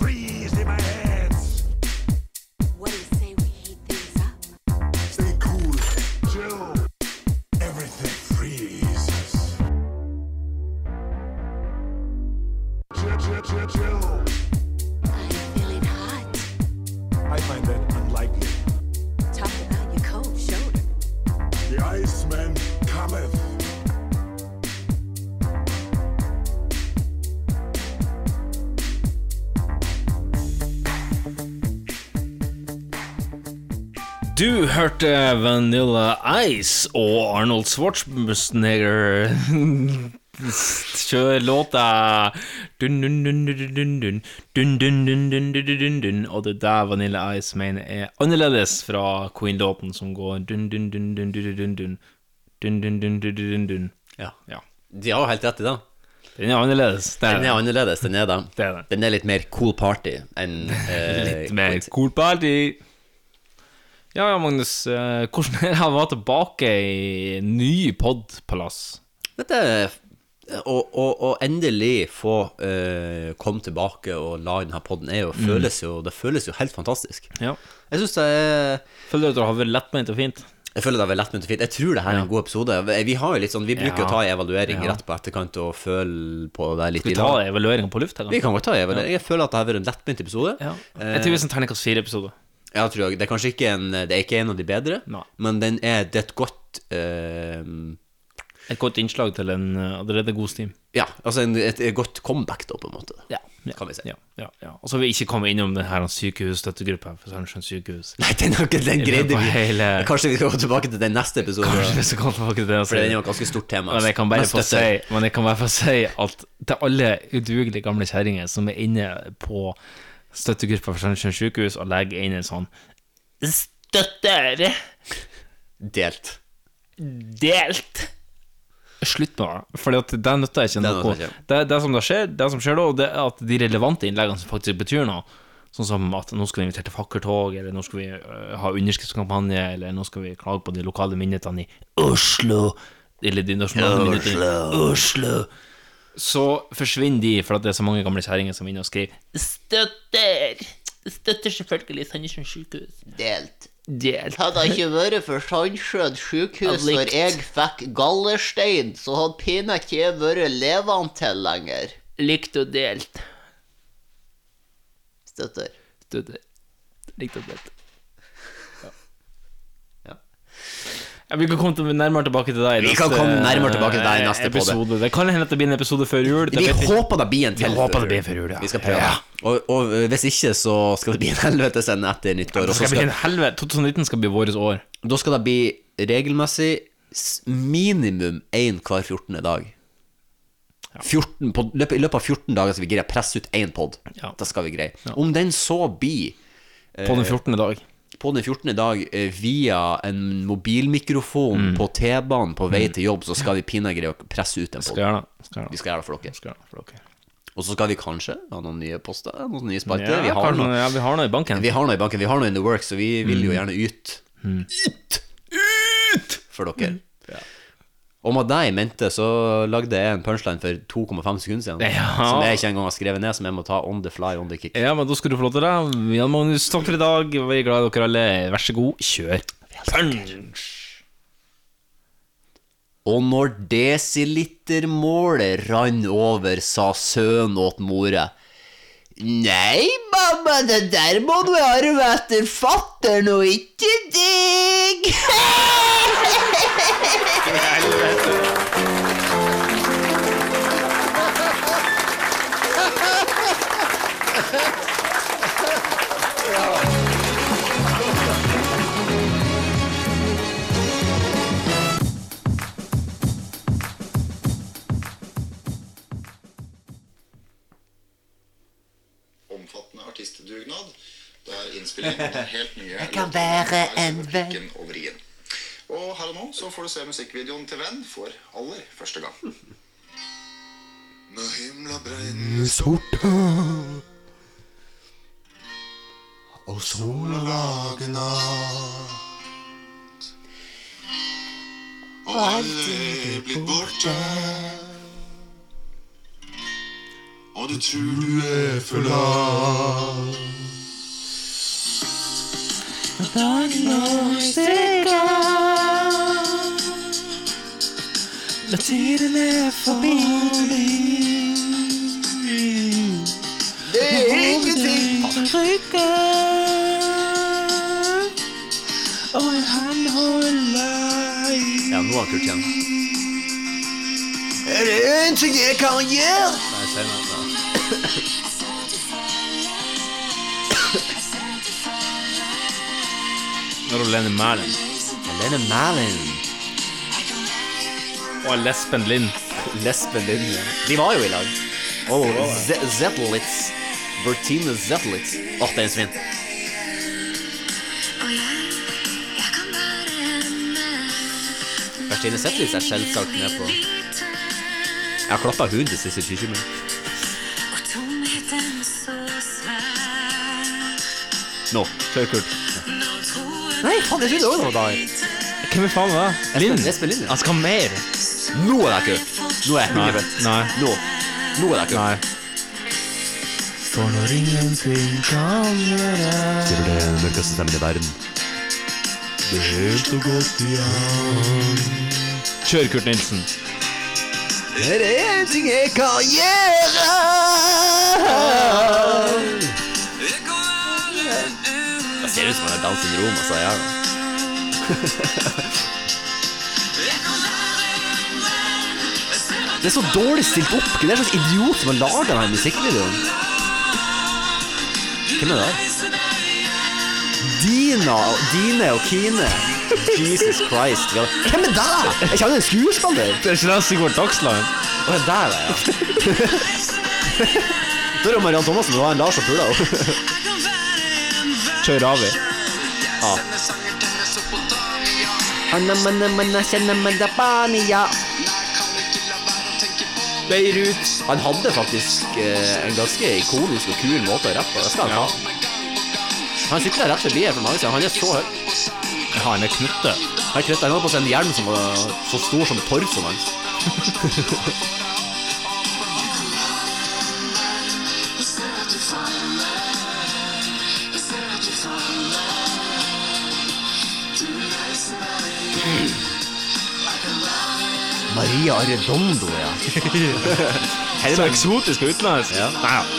H: freeze in my hands. What do you say we heat things up? Stay cool, chill. Everything freezes. Chill, chill, chill, chill. I find that unlikely.
B: Du hørte Vanilla Ice og Arnold Schwarzenegger kjøre låta dun, dun, dun, dun, dun, dun, dun, dun, dun, dun, dun, dun, dun, dun. Og det der Vanilla Ice mener er annerledes fra Queen-låten som går dun, dun, dun, dun, dun, dun, dun, dun, dun, dun, dun, dun, dun.
C: Ja. De har jo helt rett i det.
B: Den er annerledes. Det er
C: Den er annerledes, den er det.
B: Det er det.
C: Den er litt mer cool party enn eh,
B: Litt mer cool party. Ja, ja, Magnus. eh, Hvordan er det å være tilbake i ny podpalass?
C: Dette er å, å, å endelig få eh, komme tilbake og la denne podden er jo,
B: Mm.
C: føles jo, Det føles jo helt fantastisk.
B: Ja.
C: Jeg syns det er
B: Føler du at det har vært lettbeint og fint?
C: Jeg føler det har vært lettbeint og fint. Jeg tror det her er en god episode. Vi har jo litt sånn, vi bruker
B: Ja.
C: å ta en evaluering
B: Ja.
C: rett på etterkant og føle på det litt
B: Skal vi
C: i
B: ta
C: lag.
B: evalueringa på luft? her,
C: Vi kan Eh. godt ta en evaluering.
B: Ja.
C: Jeg føler at det har vært en lettbeint episode.
B: Jeg tror det er en terningkast fire-episode.
C: Ja, tror jeg. Det er kanskje ikke en, det er ikke en av de bedre, men den er, det er et godt eh,
B: Et godt innslag til en eh, allerede god steam.
C: Ja, altså en, et, et godt comeback, da, på en måte.
B: Ja,
C: Kan vi si.
B: Ja, ja, ja. Og så har vi ikke kommet innom den her sykehusstøttegruppa for Sandnessjøen sykehus.
C: Nei, den, har ikke, den
B: I løpet
C: greide
B: av
C: vi.
B: hele...
C: Kanskje vi skal gå tilbake til den neste episoden.
B: Kanskje vi skal komme tilbake til det. og
C: For
B: si-
C: den er jo et ganske stort tema. altså.
B: Men jeg kan bare
C: Men
B: få si,
C: støtter.
B: men jeg kan bare få si at til alle udugelige gamle kjerringer som er inne på støttegruppa for Sandnessjøen sykehus og legger inn en sånn Støtter!
C: Delt.
B: Delt! Slutt med det. For det nytter ikke
C: Det
B: noe.
C: nytter ikke.
B: Det, det som da skjer, det som skjer da, det er at de relevante innleggene som faktisk betyr noe, sånn som at nå skal vi invitere til fakkeltog, eller nå skal vi øh, ha underskriftskampanje, eller nå skal vi klage på de lokale myndighetene i Oslo, eller de nasjonale myndighetene i Oslo, så forsvinner de fordi det er så mange gamle kjerringer som er inne og skriver Støtter! Støtter selvfølgelig Sandnessjøen sykehus.
S: Delt.
B: Delt.
S: Hadde jeg ikke vært for Sandsjøen sykehus
B: Hadde
S: når
B: likt.
S: jeg fikk gallerstein, så hadde pinadø ikke jeg vært levende til lenger.
B: Likt og delt.
S: Støtter.
B: Støtter. Likt og delt. Ja, vi kan komme til, nærmere tilbake til deg i
C: Vi kan komme nærmere tilbake til deg i
B: eh,
C: neste podde.
B: episode. Det kan hende at det blir en episode før jul. det
C: Vi
B: vet
C: håper det blir en til.
B: Vi håper det blir en før jul, ja.
C: Vi skal prøve. Og, og hvis ikke, så skal det bli en helvetes en etter nyttår.
B: Det
C: og så
B: skal bli en helvete. 2019 skal bli vårt år.
C: Da skal det bli regelmessig s- minimum én hver 14. dag. 14 pod, løpet, I løpet av 14 dager skal vi greie å presse ut én pod. Det skal vi greie. Om den så blir eh,
B: På den 14. dag.
C: På den 14. dag eh, via en mobilmikrofon på T-banen på vei
B: Mm.
C: til jobb, så skal vi pinadø greie å presse ut en pod.
B: Skal gjøre det. Skal gjøre det.
C: Vi skal gjøre det for dere.
B: Skal gjøre det for dere.
C: Og så skal vi kanskje ha noen nye poster, noen nye spalter.
B: Ja,
C: vi, har
B: kanskje-
C: noe,
B: ja, vi har noe i banken.
C: Vi har noe i banken, vi har noe in the works, så vi vil jo
B: Mm.
C: gjerne ut
B: Mm.
C: for dere. Og med deg i mente så lagde jeg en punchline for 2,5 sekunder siden.
B: Ja.
C: Som jeg ikke engang har skrevet ned, som jeg må ta on the fly, on the kick.
B: Ja, men da skal du få lov til det. Jan Magnus, takk for i dag. Vi er glad i dere alle. Vær så god, kjør. Punch!
C: Og når desilitermålet rann over, sa sønnen åt mora.
S: Nei, mamma, det der må du arve etter fatter'n og ikke deg.
T: omfattende artistdugnad. Det er innspilling av helt nye
S: Jeg kan være en venn.
T: låter og vrien. Og her og nå så får du se musikkvideoen til Venn for aller første gang. Når himla brenner
M: Sorte Og sola lagna
T: og alle er blitt borte Og du tror du er forlatt
M: Dagen og strekka La tiden er forbi
S: Det er ingenting.
M: Trykker Og han holder i
C: Ja, nå har Kurt igjen.
S: Er det en ting jeg kan gjøre?
C: Nei, se meg, da.
B: Når hun Lenny Merlin.
C: Lenny Merlin.
B: Og Lesben Lind.
C: Lesben Lind, ja. De var jo i lag. Oh, Ze- Zetlitz. Bertine Zetlitz. Åh, det er en svinn. Bertine Zetlitz er selvsagt med på Jeg har klappa huden til siste kyrkjemøte. Nå. Kjør Kurt. Nei, faen, jeg trodde også det var Dair.
B: Hvem er faen var det? Lind?
C: Lesben Lind, ja.
B: Jeg skal ha mer.
C: Nå er det kult. Nå er jeg
B: Nei.
C: 100
B: Nei.
C: Nå. Nå er det kult.
B: For når ingenting kan
C: Ser du det mørkeste stemmen i verden?
H: Det er helt og godt i hand.
B: Kjør, Kurt Nilsen.
S: Det er en ting jeg kan gjøre.
C: Det ser ut som han har Downs syndrom, altså. Jeg er det er så dårlig stilt opp. Hvem er det slags idiot som har laga denne musikkvideoen? Hvem er det? Dina, Dine og Kine. Jesus Christ. vi har- Hvem er det? Jeg kjenner en skuespiller.
B: Det er ikke det Sigurd Dagsland.
C: Å, det der, ja. Spør om Mariann Thomassen. Det var en Lars og Pula.
B: Kjør Ravi.
C: Ja. Beirut. Han hadde faktisk eh, en ganske ikonisk og kul måte å rappe på. Det skal han ha. Han sykla rett forbi her for mange siden. Han er så høy.
B: Ja, han er knutte.
C: Han krøtta han hadde på seg en hjelm som var så stor som torsoen hans. Maria Arredondo, ja.
B: Så eksotisk og utenlandsk.
C: ja.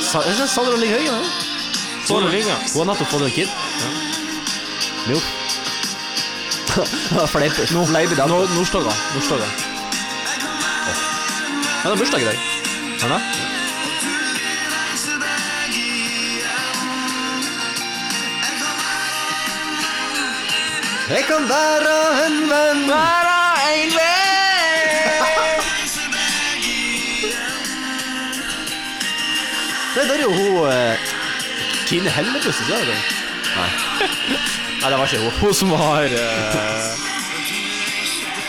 C: Sa, jeg synes Sandra ligger høy, da.
B: Sandra Lyng, ja.
C: Hun har nettopp fått en kid. Jo. Fleip. Nå fleiper det.
B: Nordstoga. Nordstoga.
C: Han har bursdag i dag.
B: Han da?
S: Jeg kan være en venn. Være en venn.
C: Nei, der er jo hun eh, Kine Hellebuss, ikke sant? Nei. Nei, det var ikke hun.
B: Hun som har eh,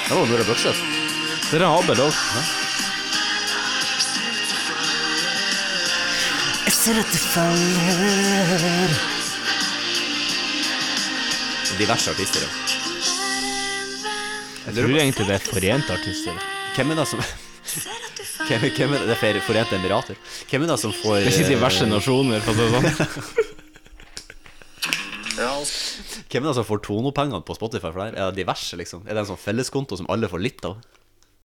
C: Det var Nora Børseth.
B: Det er Abel òg.
S: Jeg ser at det faller.
C: Diverse artister, ja.
B: Jeg tror egentlig det er forente artister.
C: Hvem er det som hvem, hvem er det? Det er Fer- Forente Emirater. Hvem er det som får
B: Det er ikke
C: eh,
B: diverse nasjoner, for å si det sånn.
C: Hvem er det som får Tono-pengene på Spotify for det her? Er det diverse, liksom? Er det en sånn felleskonto som alle får litt av?